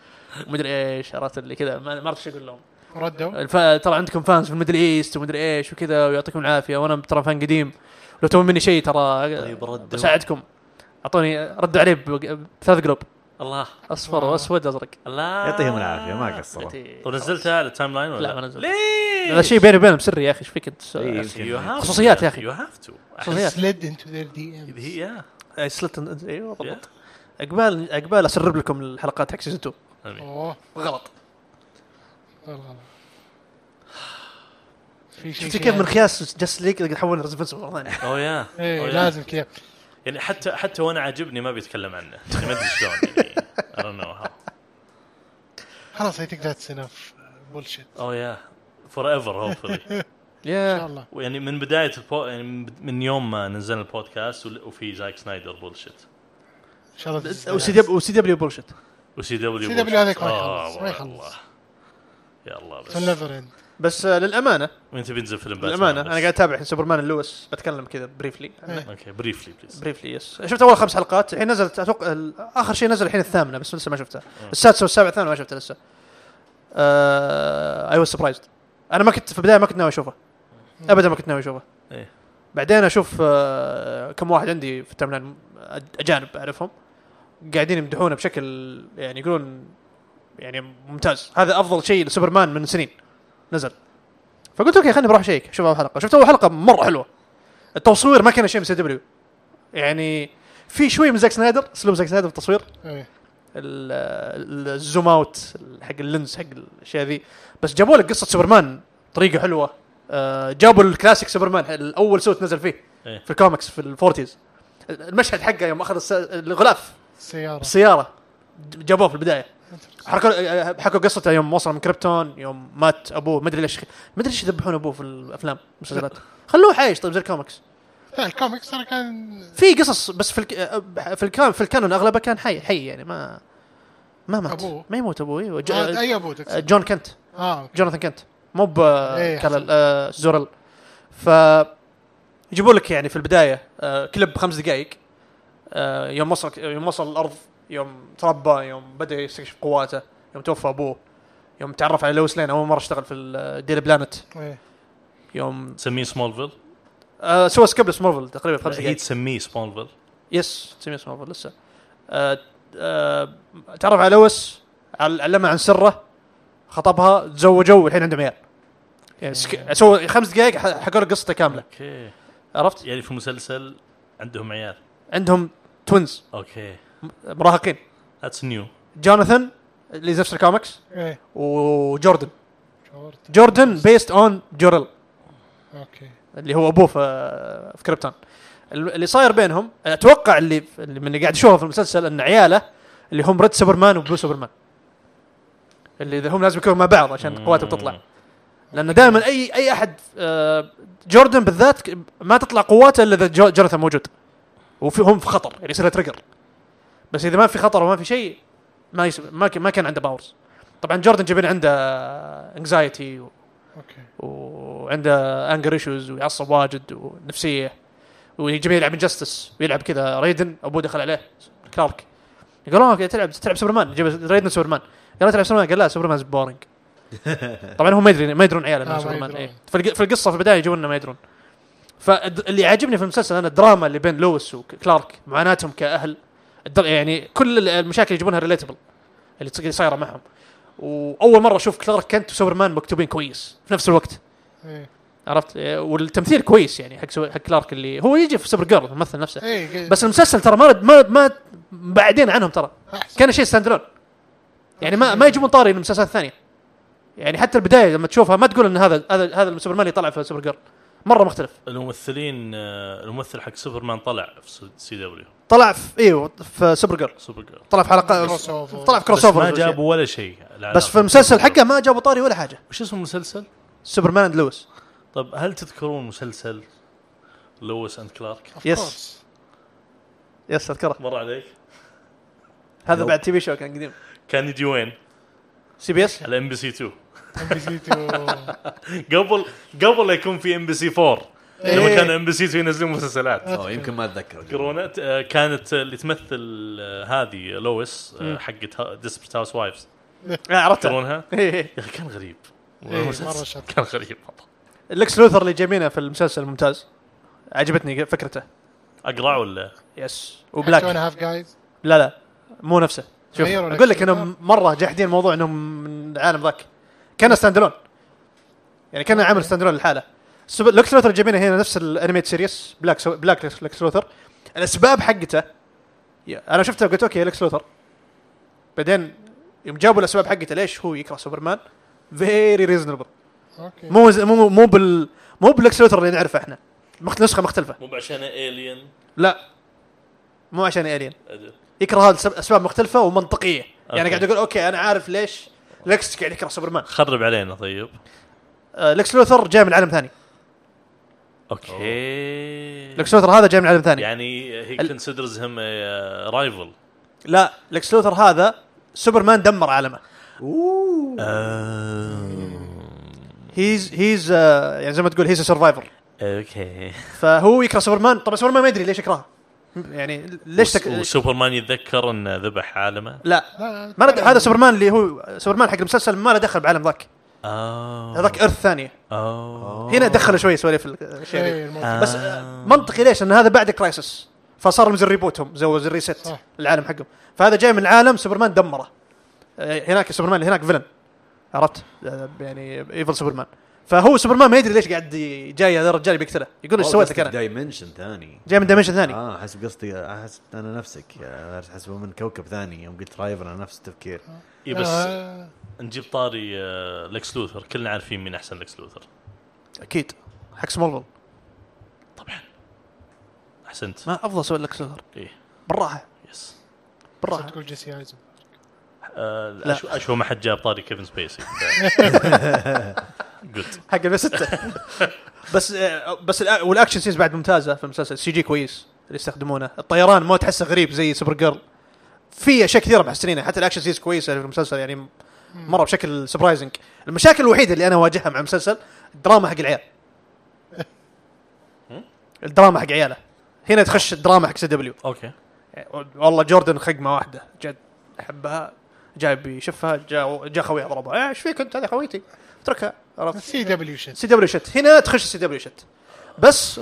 S3: ومدري ايش عرفت اللي كذا ما ما عرفت ايش اقول لهم
S1: وردوا
S3: الف... ترى عندكم فانز في الميدل ايست ومدري ايش وكذا ويعطيكم العافيه وانا ترى فان قديم لو تبون مني شيء ترى
S4: طيب ردوا.
S3: بساعدكم اعطوني ردوا عليه بق- بثلاث قلوب
S2: الله
S3: اصفر واسود ازرق
S2: الله
S4: يعطيهم العافيه ما قصروا
S2: ونزلتها على التايم لاين ولا
S3: لا، ما نزلت.
S2: ليه؟
S3: هذا شيء بيني وبينهم سري يا اخي ايش فيك
S4: إيه،
S3: انت
S2: You
S4: يمكن
S2: have to.
S3: خصوصيات يا أخي.
S2: You have to.
S3: خصوصيات.
S1: slid into their DM
S2: هي يا
S3: سلت ايوه بالضبط عقبال عقبال اسرب لكم الحلقات حق سيزون 2
S1: اوه
S3: غلط
S1: والله غلط. في شيء
S3: شفت كيف من خياس جاست ليك تحول ريزفنس مره ثانيه
S2: اوه يا
S1: ايه
S2: أوه يا.
S1: لازم كذا
S2: Oh, يعني حتى حتى وانا عاجبني ما بيتكلم عنه يعني ما ادري شلون يعني I don't know how.
S1: خلاص اي ثينك ذاتس انف بولشيت
S2: اوه يا فور ايفر Oh, hopefully
S1: ان شاء
S3: يا
S1: الله
S2: يعني من بدايه البو... يعني من بد- من يوم ما نزلنا البودكاست وال- وفي زاك سنايدر بولشيت
S1: ان شاء الله تزداد.
S3: وسي دبليو وسي دبليو بولشت
S2: وسي دبليو Oh,
S1: CW هذاك ما يخلص، ما يخلص.
S2: يا الله
S1: It's a
S2: بس
S1: never end.
S3: بس آه، للامانه
S2: وانت بينزل فيلم باتمان
S3: للامانه
S2: بس.
S3: انا قاعد اتابع الحين سوبرمان اللويس بتكلم كذا بريفلي
S1: إيه،
S2: اوكي بريفلي بليز
S3: بريفلي يس شفت اول خمس حلقات الحين نزلت اتوقع ال- اخر شيء نزل الحين الثامنه بس لسه ما شفتها السادسه والسابعه الثامنه ما شفتها لسه آه، اي واز سبرايزد انا ما كنت في البدايه ما كنت ناوي اشوفه ابدا ما كنت ناوي اشوفه
S2: إيه.
S3: بعدين اشوف آه، كم واحد عندي في التايم لاين أج- اجانب اعرفهم قاعدين يمدحونه بشكل يعني يقولون يعني ممتاز هذا افضل شيء لسوبرمان من سنين نزل فقلت اوكي خليني بروح شيك شوف اول حلقه شفت اول حلقه مره حلوه التصوير ما كان شيء من سي دبليو يعني في شوي من زاك سنايدر اسلوب زاك سنايدر في التصوير
S1: إيه.
S3: ال- ال- الزوم اوت حق اللينز حق الاشياء ذي بس جابوا لك قصه سوبرمان بطريقه حلوه آه، جابوا الكلاسيك سوبرمان الاول سوت نزل فيه
S2: إيه.
S3: في الكوميكس في الفورتيز المشهد حقه يوم اخذ الس- الغلاف
S1: السيارة
S3: السياره جابوه في البدايه حكوا حكوا قصته يوم وصل من كريبتون يوم مات ابوه ما ادري ليش ما ادري ليش يذبحون ابوه في الافلام والمسلسلات خلوه عايش طيب زي الكوميكس
S1: لا الكوميكس ترى كان
S3: في قصص بس في الك... آه، في الكان في الكانون اغلبها كان حي حي يعني ما ما مات
S1: أبوه.
S3: ما يموت ابوه ايوه ج...
S1: آه، اي ابو تقصد.
S3: جون كنت
S4: آه،
S1: اه أوكي.
S3: جوناثان كنت مو ب
S1: إيه،
S3: كلا-
S1: حسن.
S3: آه، زورل ف يجيبوا لك يعني في البدايه آه، كليب خمس دقائق آه، يوم وصل يوم وصل الارض يوم تربى يوم بدا يستكشف قواته يوم توفى ابوه يوم تعرف على لويس لين اول مره اشتغل في ال- ديلي بلانت
S1: إيه.
S3: يوم
S2: تسميه سمولفيل
S3: آه، سوى سكيب لسمارفل تقريبا
S1: إيه.
S3: خمس
S2: هي
S3: دقائق
S2: تسميه سمولفيل
S3: يس تسميه سمارفل لسه آه، آه، تعرف على لويس عل- علمها عن سره خطبها تزوجوا والحين عندهم عيال يعني سك- سوى خمس دقائق ح- حكوا لك قصته كامله
S2: اوكي
S3: عرفت؟
S2: يعني في مسلسل عندهم عيال
S3: عندهم توينز
S2: اوكي
S3: مراهقين
S2: ذاتس نيو
S3: جوناثان اللي زفت الكوميكس
S1: ايه
S3: وجوردن
S1: شعرت
S3: جوردن بيست اون جورل
S1: اوكي
S3: اللي هو ابوه في في كريبتون ال- اللي صاير بينهم اتوقع اللي اللي من اللي قاعد اشوفه في المسلسل ان عياله اللي هم ريد سوبرمان وبلو سوبرمان اللي إذا هم لازم يكونوا مع بعض عشان قواتهم تطلع لانه دائما اي اي احد آه، جوردن بالذات ك- ما تطلع قواته الا اذا جو- جوناثان موجود وفي هم في خطر يعني يصير تريجر بس اذا ما في خطر وما في شيء ما يس... ما, ك... ما كان عنده باورز طبعا جوردن جايبين عنده انكزايتي و...
S1: اوكي
S3: وعنده انجر ايشوز ويعصب واجد ونفسيه ويجي يلعب انجستس ويلعب كذا ريدن ابوه دخل عليه كلارك قال له أوكي، تلعب تلعب سوبرمان جيب ريدن سوبرمان قال له تلعب سوبرمان قال لا سوبرمان بورنج طبعا هم ما يدرون ما يدرون عياله
S1: آه،
S3: انه
S1: ما
S3: سوبرمان
S1: يدرون.
S3: إيه. فالق- في القصه في البدايه يجون إنه ما يدرون فاللي عاجبني في المسلسل انا الدراما اللي بين لويس وكلارك معاناتهم كاهل الدر- يعني كل ال- المشاكل اللي يجيبونها ريليتبل اللي تص- اللي صايره معهم واول مره اشوف كلارك كنت وسوبرمان مكتوبين كويس في نفس الوقت
S1: ايه
S3: عرفت إيه، والتمثيل كويس يعني حق سو- حق كلارك اللي هو يجي في سوبر جيرل يمثل نفسه
S1: ايه
S3: بس المسلسل ترى ما ما ما بعدين عنهم ترى
S1: أحسن.
S3: كان شيء ستاند الون يعني ما ما يجيبون طاري المسلسلات الثانيه يعني حتى البدايه لما تشوفها ما تقول ان هذا هذا هذا السوبرمان اللي طلع في سوبر جيرل مره مختلف
S2: الممثلين آه، الممثل حق سوبرمان طلع في سي دبليو
S3: طلع في ايوه في سوبر جيرل
S2: سوبر جيرل
S3: طلع في حلقه
S1: Cross over.
S3: طلع في
S2: بس
S3: كروس اوفر
S2: ما جابوا ولا شيء لا،
S3: بس
S2: لا.
S3: في المسلسل حقه ما جابوا طاري ولا حاجه
S2: وش اسم المسلسل؟
S3: سوبرمان اند لويس
S2: طب هل تذكرون مسلسل لويس اند كلارك؟
S1: Of
S3: Yes.
S1: course.
S3: يس اذكره
S2: مر عليك؟
S3: هذا بعد تي في شو كان قديم
S2: كان يجي وين؟
S3: سي بي اس
S2: على ام بي سي 2
S1: NBC to-
S2: قبل قبل لا يكون في ام بي سي 4
S3: إيه.
S2: لما كان ام بي سي 2 ينزلون مسلسلات
S4: أوه، يمكن ما اتذكر
S2: كورونا آه، كانت اللي تمثل آه، هذه لويس آه، حقت ديسبرت هاوس وايفز
S3: آه، عرفته
S2: تذكرونها؟
S3: إيه.
S2: يا اخي كان غريب
S1: إيه، مرة
S2: المسلسل
S1: شاطر.
S2: كان غريب مره
S3: لكس لوثر اللي جايبينه في المسلسل ممتاز عجبتني فكرته
S2: اقرع ولا
S3: يس
S1: Two and
S3: وبلاك
S1: a half guys.
S3: لا لا مو نفسه شوف
S1: غيروا
S3: اقول
S1: لك
S3: لك انهم مره جاحدين موضوع انهم من العالم ذاك كان ستاند الون يعني كان عامل ستاند الون لحاله سب- لكس لوثر جايبينه هنا نفس الانميت سيريس بلاك سو... بلاك لكس- لكس لوثر الاسباب حقته يا- انا شفته قلت اوكي لكس لوثر بعدين يوم جابوا الاسباب حقته ليش هو يكره سوبرمان فيري ريزونبل
S1: اوكي
S3: مو زي- مو مو بال مو بلاكس لوثر اللي نعرفه احنا مخت... نسخه مختلفه
S2: مو عشان الين
S3: لا مو عشان الين يكره هذا لسب- اسباب مختلفه ومنطقيه يعني
S2: أوكي.
S3: قاعد اقول اوكي انا عارف ليش لكس قاعد يكره سوبرمان
S2: خرب علينا طيب
S3: آه لكس لوثر جاي من عالم ثاني
S2: يعني اوكي
S3: لكس لوثر هذا جاي من عالم ثاني
S2: يعني هي
S3: ال-
S2: كونسيدرز هم رايفل
S3: لا لكس لوثر هذا سوبرمان دمر عالمه آه. هيز هيز آه يعني زي ما تقول هيز سرفايفر
S2: اوكي
S3: فهو يكره سوبرمان طبعا سوبرمان ما يدري ليش يكرهه يعني ليش تك...
S2: وسوبرمان يتذكر انه ذبح عالمه
S3: لا
S1: لا، لا،
S3: ما له- هذا سوبرمان اللي هو سوبرمان حق المسلسل ما له دخل بعالم ذاك
S2: اوه
S3: هذاك آه. ارث ثانيه
S2: اوه
S3: هنا دخل شوي سواليف الاشياء ذي.
S1: إيه، الموضوع.
S3: بس آه، منطقي ليش؟ لان هذا بعد كرايسس فصار مثل ريبوتهم زو زي ريست
S1: صح.
S3: العالم حقهم فهذا جاي من عالم سوبرمان دمره آه، هناك سوبرمان اللي هناك فيلن عرفت؟ آه، يعني ايفل سوبرمان فهو سوبرمان ما يدري ليش قاعد ي- جاي هذا الرجال بيقتله يقول ايش سويت لك انا؟
S4: دايمنشن ثاني
S3: جاي من دايمنشن
S1: آه.
S3: ثاني
S4: اه حسب قصدي احس انا نفسك آه، حسبه من كوكب ثاني يوم قلت رايفل انا نفس التفكير
S2: إي إيه، بس
S1: آه،
S2: نجيب طاري آه، لكس لوثر كلنا عارفين مين احسن لكس لوثر
S3: اكيد حق سمولفيل
S2: طبعا احسنت
S3: ما افضل سوى لك سوبر
S2: ايه
S3: بالراحه
S2: يس
S3: بالراحه
S1: تقول جيسي ايزن
S2: آه، أشو- اشوف ما حد جاب طاري كيفن سبيسي جود
S3: حق البس ستة بس آه، بس الأ- والاكشن سينز بعد ممتازه في المسلسل سي جي كويس اللي يستخدمونه الطيران ما تحسه غريب زي سوبر جيرل في اشياء كثيره محسنينها حتى الاكشن سينز كويسه في المسلسل يعني م- مره بشكل سبرايزنج المشاكل الوحيده اللي انا واجهها مع المسلسل الدراما حق العيال الدراما حق عياله هنا تخش الدراما حق سي دبليو
S2: اوكي
S3: والله جوردن خقمه واحده جد حبها جاي بيشفها جاء جاء خويه ضربها إيه، ايش فيك انت هذه خويتي اتركها عرفت
S1: سي دبليو شت
S3: سي دبليو شت هنا تخش سي دبليو شت بس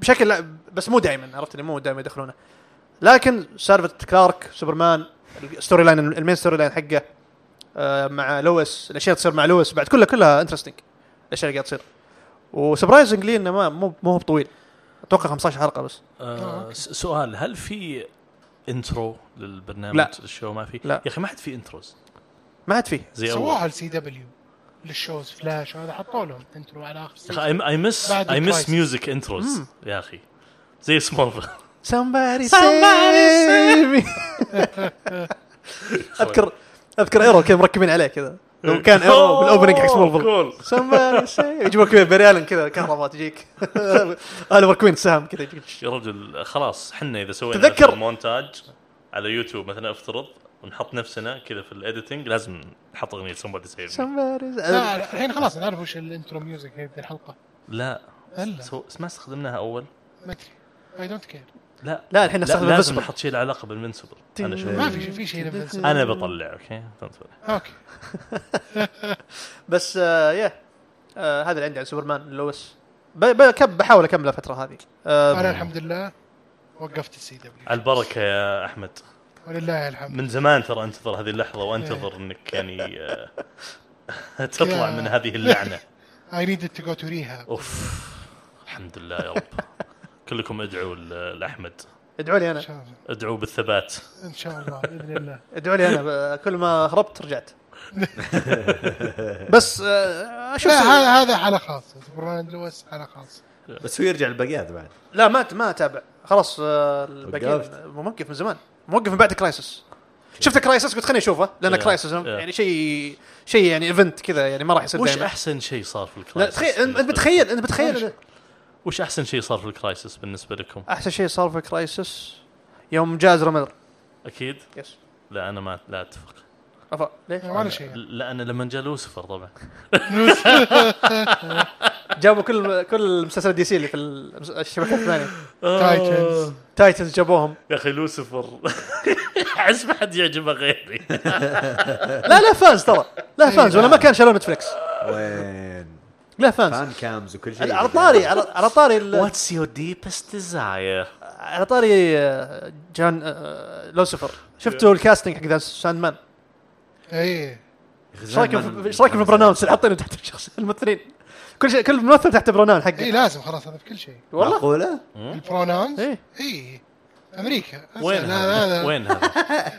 S3: بشكل لا بس مو دائما عرفت اللي مو دائما يدخلونه لكن سالفه كلارك سوبرمان الستوري لاين المين ستوري لاين حقه آه، مع لويس الاشياء تصير مع لويس بعد كلها كلها انترستنج الاشياء اللي قاعد تصير وسبرايزنجلي انه ما مو مو هو بطويل اتوقع 15 حلقه بس
S2: آه، س- سؤال هل في انترو للبرنامج
S3: لا.
S2: للشو ما في
S3: لا.
S2: يا اخي ما حد في انتروز
S3: ما عاد فيه
S2: زي
S1: سووها
S2: اول
S1: السي دبليو للشوز فلاش وهذا حطوا لهم انترو على اخر
S2: يا
S1: سيزون.
S2: اخي اي مس
S1: بعد
S2: اي مس
S1: Crisis.
S2: ميوزك انتروز يا اخي زي سمول
S3: somebody
S5: Somebody
S3: save me اذكر اذكر ايرو كذا مركبين عليه كذا لو كان ايرو بالاوبننج
S2: Oh,
S3: حق سمول
S2: كول
S3: somebody save يجيبون كذا بريالن كذا كهرباء تجيك اوليفر كوين سهم كذا يجيك.
S2: يا رجل خلاص حنا اذا سوينا
S3: تذكر-
S2: مثلاً مونتاج على يوتيوب مثلا افترض ونحط نفسنا كذا في الايديتنج لازم نحط اغنيه سمبادي سيف
S3: somebody save me.
S1: لا، الحين خلاص نعرف وش الانترو ميوزك هي في الحلقه
S2: لا
S1: هلا
S2: سو... ما استخدمناها اول
S1: ما ادري اي دونت كير
S2: لا
S3: لا الحين
S2: لا
S3: نستخدم
S2: لازم
S3: الفيسبوك
S2: نحط شيء له علاقه بالمنسبل انا شوف
S1: ما في شيء في شيء نفسه.
S2: انا بطلع طيب، اوكي تنتظر.
S1: اوكي
S3: بس آه يا آه هذا اللي عندي عن سوبرمان لويس ب- بكب بحاول اكمل الفتره هذه آه
S1: انا الحمد لله وقفت السي دبليو
S2: على البركه يا احمد
S1: ولله الحمد
S2: من زمان ترى انتظر هذه اللحظه وانتظر انك يعني آه، تطلع من هذه اللعنه
S1: اي نيد تو جو تو ريهاب
S2: اوف الحمد لله يا رب كلكم ادعوا ل- لاحمد
S3: ادعوا لي
S1: ان
S3: انا
S1: شاء الله
S2: ادعوا بالثبات
S1: ان شاء الله باذن الله
S3: ادعوا لي انا ب- كل ما هربت رجعت بس آه اشوف
S1: لا
S3: لا,
S1: هذا هذا حاله خاصه سوبرمان لويس حاله خاصه
S4: بس هو يرجع الباقيات بعد
S3: لا ما ما اتابع خلاص آه
S4: وقفت.
S3: الباقيين موقف من زمان موقف من بعد كرايسس شفت كرايسس قلت خليني اشوفه لان
S2: يا.
S3: كرايسس
S2: يا.
S3: يعني شيء شيء يعني ايفنت كذا يعني ما راح يصير
S2: وش
S3: دائما
S2: احسن شيء صار في
S3: لا
S2: الكرايسس
S3: تخيل انت بتخيل انت بتخيل
S2: وش احسن شيء صار في الكرايسس بالنسبه لكم
S3: احسن شيء صار في كرايسس يوم جاز رمر
S2: اكيد
S3: يس
S2: لا انا ما لا اتفق
S3: أفا. ليش؟
S1: ولا شيء
S2: لا انا لما جاء لوسيفر طبعا
S3: جابوا كل كل مسلسل دي سي اللي في المس- الشبكه الثانيه
S1: تايتنز
S3: تايتنز جابوهم
S2: يا اخي لوسيفر احس ما حد يعجبه غيري
S3: لا لا فانز ترى لا فانز ولا ما كان شالوه نتفلكس
S4: وين
S3: لا فانز
S4: فان كامز وكل شيء
S3: على طاري على على طاري ال-
S2: واتس يور ديبست ديزاير
S3: على طاري آه، جان آه، لوسيفر شفتوا الكاستنج حق ذا ساند مان
S1: اي
S3: ايش رايكم في- ايش رايكم في البروناونز اللي حاطينه تحت الشخص الممثلين كل شيء كل ممثل تحت بروناون حقه
S1: اي إيه، لازم خلاص هذا في كل شيء
S3: والله
S4: معقوله؟
S1: البروناونز
S3: إيه.
S1: اي امريكا
S2: وين
S1: لا
S2: هذا؟
S1: لا لا
S2: وين هذا؟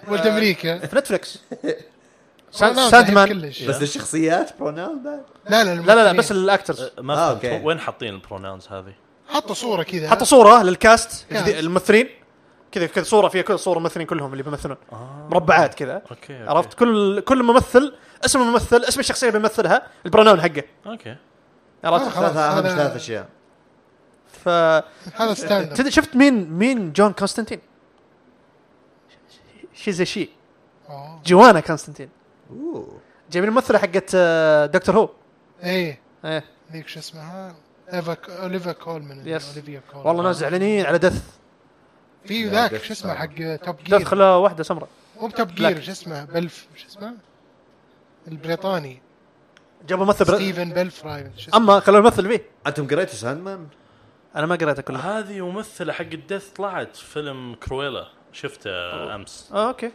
S1: ولد امريكا
S3: في نتفلكس
S1: بروناونز يعني
S3: ساند
S1: الحين
S3: مان.
S1: كلش.
S4: بس الشخصيات بروناون بعد
S1: لا لا
S3: لا لا لا
S1: الممثلين.
S3: بس الاكترز
S2: ما
S4: آه،
S2: فهمت
S4: أوكي.
S2: وين حاطين البروناونز هذه؟
S1: حطوا صوره كذا
S3: حطوا صوره للكاست
S1: كاست.
S3: الجديد- الممثلين كذا كذا صوره فيها كل صوره ممثلين كلهم اللي بيمثلون مربعات كذا
S2: اوكي أوكي.
S3: عرفت كل كل ممثل اسم الممثل اسم الشخصيه اللي بيمثلها البروناون حقه
S2: اوكي
S3: عرفت
S1: خلاص،
S4: ثلاث اهم
S1: هذا-
S4: ثلاث اشياء
S3: ف
S1: هذا ستاند
S3: تد- Uh, شفت مين مين جون كونستانتين شيزا شي
S1: اب
S3: جوانا كونستانتين
S4: اوه
S3: جايبين الممثله حقت آه، دكتور هو
S1: اي
S3: ايه
S1: ذيك إيه. شو اسمها ايفا اوليفا كولمان اللي
S3: Yes.
S1: اوليفيا كولمان
S3: والله ناس زعلانين على دث
S1: في
S4: لا،
S1: ذاك
S4: دث
S1: شو اسمه
S4: صعب.
S1: حق توب
S3: دث
S1: جير
S3: خلا واحده سمراء
S1: مو توب
S3: بلاك.
S1: جير شو اسمه بلف شو اسمه البريطاني
S3: جابوا ممثل بر...
S1: ستيفن بلفراي شو اسمه
S3: اما خلوه يمثل فيه
S4: انتم قريتوا ساندمان؟
S3: انا ما قريتها كلها
S2: هذه ممثله حق الدث طلعت فيلم كرويلا شفته امس
S3: اه اوكي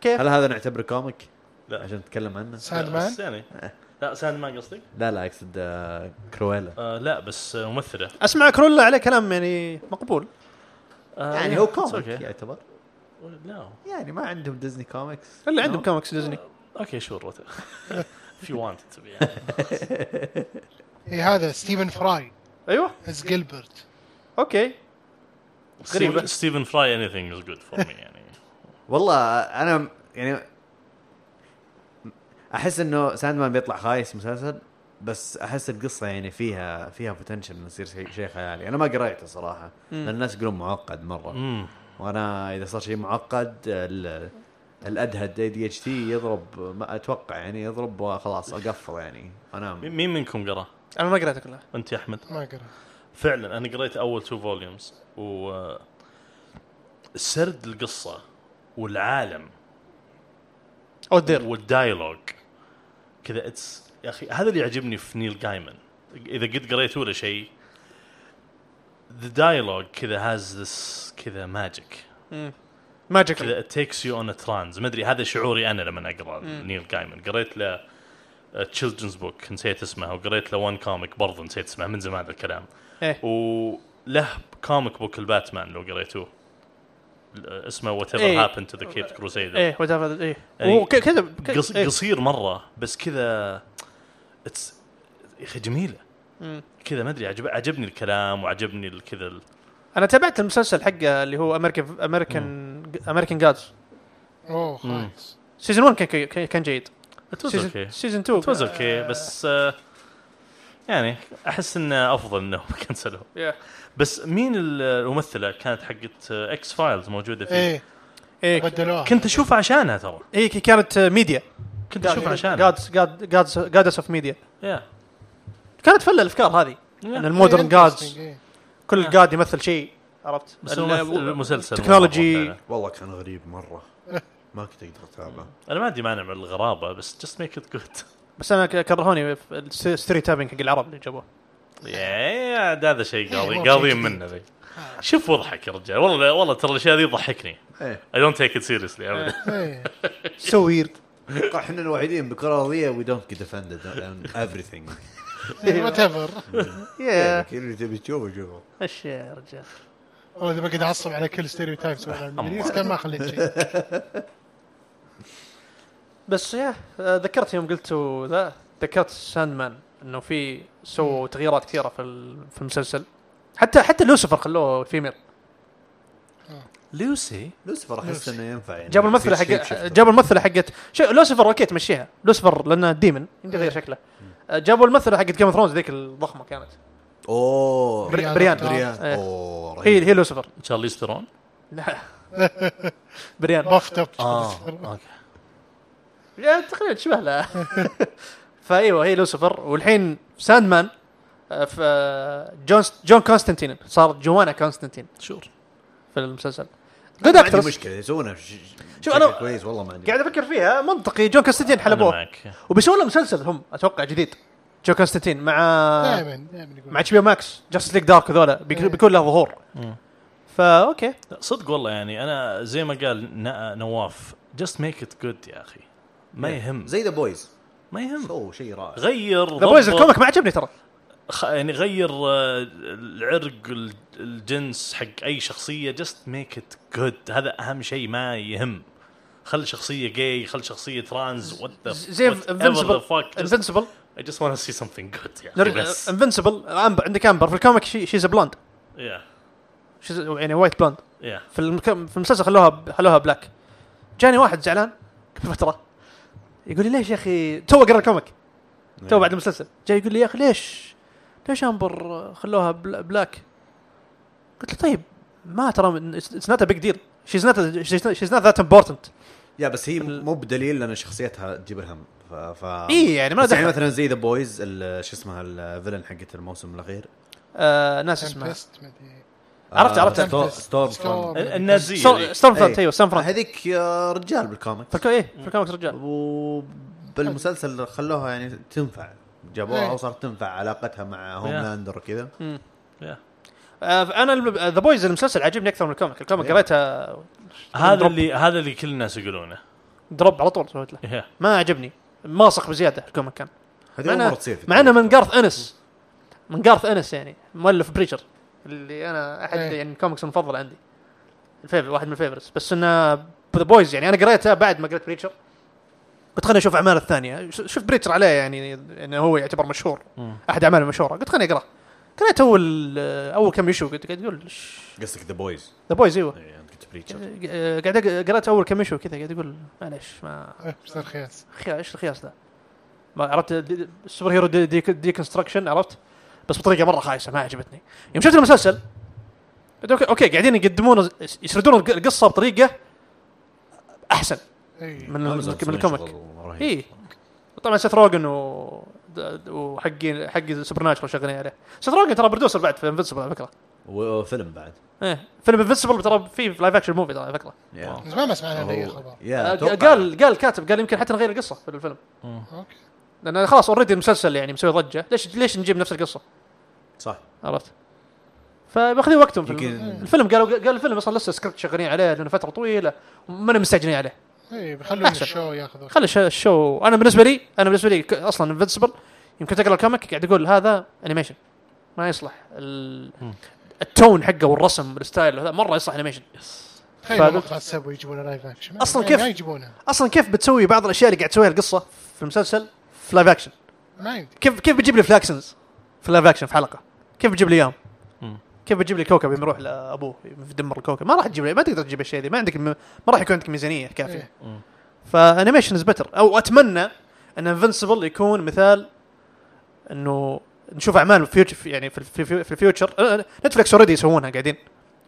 S3: كيف
S4: هل هذا نعتبره كوميك؟
S2: لا.
S4: عشان نتكلم عنه
S1: ساند
S2: لا، بس
S1: مان
S2: يعني لا ساند مان قصدك؟
S4: لا لا اقصد آه، كرويلا
S2: آه لا بس آه، ممثله
S3: اسمع كرولا عليه كلام يعني مقبول
S2: آه
S4: يعني
S2: yeah,
S4: هو
S3: إيه،
S2: it's
S4: كوميك
S2: okay.
S4: يعتبر
S2: لا
S4: يعني ما عندهم ديزني كوميكس
S3: اللي
S2: نعم.
S3: عندهم كوميكس ديزني
S2: اوكي شور if you wanted to be
S1: اي إيه، هذا ستيفن فراي
S3: ايوه
S1: از جيلبرت
S3: اوكي غريبة.
S2: غريبة ستيفن فراي anything is good for me يعني
S4: والله انا يعني احس انه ساندمان بيطلع خايس مسلسل بس احس القصه يعني فيها فيها بوتنشل انه يصير شيء شيء خيالي انا ما قريته صراحه لان الناس يقولون معقد مره
S2: امم
S4: وانا اذا صار شيء معقد ال- الادهد اي دي اتش تي يضرب ما اتوقع يعني يضرب وخلاص اقفل يعني انام
S2: مين منكم قراه؟
S3: انا ما قريتها كلها
S2: انت يا احمد
S1: ما قرأ
S2: فعلا انا قريت اول تو فوليومز و آه، سرد القصه والعالم
S3: او الدير
S2: والدايلوج كذا اتس يا اخي هذا اللي يعجبني في نيل جايمن اذا قد قريت ولا شيء the dialogue كذا has this كذا magic
S3: ماجيك
S2: كذا it takes you on a trance ما ادري هذا شعوري انا لما اقرا نيل جايمن قريت له تشيلدرنز بوك نسيت اسمه وقريت له وان كوميك برضه نسيت اسمه من زمان هذا الكلام
S3: ايه
S2: وله كوميك بوك الباتمان لو قريتوه اسمه وات ايفر
S3: إيه.
S2: هابن تو ذا كيبت كروسيدر
S3: ايه وات ايفر ايه
S2: يعني
S3: وك- كذا ك-
S2: قص-
S3: إيه.
S2: قصير مره بس كذا اتس يا اخي جميله كذا ما ادري عجب عجبني الكلام وعجبني ال- كذا ال-
S3: انا تابعت المسلسل حقه اللي هو امريكان امريكان امريكان جادز
S1: اوه خايس
S3: سيزون 1 كان كي- كان جيد
S2: it was
S3: سيزون-
S2: okay.
S3: سيزون 2
S2: It was okay بس آه، يعني احس انه افضل انه كنسلوه
S3: Yeah.
S2: بس مين ال- الممثله كانت حقت اكس فايلز موجوده فيه
S1: ايه
S3: ايه
S1: بدلوها
S2: كنت اشوفها عشانها ترى
S3: ايه كي- كانت ميديا
S2: كنت اشوفها عشانها
S3: جادز جادز جادس اوف ميديا
S2: يا
S3: كانت فل الافكار هذه ان
S1: إيه،
S3: المودرن
S1: interesting،
S3: جادز
S1: إيه.
S3: كل جاد يمثل شيء عرفت
S2: بس
S3: ال-
S2: الممثل- المسلسل يعني.
S3: تكنولوجي.
S2: مرة ممتع.
S4: والله كان غريب مره ما كنت اقدر اتابعه
S2: انا ما عندي مانع من الغرابه بس just make it good
S3: بس انا ك- كرهوني في الستوري تابنج حق العرب اللي جابوه
S2: يا عاد هذا شيء قاضي
S1: والله
S2: قاضيين
S1: شيء
S2: منه ذي شوف واضحك يا رجال والله والله ترى الاشياء ذي تضحكني
S4: ايه
S2: اي دونت تيك ات سيريسلي ابدا
S1: إيه.
S3: سو ويرد
S4: اتوقع احنا الوحيدين بكره ارضيه وي دونت جيت افندد اون ايفريثينج
S1: وات ايفر
S3: يا
S4: إيه، اللي تبي تشوفه شوفه
S3: ايش يا رجال
S1: اذا بقعد اعصب على كل ستيريو تايبس كان ما خليت شيء
S3: بس يا آه، ذكرت يوم قلت ذا ذكرت ساندمان انه في سووا تغييرات كثيره في ال- في المسلسل حتى حتى لوسيفر خلوه فيميل
S2: لوسي
S4: لوسيفر احس انه ينفع يعني
S3: جابوا الممثله
S4: في shape
S3: حق
S4: shifter.
S3: جابوا الممثله حقت شو- لوسيفر اوكي تمشيها لوسيفر لانه ديمن يمكن يغير شكله آه، جابوا الممثله حقت جيم اوف ثرونز ذيك الضخمه كانت بري-
S4: اوه
S1: بريان.
S3: بريان
S4: بريان
S3: إيه.
S4: اوه
S3: هي
S4: رهيب
S3: هي لوسيفر
S2: تشارليز ثيرون
S3: لا بريان
S1: بافت اب
S3: آه.
S2: اوكي
S3: يعني تقريبا تشبه لها فايوه هي لوسيفر والحين ساندمان آه، ف آه، جون جون كونستانتين صار جوانا كونستانتين
S2: شور
S3: في المسلسل
S4: ما
S3: جود
S4: عندي
S3: اكترس
S4: مشكله يسوونها ش- ش-
S3: شوف أنا-
S4: بشكل كويس والله ما عندي
S3: قاعد افكر فيها منطقي جون كونستانتين
S2: انا
S3: حلبوه
S2: معك
S3: وبيسوون له مسلسل هم اتوقع جديد جون كونستانتين مع نعم.
S1: دائما دائما يقول
S3: مع اتش بي ماكس جاست ليك دارك وذولا بيك- بيكون له ظهور فا اوكي
S2: لا، صدق والله يعني انا زي ما قال نا- نواف just make it good يا اخي ما يهم
S4: زي ذا بويز
S2: ما يهم
S4: سووا شيء رائع
S2: غير
S3: ذا بويز
S2: ضبط-
S3: الكوميك ما عجبني ترى
S2: خ- يعني غير آه، العرق ال- الجنس حق اي شخصيه جست ميك ات جود هذا اهم شيء ما يهم خل شخصيه جاي خل شخصيه ترانز وات ذا
S3: زي انفنسبل انفنسبل
S2: اي جست ونت سي سمثينج جود يعني
S3: uh, um-
S2: بس
S3: انفنسبل عندك امبر في الكوميك شيز بلوند
S2: يا
S3: يعني وايت بلوند
S2: يا
S3: في المك... في المسلسل خلوها خلوها بلاك جاني واحد زعلان قبل فتره يقول لي ليش يا اخي تو قرا الكوميك تو بعد المسلسل جاي يقول لي يا اخي ليش ليش امبر خلوها بل... بلاك قلت له طيب ما ترى اتس نوت ا بيج ديل شيز نوت شيز نوت ذات امبورتنت
S4: يا بس هي مو بدليل لان شخصيتها تجيب الهم ف, ف...
S3: إيه، يعني ما
S4: بس يعني
S3: دخل.
S4: مثلا زي ذا بويز ال- شو اسمها الفيلن حقت الموسم الاخير
S3: آه ناس اسمها
S1: تمبست
S3: عرفت-
S4: آه،
S3: عرفت.
S4: ستو- ستورم فرونت.
S2: النازيه ذي.
S3: ستورم فرونت
S4: إيه.
S3: ايوه ستورم فرونت
S4: هذيك آه، رجال بالكوميك
S3: في الكو- ايه في الكوميكس رجال
S4: وبالمسلسل خلوها يعني تنفع جابوها
S1: إيه.
S4: وصارت تنفع علاقتها مع هوملاندر وكذا
S2: يا.
S3: آه انا ذا بويز المسلسل عجبني اكثر من الكوميك الكوميك قريته
S2: هذا اللي هذا اللي كل الناس يقولونه
S3: دروب على طول سويت له
S2: يا.
S3: ما عجبني ماسخ بزياده الكوميك كان
S4: هذه
S3: مع
S4: أول
S3: انه
S4: مرة تصير في
S3: مع انه
S4: التاريخ.
S3: من جارث انس من جارث انس يعني مؤلف بريشر اللي انا احد
S1: إيه.
S3: يعني الكوميكس المفضل عندي الفيفر واحد من الفيفرس بس انه ذا بويز يعني انا قريته بعد ما قريت بريشر قلت خليني اشوف اعماله الثانيه ش- شفت بريتشر عليه يعني انه هو يعتبر مشهور احد اعماله المشهوره قلت خليني اقراه قريت اول اول كم ايشو قلت قاعد اقول
S4: قصدك ذا بويز
S3: ذا بويز ايوه
S4: يعني كنت بريتشر
S3: قاعد أق- قريت اول كم ايشو كذا قاعد اقول معليش ما
S1: صار خياس
S3: خيا- ايش الخياس ذا؟ ما عرفت دي- دي- السوبر هيرو دي دي ديكونستركشن عرفت؟ بس بطريقه مره خايسه ما عجبتني. يوم شفت المسلسل قلت اوكي اوكي قاعدين يقدمون يسردون الق- القصه بطريقه احسن
S1: اي
S3: من ال- من الكوميك. إيه.
S4: اي
S3: اي طبعا سيث روجن و د- وحقين حق سوبر ناتشرال شغالين عليه. سيث روجن ترى برودوسر بعد في انفنسبل على فكره.
S4: وفيلم بعد
S3: ايه فيلم انفنسبل ترى فيه في لايف اكشن موفي ترى على فكره.
S4: يا
S1: بس ما سمعنا عن اي
S4: هو-
S1: خبر
S4: يا
S3: آه،
S4: أتوقع-
S3: قال قال الكاتب قال يمكن حتى نغير القصه في الفيلم.
S1: اوكي
S3: لان خلاص اوريدي المسلسل يعني مسوي ضجه، ليش ليش نجيب نفس القصه؟
S4: صح
S3: عرفت فباخذين وقتهم في الم-
S4: يمكن
S3: الفيلم قالوا قال الفيلم اصلا لسه سكريبت شغالين عليه لانه فتره طويله وما مستعجلين عليه
S1: اي بيخلون
S3: أحسن.
S1: إيه، الشو ياخذ وقت
S3: خلي الش- الشو انا بالنسبه لي انا بالنسبه لي ك- اصلا انفنسبل يمكن تقرا الكوميك قاعد اقول هذا انيميشن ما يصلح ال... التون حقه والرسم والستايل وهذا مره يصلح انيميشن
S1: تخيل مقطع السبوي يجيبونه لايف اكشن
S3: أصلاً
S1: ما-
S3: كيف؟
S1: ما يجيبونه
S3: اصلا كيف بتسوي بعض الاشياء اللي قاعد تسويها القصه في المسلسل في لايف اكشن
S1: ما يمدي
S3: كيف كيف بتجيب لي فلاكسنز في لايف اكشن في حلقه كيف بتجيب لي اياهم كيف بتجيب لي كوكب يوم يروح لابوه يدمر الكوكب ما راح تجيب لي ما تقدر تجيب الشيء ذي ما عندك ما راح يكون عندك ميزانيه كافيه
S1: إيه.
S3: فانيميشن از بتر او اتمنى ان انفنسبل يكون مثال انه نشوف اعمال فيوتشر يعني في في, في, أه، في الفيوتشر نتفلكس اوريدي يسوونها قاعدين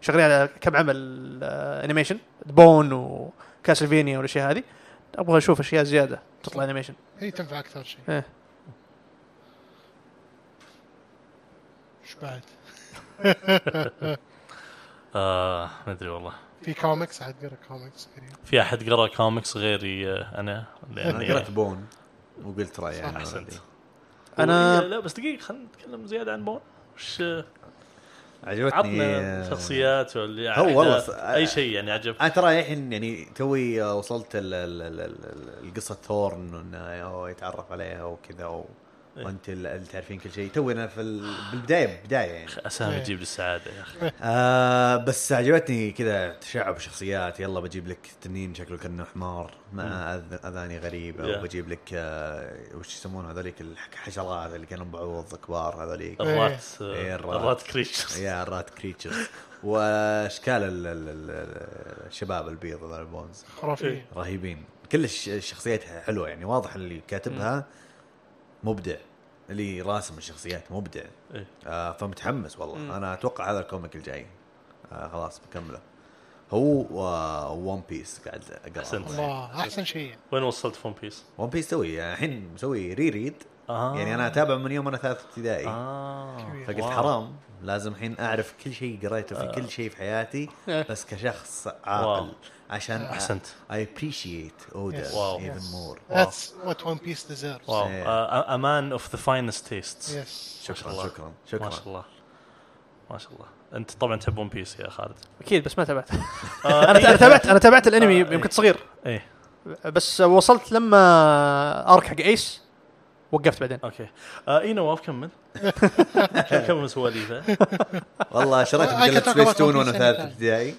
S3: شغالين على كم عمل آه، انيميشن بون وكاسلفينيا والاشياء هذه ابغى اشوف اشياء زياده تطلع انيميشن
S1: هي تنفع اكثر شيء
S3: إيه.
S1: ايش بعد؟
S2: آه ما ادري والله
S1: في كوميكس احد قرا كوميكس قريب
S2: في احد قرا كوميكس غيري آه، انا
S4: انا قريت
S2: لاني
S4: بون يعني وقلت يعني رايي
S1: صح،
S4: أنا
S2: أحسنت.
S4: already.
S3: أنا-
S2: لا بس دقيقه خلينا نتكلم زياده عن بون وش
S4: عجبتني
S2: عطنا
S4: آه،
S2: شخصيات ولا
S4: هو والله
S2: أحداث،
S4: ص-
S2: اي شيء يعني عجب
S4: انا ترى الحين يعني توي آه، وصلت ال- ال- ال- ال- القصه ثورن انه هو يتعرف عليها وكذا و...
S2: إيه.
S4: وانت ال- اللي تعرفين كل شيء توي انا في ال- بالبدايه بدايه يعني
S2: اسامي
S1: إيه.
S2: تجيب لي السعاده يا اخي
S4: آه بس عجبتني كذا تشعب شخصيات يلا بجيب لك تنين شكله كانه حمار مع أذ- اذاني غريبه
S2: Yeah.
S4: وبجيب لك آه وش يسمونه هذوليك الحشرات اللي كانوا بعوض كبار هذوليك
S2: الرات
S4: إيه،
S2: آه،
S4: الرات. إيه.
S2: الرات كريتشرز
S4: يا الرات كريتشرز واشكال ال- ال- ال- الشباب البيض هذول البونز إيه.
S1: خرافيه
S4: رهيبين كل الش- الشخصيات حلوه يعني واضح اللي كاتبها مبدع اللي راسم الشخصيات مبدع
S2: إيه.
S4: آه فمتحمس والله انا اتوقع هذا الكوميك الجاي آه خلاص بكمله هو وون بيس قاعد اقرا
S1: الله احسن شيء
S2: وين وصلت فون بيس؟
S4: ون بيس توي يعني الحين مسوي ري ريد
S2: آه.
S4: يعني انا اتابع من يوم انا ثالث ابتدائي
S2: اه
S4: فقلت حرام لازم الحين اعرف كل شيء قريته في كل شيء في حياتي بس كشخص عاقل
S2: آه. واو.
S4: عشان
S2: أحسنت.
S4: اي ابريشيت اودا
S1: Yes.
S2: واو.
S4: ايفن مور
S1: That's what One Piece deserves.
S2: واو آه،
S4: إيه.
S2: امان اوف ذا فاينست تيستس
S1: Yes.
S4: شكرا شكرا شكرا
S2: ما شاء الله ما شاء الله انت طبعا تحب ون بيس يا خالد
S3: اكيد بس ما تابعت
S2: آه،
S3: انا انا
S2: إيه.
S3: تابعت انا تابعت الانمي
S2: آه،
S3: يوم كنت صغير
S2: ايه
S4: إيه.
S3: بس وصلت لما ارك حق ايس وقفت بعدين
S2: اوكي آه، اي نواف كمل كمل سواليفه
S4: والله شريت
S1: I can
S4: مجله
S1: talk about
S4: سبيس تون
S1: One Piece
S4: وانا ثالث
S1: anytime.
S4: ابتدائي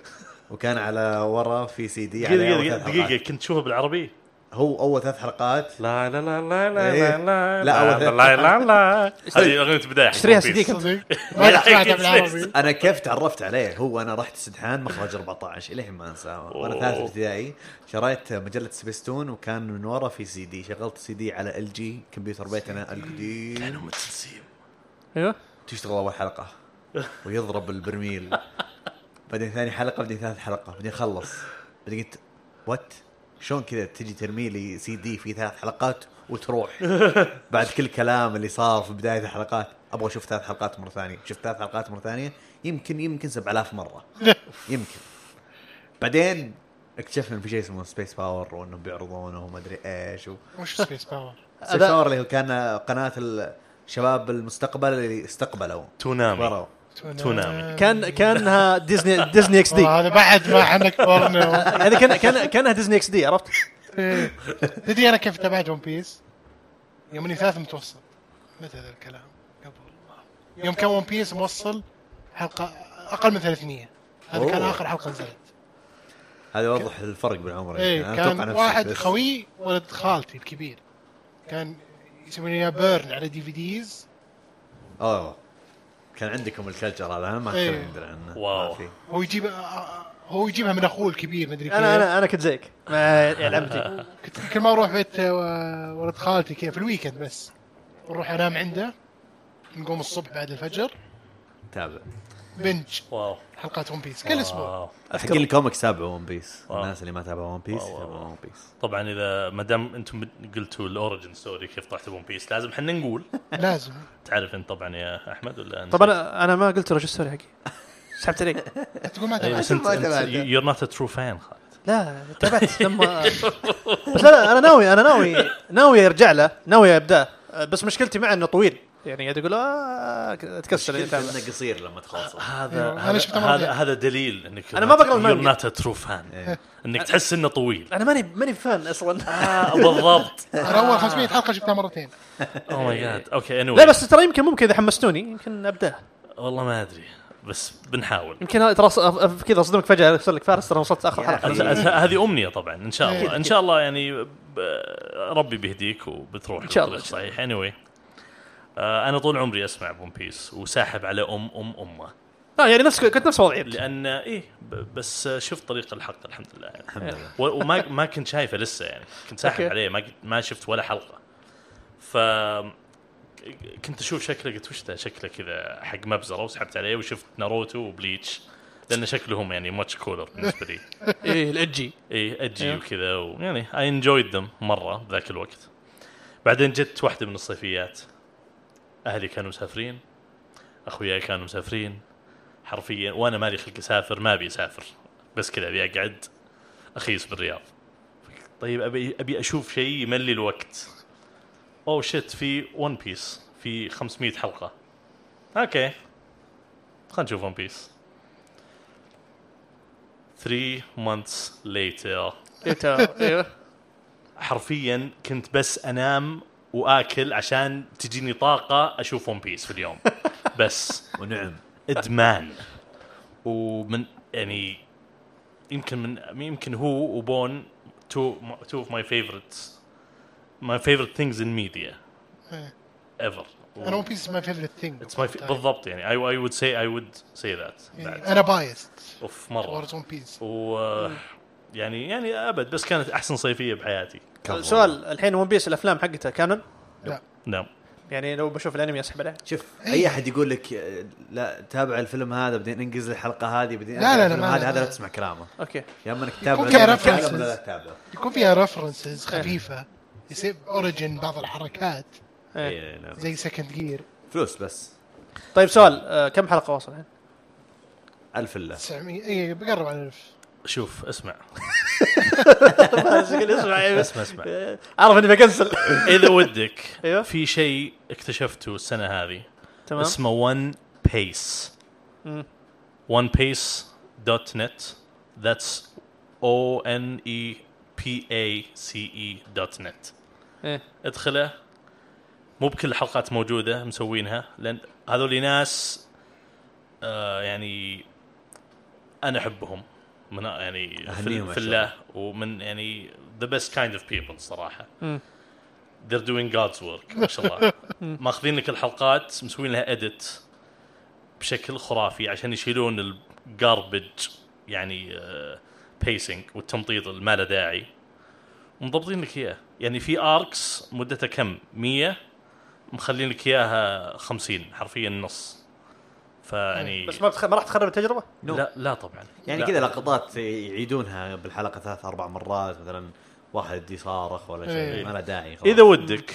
S4: وكان على ورا في سي دي عليه
S2: دقيقه
S4: يعني أول ثلاث
S2: دقيقه
S4: حلقات.
S2: دقيقه كنت تشوفها بالعربي
S4: هو اول ثلاث حلقات
S2: لا لا لا لا
S4: إيه.
S2: لا
S4: لا، أول
S2: لا
S4: ثلاث-
S2: لا لا لا هذه اغنيه بدايه حق
S3: اشتريها
S2: One Piece.
S3: سي دي كنت
S1: صدق ما
S2: لا،
S1: سمعتها
S2: كيف
S1: بالعربي
S4: انا كيف تعرفت عليه هو انا رحت سدحان مخرج 14 الحين ما انساه وانا
S2: أوه.
S4: ثالث ابتدائي شريت مجله سبيستون وكان من ورا في سي دي شغلت سي دي على ال جي كمبيوتر بيتنا القديم
S2: متنسيم
S3: ايوه
S4: تشتغل اول حلقه ويضرب البرميل بعدين ثاني حلقه بعدين ثالث حلقه بعدين خلص بعدين قلت وات شلون كذا تجي ترمي لي سي دي في ثلاث حلقات وتروح بعد كل كلام اللي صار في بدايه الحلقات ابغى اشوف ثلاث حلقات مره ثانيه شفت ثلاث حلقات مره ثانيه يمكن يمكن 7000 مره يمكن بعدين اكتشفنا إن في شيء اسمه سبيس باور وانهم بيعرضونه وما ادري ايش و...
S1: وش سبيس باور
S4: سبيس باور اللي هو كان قناه الشباب المستقبل اللي استقبلوا
S2: تونامي
S4: برا
S2: تونامي.
S3: كان كانها ديزني ديزني اكس
S2: آه.
S3: دي
S1: هذا بعد ما احنا كبرنا
S3: هذا كان كان كانها ديزني اكس دي عرفت
S1: إيه. تدري انا كيف تابعت ون بيس؟ يوم اني ثالث متوسط متى هذا الكلام؟ قبل يوم كان ون بيس موصل حلقه اقل من 300 هذا كان
S4: أوه.
S1: اخر حلقه نزلت
S4: هذا يوضح الفرق بالعمر
S1: ايه
S4: يمكن. طيب، يعني أنا
S1: كان
S4: أتوقع نفسي
S1: واحد
S4: بس.
S1: خوي ولد خالتي الكبير كان يسوي لنا بيرن على دي في ديز
S4: اوه كان عندكم الكلتشر هذا انا ما كان
S1: إيه.
S4: عندنا عنه
S2: واو.
S4: ما في.
S1: هو يجيب هو يجيبها من اخوه الكبير مدري كيف
S3: انا انا انا كنت زيك مع لعبتي
S1: كنت كل ما اروح بيت آه، ولد خالتي كيف في الويكند بس نروح انام عنده نقوم الصبح بعد الفجر
S4: تابع
S1: بنج
S2: واو
S1: حلقات ون بيس كل اسبوع
S2: واو.
S4: حق الكوميكس تابعوا ون بيس
S2: واو.
S4: الناس اللي ما تابعوا ون بيس
S2: واو، واو،
S4: تابعوا
S2: واو.
S4: ون بيس
S2: طبعا اذا ما دام انتم قلتوا الاورigin ستوري كيف طلعت ون بيس لازم احنا نقول
S1: لازم
S2: تعرف انت طبعا يا احمد ولا انت؟
S3: طبعا أنا- انا ما قلت الريجستوري حقي سحبت عليك
S1: تقول ما
S2: إيه،
S1: تبع
S2: بس انت
S4: ما تبعته.
S2: يور نوت ترو فان خالد
S3: لا تابعت لما بس لا لا انا ناوي انا ناوي ناوي ارجع له ناوي ابداه بس مشكلتي معه انه طويل يعني قاعد اقول آه اتكسر إني
S4: مشكلته
S3: أتابع.
S4: انه قصير لما تخلصه
S2: هذا
S1: أيوة، أنا
S2: هذا-
S1: شفته مرة
S2: هذا
S1: ثانية.
S2: هذا دليل انك
S3: أنا ما بقرأ المانجا.
S2: يور نوت ترو فان انك تحس انه طويل
S3: انا ماني ماني فان اصلا
S2: آه، بالضبط Oh
S1: انا اول 500 حلقه شفتها مرتين
S2: اوه ماي جاد اوكي اني
S3: لا بس ترى يمكن ممكن اذا حمستوني يمكن ابداه
S2: والله ما ادري بس بنحاول
S3: يمكن هذا ترى أص- أف- كذا اصدمك فجاه يصير لك فارس ترى وصلت اخر
S2: هذا-
S3: حلقه
S2: هذا- هذه امنيه طبعا ان شاء
S1: أكيد،
S2: الله ان شاء الله يعني ب- ربي بيهديك وبتروح ان
S3: شاء الله.
S2: صحيح اني anyway. آه، انا طول عمري اسمع ون بيس وساحب على ام ام امه
S3: لا يعني نفس كنت نفس وضعي
S2: لان ايه ب- بس شفت طريق الحق الحمد لله يعني.
S4: الحمد لله
S2: و- وما ما كنت شايفه لسه يعني كنت ساحب
S3: أوكي.
S2: عليه ما قد- ما شفت ولا حلقه ف ك- كنت اشوف شكله قلت وش ذا شكله كذا حق مبزره وسحبت عليه وشفت ناروتو وبليتش لان شكلهم يعني ماتش كولر بالنسبه لي
S3: اي الاجي
S2: اي اجي
S3: أيوه.
S2: وكذا ويعني اي انجويد ذم مره ذاك الوقت بعدين جت واحده من الصيفيات اهلي كانوا مسافرين اخوياي كانوا مسافرين حرفيا وانا مالي خلق اسافر ما ابي اسافر بس كذا ابي اقعد اخيس بالرياض طيب ابي ابي اشوف شيء يملي الوقت او شت في ون بيس في 500 حلقه اوكي خلينا نشوف ون بيس 3 months later
S3: ايوه
S2: حرفيا كنت بس انام واكل عشان تجيني طاقه اشوف ون بيس في اليوم بس
S4: ونعم
S2: ادمان ومن يعني يمكن من يمكن هو وبون تو تو اوف ماي فيفورتس ماي فيفورت ثينجز ان ميديا
S1: إيه.
S2: ايفر
S1: انا ون بيس ماي فيفرت ثينج
S2: اتس ماي بالضبط يعني اي اي وود سي اي وود سي ذات
S1: انا بايست
S2: اوف مره
S1: تورز ون بيس
S2: و يعني يعني ابد بس كانت احسن صيفيه بحياتي
S3: سؤال الحين ون بيس الافلام حقتها كانون
S2: نعم
S3: يعني لو بشوف الانمي اسحب عليه
S4: شوف اي احد يقول لك آه، لا تابع الفيلم هذا بعدين انجز الحلقه هذه بعدين
S1: لا، لا، لا،
S4: الفيلم
S1: ما-
S4: هذا هذا
S1: لا.
S4: لا تسمع كلامه
S3: اوكي
S4: يا اما انك تتابع
S1: يكون فيها
S4: الفيلم
S1: references.
S4: ولا لا تتابع
S1: يكون فيها ريفرنسز خفيفه يصير اوريجن بعض الحركات
S3: إيه.
S4: إيه، نعم.
S1: زي سكند جير
S4: فلوس بس
S3: طيب سؤال آه، كم حلقه وصل الحين؟
S4: الف الله
S1: 900 اي إيه، بقرب على 1000
S2: شوف اسمع
S3: اسمع
S2: اسمع اسمع
S3: اعرف اني بكنسل
S2: اذا ودك
S3: أيوه. أه.
S2: في شيء اكتشفته السنه هذه
S3: تمام
S2: اسمه ون بيس ون بيس دوت نت ذاتس او ان اي بي اي سي اي E دوت نت
S3: إيه.
S2: ادخله مو بكل الحلقات موجوده مسوينها لان هذول ناس آه يعني انا احبهم من يعني
S4: أهنيهم
S2: في,
S4: يا
S2: في الله ومن يعني ذا بيست كايند اوف بيبل صراحه they're doing God's work ما شاء الله ماخذين لك الحلقات مسوين لها اديت بشكل خرافي عشان يشيلون الجاربج يعني بيسنج والتمطيط اللي ما له داعي ومضبطين لك اياه يعني في اركس مدتها كم 100 مخلين لك اياها 50 حرفيا نص فيعني
S3: بس ما بتخ... ما راح تخرب التجربه؟
S2: لا لا طبعا
S4: يعني
S2: لا.
S4: كذا لقطات يعيدونها بالحلقه ثلاث اربع مرات مثلا واحد يدي صارخ ولا
S1: إيه.
S4: شيء ما له داعي خلاص.
S2: اذا ودك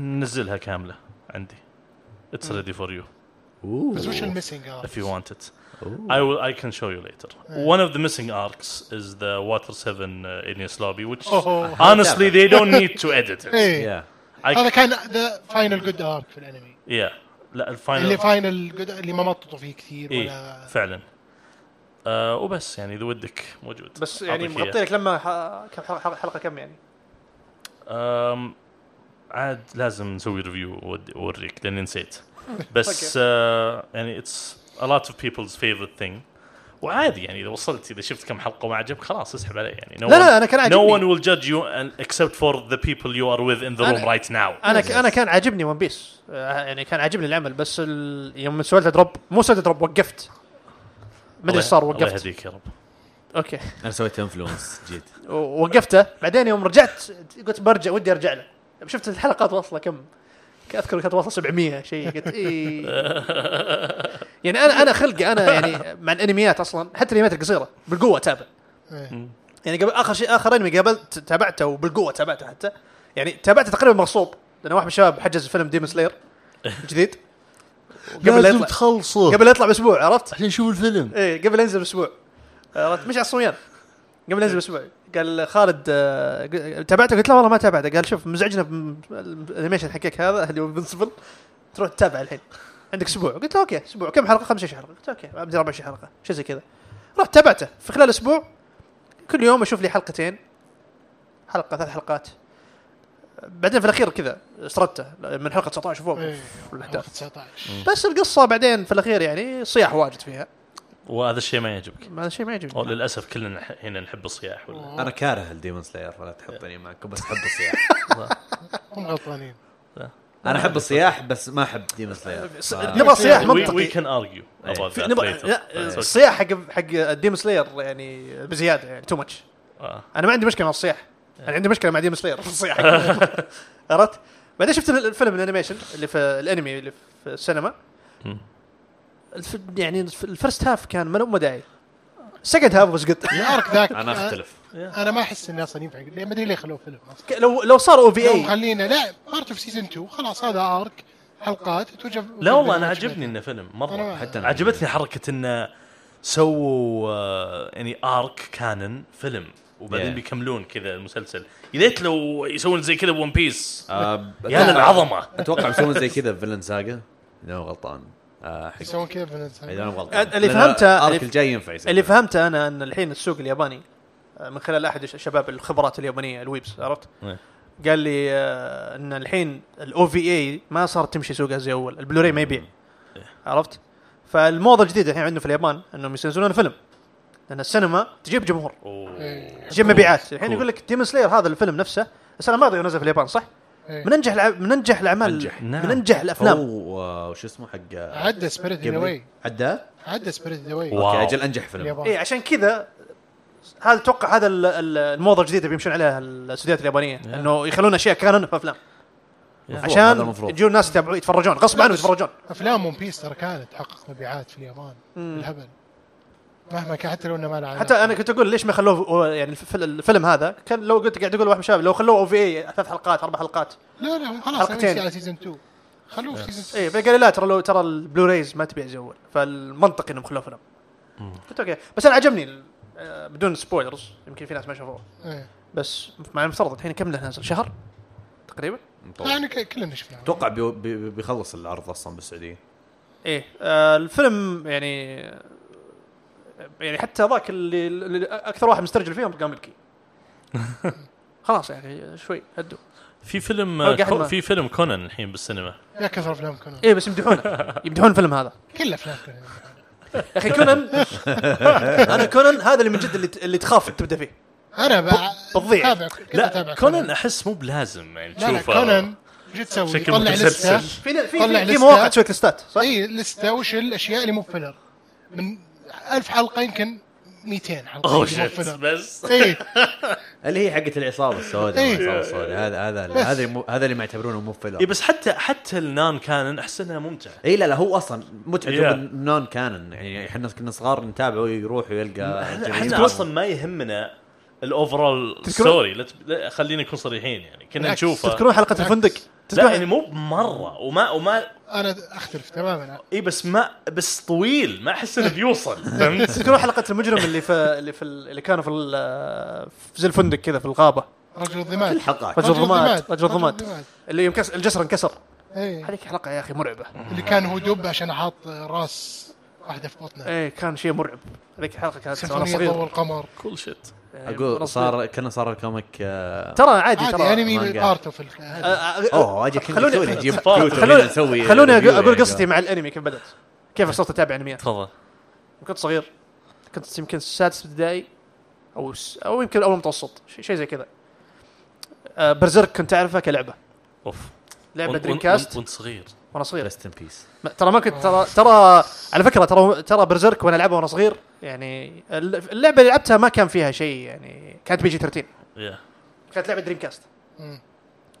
S2: نزلها كامله عندي اتس ريدي فور يو
S1: بس وش آه. الميسنج
S2: if you want it. I will. I can show you later. One of the missing arcs is the Water Seven uh, Ineos lobby, which
S1: Oh.
S2: honestly they don't need to edit it.
S1: ايه
S4: Yeah.
S1: هذا
S2: I,
S1: كان ذا فاينل جود ارك في الانمي
S2: yeah. لا
S1: اللي
S2: الفاينل
S1: فاينل جود اللي ما مططوا فيه كثير
S2: إيه
S1: ولا
S2: فعلا. آه وبس يعني اذا ودك موجود.
S3: بس يعني
S2: أعطيك إياه.
S3: مغطي لك لما ح... كم حلقه, حلقة كم يعني؟
S2: أم، عاد لازم نسوي ريفيو واوريك لاني نسيت بس آه، يعني اتس a lot of people's favorite thing وعادي يعني اذا وصلت اذا شفت كم حلقه وما عجبك خلاص اسحب عليه يعني no
S3: لا، لا،
S2: one-
S3: أنا كان
S2: no
S3: عاجبني.
S2: one will judge you and- except for the people you are with in the room
S3: أنا-
S2: right now
S3: انا ك... انا كان عاجبني ون بيس يعني كان عاجبني العمل بس ال... يوم سويت دروب مو سويت دروب وقفت ما ادري
S2: الله-
S3: ايش صار
S2: الله
S3: وقفت
S2: يهديك يا رب
S3: اوكي
S4: انا سويت انفلونس جيت
S3: ووقفته بعدين يوم رجعت قلت برجع ودي ارجع له شفت الحلقات واصله كم اذكر كانت واصله 700 شيء قلت اي يعني انا انا خلقي انا يعني مع الانميات اصلا حتى الانميات القصيره بالقوه اتابع
S1: إيه.
S3: يعني قبل اخر شيء اخر انمي قابلت تابعته وبالقوه تابعته حتى يعني تابعته تقريبا مغصوب لان واحد من الشباب حجز فيلم ديمون سلاير جديد قبل لا يطلع
S2: تخلصه
S3: قبل لا يطلع باسبوع عرفت؟
S2: عشان نشوف الفيلم
S3: ايه قبل ينزل باسبوع عرفت مش على الصويان قبل ينزل باسبوع قال خالد آه، ق- تابعته قلت له والله ما تابعته قال شوف مزعجنا بم- الانيميشن حقك هذا اللي هو انفنسبل تروح تتابع الحين عندك اسبوع قلت له اوكي اسبوع كم حلقه 25 حلقه قلت اوكي ابدا 24 حلقه شيء زي كذا رحت تابعته في خلال اسبوع كل يوم اشوف لي حلقتين حلقه ثلاث حلقات آه، بعدين في الاخير كذا سردته من حلقه 19 وفوق
S1: إيه.
S3: الاحداث
S1: 19
S3: بس القصه بعدين في الاخير يعني صياح واجد فيها
S2: وهذا الشيء ما يعجبك
S3: ما هذا الشيء ما
S2: أو
S3: يعجبني
S2: للاسف كلنا نح- هنا نحب الصياح ولا
S4: انا كاره الديمون سلاير فلا تحطني معكم بس احب الصياح
S1: هم غلطانين
S4: انا احب الصياح بس ما احب ديمون سلاير
S3: نبغى صياح
S2: آه، وي آه،
S3: منطقي
S2: كان ارجيو
S4: في-
S3: نبغى الصياح حق حق الديم سلاير يعني بزياده يعني تو ماتش
S2: آه.
S3: انا ما عندي مشكله مع الصياح انا عندي مشكله مع ديم سلاير في الصياح عرفت بعدين شفت الفيلم الانيميشن اللي في الانمي اللي في السينما
S2: مم.
S3: الف... يعني الف- الفرست هاف كان ما له أم داعي سكند هاف واز جود
S1: الارك ذاك
S4: انا اختلف
S1: انا ما احس اني اصلا ينفع ليه- ما ادري ليه خلوه فيلم اصلا
S3: لو لو صار او في
S1: لو
S2: إيه.
S3: اي
S1: مخلينا لا ارت اوف سيزون 2 خلاص هذا ارك حلقات توجه
S2: لا والله انا عجبني انه فيلم
S1: أنا
S2: مره
S1: ما-
S4: حتى أنا
S2: عجبتني حركه انه سووا آه، يعني ارك كانن فيلم وبعدين
S4: Yeah.
S2: بيكملون كذا المسلسل يا ليت لو يسوون زي كذا بون بيس
S4: آه،
S2: يا للعظمه
S4: اتوقع بيسوون زي كذا في فيلن ساجا اذا انا غلطان آه، حق
S1: يسوون كذا في
S4: اذا
S1: الانسان
S4: انا غلطان
S3: اللي
S4: لأن
S3: فهمته-
S4: الارك
S3: اللي-
S4: الجاي ينفع يصير
S3: اللي فهمته انا ان الحين السوق الياباني آه، من خلال احد الشباب الخبرات اليابانيه الويبس عرفت؟
S2: إيه.
S3: قال لي آه، ان الحين الاو في اي ما صارت تمشي سوقها زي اول، البلوراي ما يبيع
S2: إيه.
S3: عرفت؟ فالموضه الجديده الحين عندنا في اليابان انهم يسنزلون فيلم لان السينما تجيب جمهور
S1: إيه.
S3: تجيب مبيعات، الحين
S2: cool.
S3: يقول لك ديمون سلاير هذا الفيلم نفسه السنه الماضيه نزل في اليابان صح؟
S1: إيه.
S3: من انجح الع- من انجح الاعمال
S4: أنجح.
S2: نعم.
S3: من انجح الافلام
S4: هو آه، وش اسمه حق آه،
S1: عدى سبيريت
S4: قبل-
S1: ذا
S4: عدى
S1: عدى سبيريت ذا
S2: واو.
S1: واي
S4: اوكي اجل انجح فيلم
S3: اي
S1: اليابان
S3: إيه، عشان كذا هذا اتوقع هذا ال- ال- الموضه الجديده بيمشون عليها الاستديوهات اليابانيه انه يخلون اشياء كانون في افلام
S4: المفروض، هذا
S3: عشان
S4: المفروض
S3: يجون الناس يتابعون يتفرجون غصب عنهم يتفرجون
S1: افلام ون بيس ترى كانت تحقق مبيعات في اليابان بالهبل مهما كان حتى لو انه ما له علاقة.
S3: حتى انا كنت اقول ليش ما خلوه هو يعني الف- الفيلم هذا كان لو قلت قاعد اقول واحد شاب لو خلوه او في اي ثلاث حلقات اربع حلقات
S1: لا لا هم خلاص
S3: حلقتين. إيه.
S1: حلقتين على سيزون 2 خلوه في سيزون
S3: اي فقال لي لا ترى لو ترى البلوريز ما تبيع زي اول فالمنطقي انهم خلوه فيلم قلت اوكي بس انا عجبني ال- آه، بدون سبويلرز يمكن في ناس ما شافوه
S1: 2 إيه.
S3: بس مع المفترض الحين كم له نازل شهر تقريبا
S4: مطول.
S1: يعني ك- كلنا شفناه
S4: اتوقع بي- بي- بيخلص العرض اصلا بالسعوديه
S3: ايه آه الفيلم يعني يعني حتى ذاك اللي, اللي اكثر واحد مسترجل فيهم قام يبكي خلاص يا اخي شوي هدوا
S2: في فيلم
S3: أوقع
S2: آه، كو-
S3: ما.
S2: في فيلم كونان الحين بالسينما
S1: يا كثر افلام كونان
S3: ايه بس يمدحونه يمدحون الفيلم هذا
S1: كل افلام كونان
S3: يا اخي كونان انا كونان هذا اللي من جد اللي, اللي تخاف تبدا فيه
S1: انا بقى
S3: بتضيع.
S1: أتابع- كنت
S2: لا
S1: أتابع
S2: كونان احس مو بلازم يعني
S1: لا لا
S2: تشوفه
S1: كونان وش تسوي؟
S2: شكل
S1: يطلع
S2: متسلسل.
S1: لسته
S3: في في,
S1: طلع
S3: في, في
S1: لستة.
S3: مواقع تسوي لستات صح؟
S1: اي لسته إيه، وش الاشياء اللي مو فيلر من ألف حلقه يمكن 200 حلقه
S2: اوه
S1: اللي مو إيه،
S2: شت
S1: filler.
S2: بس
S1: اي
S4: اللي هي حقت العصابه السوداء
S1: إيه.
S4: العصابه السوداء هذا هذا
S1: بس.
S4: هذا مو- هذا اللي ما يعتبرونه مو فيلر
S2: اي بس حتى حتى النان كانن احس انها ممتع
S4: اي لا لا هو اصلا متعه
S2: Yeah.
S4: النون كانن يعني احنا كنا صغار نتابعه يروح ويلقى
S2: احنا
S4: جميل.
S2: احنا اصلا ما يهمنا الاوفرول ستوري لا تب- لا، خلينا نكون صريحين يعني كنا
S1: بالعكس،
S2: نشوفه
S3: تذكرون حلقه الفندق
S2: لا
S3: تذكرون
S2: يعني مو بمره وما وما
S1: انا اختلف تماما
S2: اي بس ما بس طويل ما احس انه بيوصل فهمت؟
S3: تذكرون حلقه المجرم اللي في اللي في ال- اللي كانوا في, ال- في زي الفندق كذا في الغابه
S1: رجل الضماد
S4: كل حلقات
S3: رجل الضماد
S1: الضماد.
S3: رجل الضماد اللي يمكس الجسر انكسر
S1: اي
S3: هذيك حلقه يا اخي مرعبه
S1: إيه، اللي كان هو دب عشان حاط راس واحده في بطنه
S3: ايه كان شيء مرعب هذيك الحلقه كانت وانا
S1: سيمفونيه ضوء
S3: صغير
S1: القمر
S2: كل شت
S3: يعني وأنا
S4: اقول
S3: صغير.
S4: صار كنا صار الكوميك آه،
S3: ترى عادي
S1: عادي يعني
S3: ترى
S1: انمي
S4: مانجا.
S1: ارت اوف
S3: آه، آه،
S4: اوه اجي كنا
S3: خلوني-
S4: نسوي نجيب
S2: خلوني-
S4: كيوتو هنا
S3: خلوني
S4: نسوي
S3: خلوني
S4: review
S3: أقو- اقول
S4: يعني.
S3: قصتي مع الانمي كيف بدات كيف صرت اتابع انميات
S2: تفضل
S3: كنت صغير كنت يمكن سادس ابتدائي او س... او يمكن اول متوسط شيء شي زي كذا آه برزيرك كنت اعرفه كلعبه
S2: اوف
S3: لعبه
S2: وأنت-
S3: دريم
S2: وأنت-
S3: كاست
S2: وانت صغير
S3: وانا صغير
S4: ريست ان بيس
S3: ما- ترى ما كنت ترى ترى على فكره ترى ترى برزيرك وانا العبها وانا صغير يعني الل- اللعبه اللي لعبتها ما كان فيها شيء يعني كانت بيجي 13
S2: يا
S3: كانت لعبه دريم كاست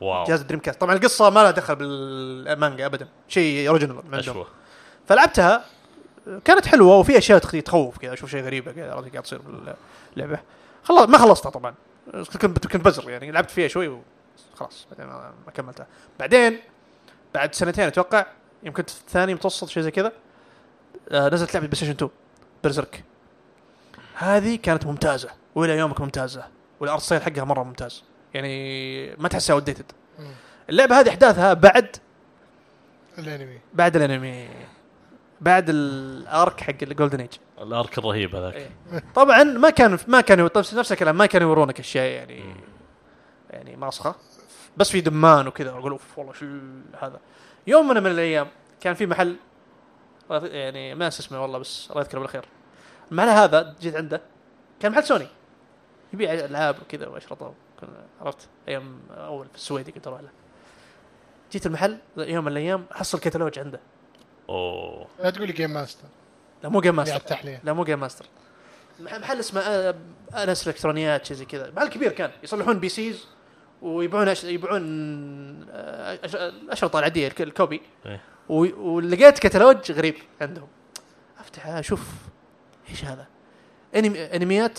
S2: واو
S3: جهاز دريم كاست طبعا القصه ما لها دخل بالمانجا ابدا شيء اوريجنال عندهم
S2: اشوه
S3: فلعبتها كانت حلوه وفي اشياء تخ- تخوف كذا اشوف شيء غريبه كذا عرفت قاعد تصير باللعبه خلاص ما خلصتها طبعا كنت كنت بزر يعني لعبت فيها شوي وخلاص بعدين ما ما كملتها بعدين بعد سنتين اتوقع يمكن في الثاني متوسط شيء زي كذا آه، نزلت لعبه بلاي ستيشن 2 برزرك هذه كانت ممتازه والى يومك ممتازه والارت ستايل حقها مره ممتاز يعني ما تحسها اوديتد اللعبه هذه احداثها بعد
S1: الانمي
S3: بعد الانمي بعد الارك حق إيه. الجولدن ايج
S2: الارك الرهيب هذاك
S3: طيب، طبعا ما كان ما كانوا طبعا نفس الكلام ما كانوا يورونك اشياء يعني يعني مسخه بس في دمان وكذا اقول اوف والله شو هذا يوم من من الايام كان في محل الله يذ- يعني ما انسى اسمه والله بس الله يذكره بالخير المحل هذا جيت عنده كان محل سوني يبيع العاب وكذا واشرطه وكنا- عرفت ايام اول في السويدي كنت اروح له جيت المحل يوم من الايام احصل كتالوج عنده
S2: اوه
S1: لا تقول لي يعني جيم ماستر
S3: لا مو جيم
S1: اللي على
S3: ماستر
S1: التحليه
S3: لا مو جيم ماستر مح- محل اسمه آه، انس الكترونيات شيء زي كذا محل كبير كان يصلحون بي سيز ويبيعون أش... يبيعون آه، أش... الاشرطه العاديه الك- الكوبي
S2: إيه.
S3: و... ولقيت كتالوج غريب عندهم افتح اشوف ايش هذا أنمي... انميات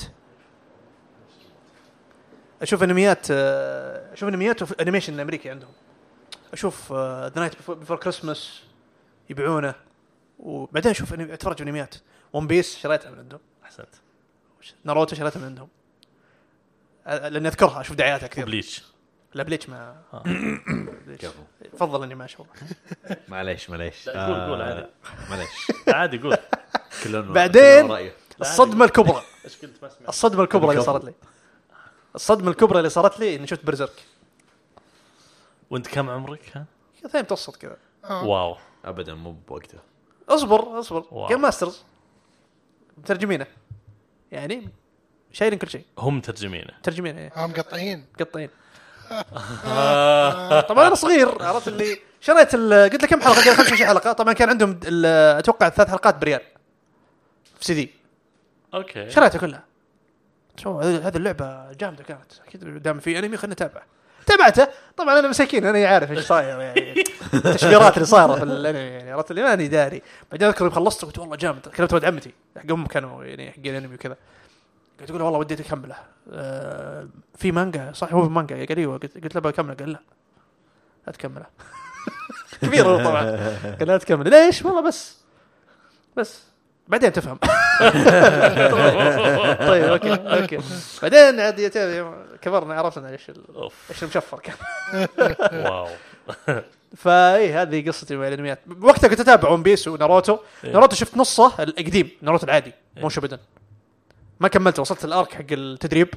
S3: اشوف انميات آه، اشوف انميات وف- انيميشن الامريكي عندهم آه، اشوف ذا نايت بيفور كريسمس يبيعونه وبعدين اشوف أنمي- اتفرج انميات ون بيس شريتها من عندهم
S2: احسنت
S3: ناروتو شريتها من عندهم أ- لاني اذكرها اشوف دعاياتها كثير
S2: بليتش
S3: لا بليتش ما
S2: آه.
S3: بليتش.
S4: قبل
S3: تفضل اني ما اشوف
S4: معليش معليش
S2: لا، قول- قول عادي.
S4: آه، معليش
S2: عادي قول
S4: كلنا
S3: بعدين-
S4: كلنا رأيه.
S3: الصدمه الكبرى
S2: ايش كنت ما سمعت
S3: الصدمه الكبرى اللي
S4: الكبرى.
S3: صارت لي الصدمه الكبرى اللي صارت لي اني شفت برزيرك
S2: وانت كم عمرك ها؟
S3: ثاني متوسط كذا
S2: واو
S4: ابدا مو بوقته
S3: اصبر اصبر
S2: واو.
S3: جيم ماسترز مترجمينه يعني شايلين كل شيء
S2: هم مترجمينه
S3: مترجمينه إيه.
S1: هم مقطعين
S3: قطين طبعا انا صغير عرفت اللي شريت ال- قلت له كم حلقه؟ قال 25 حلقه طبعا كان عندهم د- ال- اتوقع ثلاث حلقات بريال في سي دي
S2: اوكي
S3: شريتها كلها شو هذه هذه اللعبه جامده كانت اكيد دام في انمي خلينا نتابعه تابعته طبعا انا مساكين انا عارف ايش صاير يعني التشفيرات اللي صايره في الانمي يعني عرفت اللي ماني داري بعدين اذكر يوم خلصت قلت والله جامد كلمت ولد عمتي حق امهم كانوا يعني حق الانمي وكذا قلت له والله وديت اكمله آه في مانجا صح هو في مانجا قال ايوه قلت قلت له بكمله قال لا لا تكمله كبير هو طبعا قال لا تكمله ليش والله بس بس بعدين تفهم طيب اوكي اوكي بعدين عاد يت- كبرنا عرفنا ايش ال-
S2: اوف
S3: ايش المشفر كان
S2: واو
S3: فاي هذه قصتي مع الانميات وقتها كنت اتابع ون بيس وناروتو
S2: إيه.
S3: ناروتو شفت نصه القديم ناروتو العادي مو
S2: إيه.
S3: شبدن ما كملته وصلت الارك حق التدريب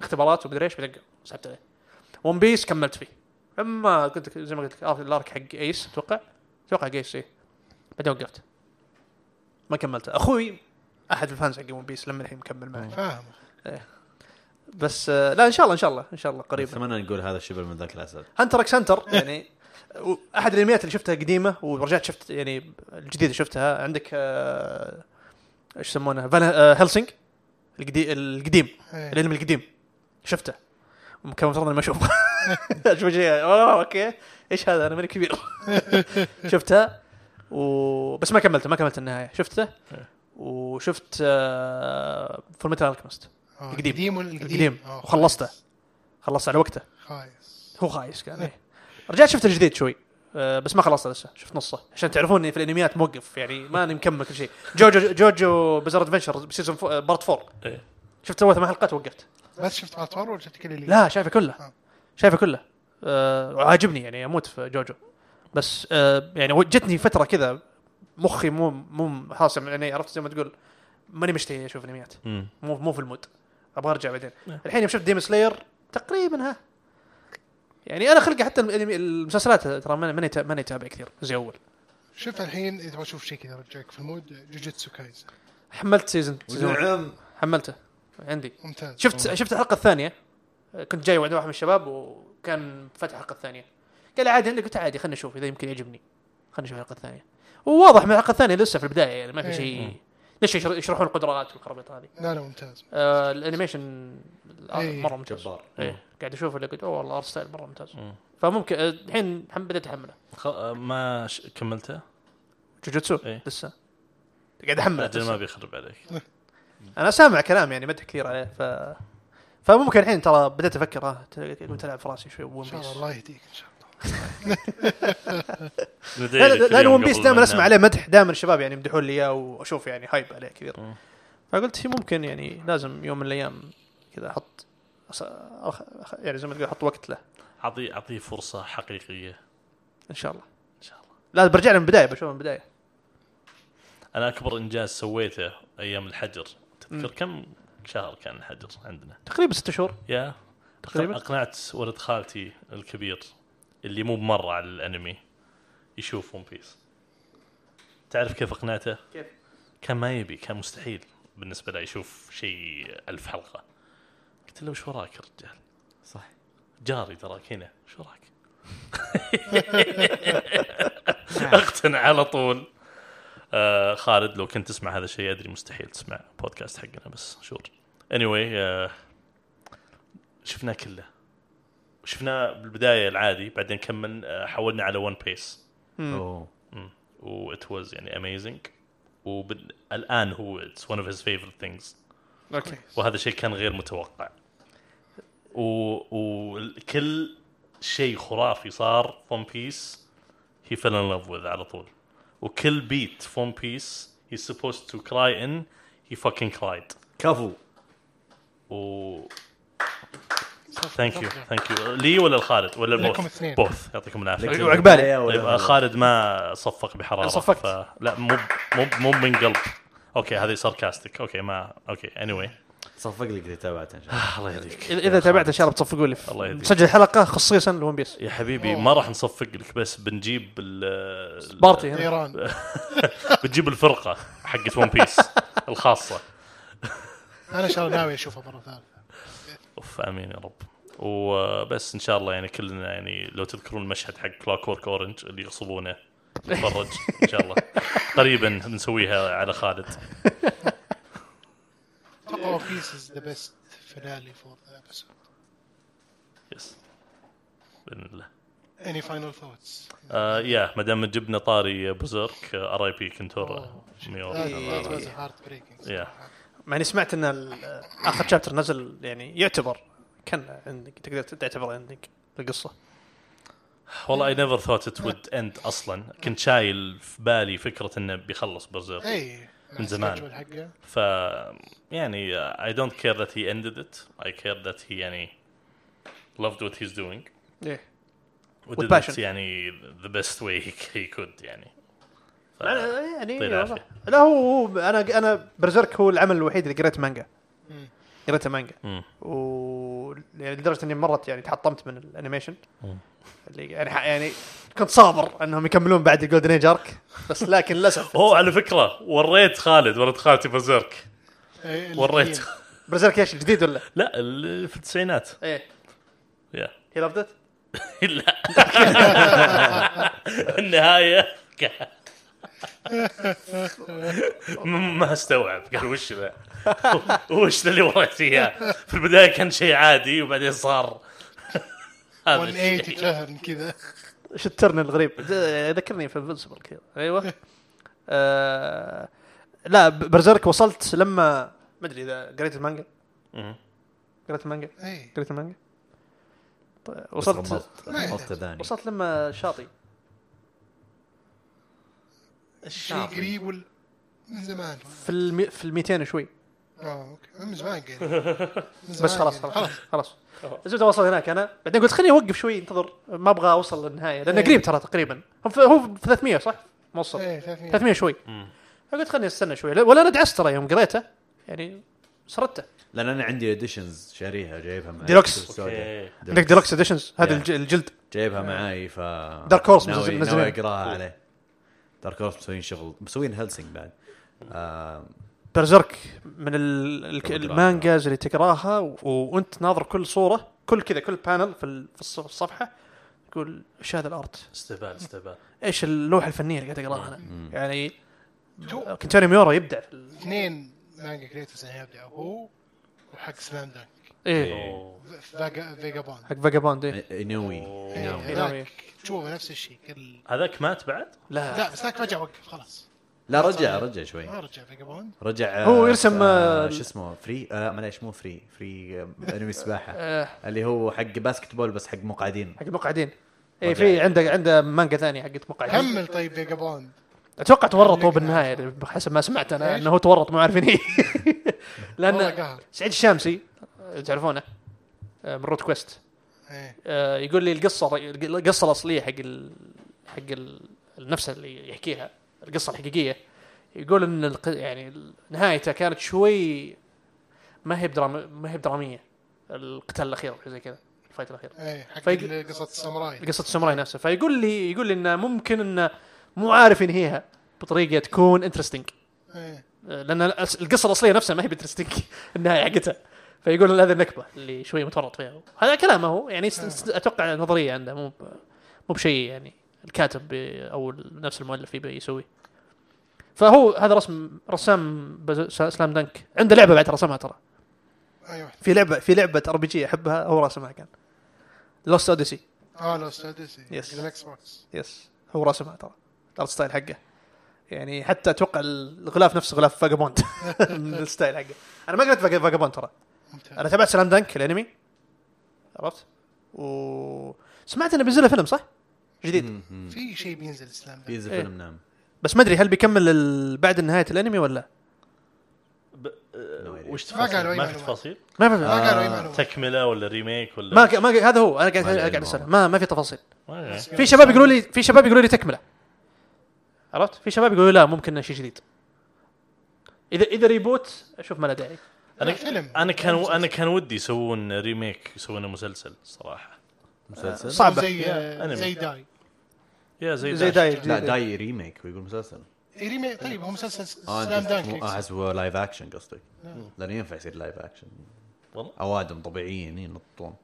S3: اختبارات ومدري ايش بعدين سحبت عليه ون بيس كملت فيه اما كنت زي ما قلت لك آر- الارك حق ايس اتوقع اتوقع حق ايس ايه بعدين وقفت ما كملته اخوي احد الفانز حق ون بيس لما الحين مكمل معي
S2: إيه.
S1: فاهم
S3: بس آه، لا ان شاء الله ان شاء الله ان شاء الله قريبا
S4: اتمنى نقول هذا الشبل من ذاك الاسد
S3: هنتر اكس هنتر يعني و- احد الانميات اللي شفتها قديمه ورجعت شفت يعني الجديده شفتها عندك آه، ايش يسمونه فانا آه، هيلسينج القدي- القديم
S1: إيه.
S3: الانمي القديم شفته كان المفترض اني ما اشوفه اشوف شيء اوه اوكي ايش هذا انا ماني كبير شفتها و... بس ما كملته ما كملت النهايه شفته
S1: إيه.
S3: وشفت فول ميتال الكيمست
S1: آه،
S3: القديم.
S1: القديم ولا
S3: القديم
S1: آه،
S3: وخلصته خلصت على وقته
S1: خايس
S3: هو خايس كان إيه. رجعت شفت الجديد شوي أه بس ما خلصت لسه شفت نصه عشان تعرفون اني في الانميات موقف يعني ما انا مكمل كل شيء جوجو جوجو بزر ادفنشر بسيزون فو بارت 4
S2: إيه.
S3: آه، شفت سويت ثمان حلقات وقفت
S1: بس شفت على طور ولا شفت كل اللي
S3: لا شايفه كله
S1: آه.
S3: شايفه كله أه وعاجبني يعني اموت في جوجو بس أه يعني جتني فتره كذا مخي مو مو خلاص يعني عرفت زي ما تقول ماني مشتهي اشوف انميات
S2: مم.
S3: مو مو في المود ابغى ارجع بعدين
S1: نعم.
S3: الحين يوم شفت ديم سلاير تقريبا ها يعني انا خلقي حتى الأنمي- المسلسلات ترى ماني ماني تا- ماني تابع كثير زي اول
S1: شوف الحين اذا تبغى تشوف شيء كذا يرجعك في المود جوجيتسو كايزن
S3: حملت سيزون سيزون حملته عندي
S1: ممتاز
S3: شفت شفت الحلقه الثانيه كنت جاي وعند واحد من الشباب وكان فتح الحلقه الثانيه قال لي عادي عندك قلت عادي خلينا نشوف اذا يمكن يعجبني خلينا نشوف الحلقه الثانيه وواضح من الحلقه الثانيه لسه في البدايه يعني ما في
S1: إيه.
S3: شيء ليش يشر- يشرحون القدرات والخرابيط هذه
S1: لا لا ممتاز
S3: آه الانيميشن آه،
S1: إيه.
S3: مره ممتاز
S4: جبار
S3: ايه قاعد اشوف اللي قلت اوه والله ارت ستايل مره ممتاز
S2: مم.
S3: فممكن آه، الحين حم- بديت احمله
S2: خ... ما ش... كملته؟
S3: جوجوتسو
S2: إيه.
S3: لسه قاعد احمله
S2: اجل ما
S3: لسه.
S2: بيخرب عليك
S3: انا سامع كلام يعني مدح كثير عليه ف فممكن الحين ترى بديت افكر ها ت- قلت العب في راسي شوي ون
S1: ان شاء
S3: بيس
S1: الله الله يهديك ان شاء الله
S2: ندعي
S3: لا-
S2: لك
S3: لا- لان
S2: اليوم
S3: ون بيس
S2: قبل
S3: دائما
S2: ما
S3: اسمع
S2: ننام.
S3: عليه مدح دائما الشباب يعني يمدحون لي اياه واشوف يعني هايب عليه كثير
S2: مم.
S3: فقلت ممكن يعني لازم يوم من الايام كذا احط أص- أخ- أخ- يعني زي ما تقول احط وقت له
S2: اعطيه اعطيه فرصه حقيقيه
S3: ان شاء الله
S2: ان شاء الله
S3: لا برجع له من البدايه بشوفه من البدايه
S2: انا اكبر انجاز سويته ايام الحجر تذكر كم شهر كان الحجر عندنا
S3: تقريبا ست شهور
S2: يا
S3: تقريبا
S2: اقنعت ولد خالتي الكبير اللي مو بمره على الانمي يشوف ون بيس تعرف كيف اقنعته؟
S3: كيف؟
S2: كان ما يبي كان مستحيل بالنسبه له يشوف شيء ألف حلقه قلت له وش وراك يا رجال؟
S4: صح
S2: جاري تراك هنا شو رايك؟ اقتنع على طول آه خالد لو كنت تسمع هذا الشيء ادري مستحيل تسمع بودكاست حقنا بس شور اني anyway, آه شفناه كله شفناه بالبدايه العادي بعدين كمل آه حولنا على ون بيس
S4: اوه
S2: وات واز يعني اميزنج والان هو اتس ون اوف هيز فيفرت ثينجز
S3: اوكي
S2: وهذا شيء كان غير متوقع وكل شيء خرافي صار فون بيس هي فيل ان لاف وذ على طول وكل بيت فون بيس هي سبوست تو كراي ان هي fucking كرايد
S4: كفو
S2: و ثانك يو ثانك يو لي ولا لخالد ولا
S1: لكم
S2: البوث
S1: الاثنين.
S2: بوث يعطيكم
S3: أيوة،
S2: العافيه
S3: وعقبالي.
S2: طيب خالد ما صفق بحراره
S3: صفقت.
S2: لا مو مو مو من قلب اوكي هذه ساركاستيك اوكي ما اوكي اني anyway.
S4: صفق لك اذا تابعته ان شاء
S3: آه،
S4: الله
S2: الله يهديك
S3: اذا تابعت ان شاء الله بتصفقوا لي
S2: الله يهديك.
S3: مسجل حلقه خصيصا لون بيس
S2: يا حبيبي ما راح نصفق لك بس بنجيب ال
S3: بارتي هنا
S1: ايران
S2: بنجيب الفرقه حقت ون بيس الخاصه
S1: انا ان شاء الله ناوي اشوفها مره ثالثه
S2: اوف امين يا رب وبس ان شاء الله يعني كلنا يعني لو تذكرون المشهد حق كلاك وورك اورنج اللي يغصبونه نتفرج ان شاء الله قريبا بنسويها على خالد
S1: اتوقع ون بيس از ذا بيست فينالي فور ذا ابيسود
S2: يس باذن الله
S1: اني فاينل ثوتس
S2: آه يا ما دام جبنا طاري آه، بزرك ار اي بي كنتورا
S1: ذات واز هارت بريكنج
S2: يا
S3: مع اني سمعت ان ال- اخر شابتر نزل يعني يعتبر كان عندك تقدر تعتبر عندك القصه
S2: والله اي نيفر ثوت ات وود اند اصلا كنت شايل في بالي فكره انه بيخلص برزيرك
S1: اي
S2: من زمان.
S1: إيه. حقه
S2: ف يعني I don't care that he ended it I care that he يعني loved what he's doing
S3: ايه
S2: و
S3: With
S2: did
S3: passion.
S2: it يعني the best way he, he could يعني ف...
S3: أنا- يعني
S2: يعطيه
S3: والله.
S2: طيب، العافية.
S3: لا هو هو- انا انا برزيرك هو العمل الوحيد اللي قريت مانجا قريته مانجا
S2: مم.
S3: و يعني لدرجه اني مرت يعني تحطمت من الانيميشن
S2: مم.
S3: اللي يعني ح- يعني كنت صابر انهم يكملون بعد الجولدن ايج ارك بس لكن للاسف
S2: هو على فكره وريت خالد ولد خالتي برزيرك
S1: إيه،
S2: وريت
S1: الاثنين.
S3: برزيرك ايش الجديد ولا؟
S2: لا ال- في التسعينات
S3: ايه
S2: يا
S3: هي لافت
S2: لا النهايه ك- م- ما استوعب قال وش ذا وش ذا اللي وريت اياه في البدايه كان شيء عادي وبعدين صار هذا
S1: 180
S2: الشيء.
S1: تهرن كذا
S3: شو الترن الغريب ذ- ذكرني في انفنسبل كذا ايوه آه لا ب- برزيرك وصلت لما ما ادري اذا قريت المانجا
S2: مم.
S3: قريت المانجا
S1: اي
S3: قريت المانجا طيب،
S4: بس يعني.
S3: وصلت
S4: غمضت
S1: ما يحتاج.
S4: غمضت اذاني
S3: وصلت لما شاطي
S1: شيء قريب ولا من زمان
S3: في الم... في ال 200 وشوي
S1: اه اوكي من زمان قريب من
S3: بس
S1: زمان
S3: خلاص
S1: قريب.
S3: خلاص خلاص الزبده وصل هناك انا بعدين قلت خليني اوقف شوي انتظر ما ابغى اوصل للنهايه لانه
S1: إيه.
S3: قريب ترى تقريبا هو في- هو في 300 صح؟ موصل
S1: ايه 300
S3: 300 شوي
S2: مم.
S3: فقلت خليني استنى شوي لا- ولا انا دعست ترى يوم قريته يعني سردته
S4: لان انا عندي اديشنز شاريها جايبها معي
S3: ديلوكس.
S2: اوكي
S3: عندك ديلوكس اديشنز هذا
S4: Yeah.
S3: الج- الجلد
S4: جايبها معاي ف
S3: Dark Horse
S4: ناوي-
S3: منزل-
S4: ناوي
S3: منزلين.
S4: اقراها عليه دارك هورس مسوين شغل مسوين هلسنج بعد آه،
S3: برزرك من ال- ال-
S4: أقرأها.
S3: المانجاز اللي تقراها و- وانت ناظر كل صوره كل كذا كل بانل في ال- في الص- الصفحه تقول ايش هذا الارت؟
S2: استهبال استهبال
S3: ايش اللوحه الفنيه اللي قاعد اقراها انا؟ يعني
S1: تو-
S3: كنتوني ميورا يبدع في ال-
S1: اثنين مانجا كريترز يعني يبدع هو وحق سلام دانك
S3: ايه
S1: فيجا فيجا بوند
S3: حق فاجابوند
S4: إيه.
S3: ايه
S4: انوي
S1: إيه،
S3: نعم.
S1: هذاك تشوفه نفس الشيء كل
S2: هذاك مات بعد؟
S3: لا
S1: لا بس ذاك رجع وقف خلاص
S4: لا رجع رجع شوي
S1: ما رجع فيجا بوند
S4: رجع
S3: هو
S4: آه،
S3: يرسم،
S4: آه،
S3: آه،
S4: شو اسمه فري آه معليش مو فري فري آه، انمي سباحه اللي هو حق باسكت بول بس حق مقعدين
S3: حق المقعدين ايه
S4: رجع.
S3: في عنده عنده مانجا ثانيه حقت مقعدين
S1: كمل طيب فيجا بوند
S3: اتوقع تورط هو بالنهايه حسب ما سمعت انا
S1: إيش؟
S3: انه هو تورط ما عارفين إيه.
S1: والله
S3: لان
S1: قهر.
S3: سعيد الشامسي آه، تعرفونه آه، من روت كويست
S1: ايه
S3: آه، يقول لي القصه القصه الاصليه حق ال... حق ال... نفسها اللي يحكيها القصه الحقيقيه يقول ان الق... يعني ال- نهايته كانت شوي ما هي بدرام... ما هي بدراميه
S6: القتال الاخير أو شيء زي كذا الفايت الاخير
S1: ايه حق
S6: فيق-
S1: قصه الساموراي
S6: قصه الساموراي نفسها فيقول لي يقول لي انه ممكن انه مو عارف ينهيها بطريقه تكون انترستنج
S1: ايه
S6: لان الأس- القصه الاصليه نفسها ما هي بانترستنج النهايه حقتها فيقول هذا النكبه اللي شوي متورط فيها هذا كلامه هو يعني است- است- اتوقع نظريه عنده مو ب- مو بشيء يعني الكاتب بي- او نفس المؤلف يبي يسويه فهو هذا رسم رسام بز- س- سلام دنك عنده لعبه بعد رسمها ترى
S1: اي واحد
S3: في لعبه في لعبه ار بي جي احبها هو راسمها كان لوست اوديسي
S1: اه لوست اوديسي
S3: Yes.
S1: الاكس بوكس
S3: يس هو راسمها ترى الارت ستايل حقه يعني حتى اتوقع الغلاف نفس غلاف فاجابوند من الستايل حقه انا ما قريت فاجا- فاجابوند ترى
S1: ممتاز
S3: انا تابعت سلام دانك الانمي عرفت و سمعت انه بينزل له فيلم صح؟ جديد
S4: مم.
S1: في شيء بينزل اسلام ذا.
S4: بينزل
S3: إيه.
S4: فيلم نعم
S3: بس ما ادري هل بيكمل ال- بعد نهايه الانمي ولا
S2: ب... آه،
S4: No idea.
S2: وش
S1: ما قالوا
S2: تفاصيل؟
S1: أي
S2: ما في
S1: معلومات.
S2: تفاصيل؟
S3: ما في
S1: ما قالوا اي
S4: آه،
S1: معلومه
S2: تكمله ولا ريميك ولا
S3: ما ما هذا هو انا قاعد
S4: ما أدري
S3: انا قاعد
S4: والله.
S3: اسال ما ما في تفاصيل
S2: ما أدري.
S3: في شباب يقولوا لي في شباب يقولوا لي تكمله عرفت في شباب يقولوا لا ممكن إنه شيء جديد اذا اذا ريبوت اشوف ما له داعي
S1: انا فيلم
S2: انا كان انا كان ودي يسوون ريميك يسوون مسلسل صراحه
S4: مسلسل
S3: صعب. صعبة.
S1: زي
S2: أنمي.
S1: زي داي
S2: يا زي,
S3: زي
S2: زي
S3: داي
S4: لا
S3: جديد.
S4: داي ريميك ويقول مسلسل
S1: ريمي طيب هو مسلسل
S4: اه
S1: سلام
S4: انت مو-
S1: دانك
S4: آه، احس هو لايف اكشن قصدك لانه ينفع يصير لايف اكشن
S2: والله.
S4: اوادم طبيعيين ينطون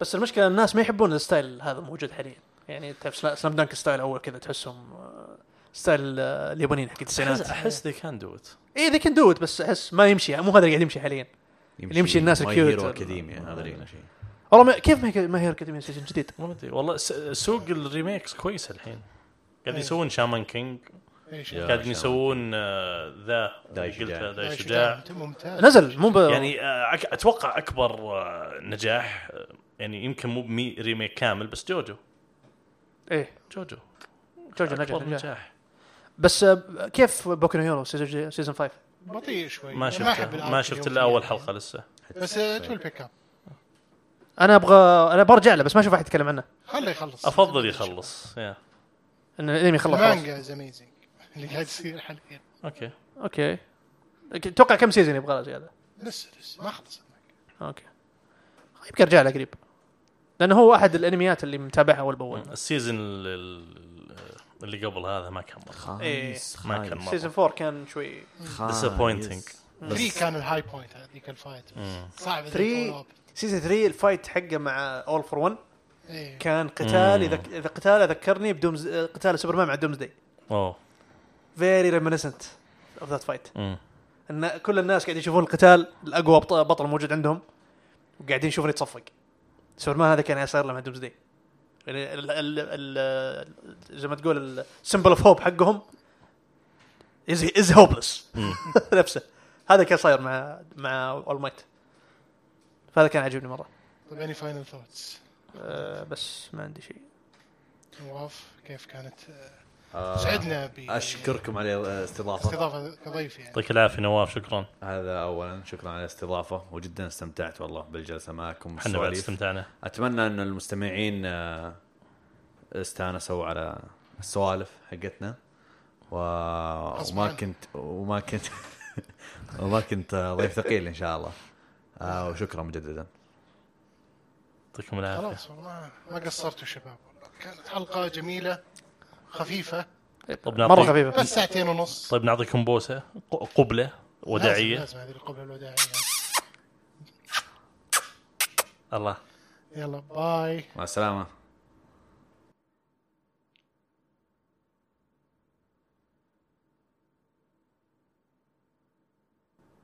S6: بس المشكله الناس ما يحبون الستايل هذا الموجود حاليا يعني تعرف سلا- سلام دانك ستايل اول كذا تحسهم آه، ستايل آه، اليابانيين حق التسعينات إيه،
S2: احس ذي كان دوت
S6: اي ذي كان دوت بس احس ما يمشي مو هذا اللي قاعد يمشي حاليا اللي يمشي الناس الكيوت.
S4: هيرو اكاديميا هذا اللي شيء
S6: والله ما كيف ما هي- ما هي اكاديمية سيزون جديد
S2: ما ادري والله س- سوق الريميكس كويس الحين قاعد يسوون شامان كينج
S4: يا
S2: قاعد
S4: شامان.
S2: يسوون آه، ذا
S4: داي
S2: اللي قلتها،
S4: شجاع.
S2: داي شجاع
S1: ممتاز
S6: نزل مو ب... يعني
S2: يعني آه، أك- اتوقع اكبر آه، نجاح آه، يعني يمكن مو بمي ريميك كامل بس جوجو
S6: ايه
S2: جوجو
S6: جوجو
S2: اكبر
S6: نجح نجح.
S2: نجاح
S6: بس آه، كيف بوكو نو هيرو سيزون جي- سيزون 5
S1: بطيء شوي
S2: ما
S1: أنا أحب
S2: شفت
S1: الأرت
S2: ما شفت الا
S1: اليوم. يعني
S2: اول حلقه لسه
S1: بس تول بيك اب
S6: انا ابغى انا برجع له بس ما اشوف احد يتكلم عنه
S1: خله يخلص
S2: افضل يخلص يا
S6: ان الانمي خلص خلاص
S1: المانجا از اميزنج اللي قاعد يصير حاليا
S2: اوكي
S6: اوكي لكن توقع كم سيزون يبغى له زياده
S1: لسه لسه ما خلص
S6: اوكي يمكن ارجع له قريب لانه هو احد الانميات اللي متابعها اول باول
S2: السيزون ال- ال- اللي قبل هذا ما كان مره
S4: خايس
S2: ما كان مرة.
S6: سيزون 4 كان شوي
S4: خايس.
S2: disappointing.
S1: 3 كان الهاي بوينت هذيك الفايت صعب إذا
S3: ثري-
S1: follow up.
S3: سيزون 3 الفايت حقه مع اول فور 1
S1: إيه.
S3: كان قتال اذا اذا قتال ذكرني بدومز قتال سوبرمان مع دومز داي
S2: اوه
S3: فيري ريمنسنت اوف ذات فايت
S2: مم.
S3: ان كل الناس قاعد يشوفون القتال الاقوى بط- بطل موجود عندهم وقاعدين يشوفون يتصفق سوبرمان هذا كان يصير له مع دومز داي يعني ال ال ال زي ما تقول السمبل اوف هوب حقهم از از هوبلس نفسه هذا كان صاير مع مع اول مايت فهذا كان عجبني مره
S1: طيب اني فاينل ثوتس
S3: أه بس ما عندي شيء
S1: نواف كيف كانت آه،
S4: آه،
S1: سعدنا ب
S4: اشكركم على الاستضافه
S1: استضافه كضيف يعني
S2: يعطيك العافيه نواف شكرا
S4: هذا اولا شكرا على الاستضافه وجدا استمتعت والله بالجلسه معكم
S2: احنا بعد
S4: والسواليف.
S2: استمتعنا
S4: اتمنى ان المستمعين آه، استانسوا على السوالف حقتنا و...
S1: غصباً
S4: وما
S1: عنك.
S4: كنت وما كنت وما كنت آه، ضيف ثقيل ان شاء الله آه، وشكرا مجددا
S2: يعطيكم العافيه
S1: خلاص والله ما قصرتوا شباب والله كانت حلقه جميله خفيفه
S2: طب
S6: مره
S2: نعطيك
S6: خفيفه
S1: بس ساعتين ونص
S2: طيب نعطيكم بوسه ق- قبله وداعيه
S1: لازم, لازم هذه القبله الوداعيه
S2: الله
S1: يلا باي
S4: مع السلامه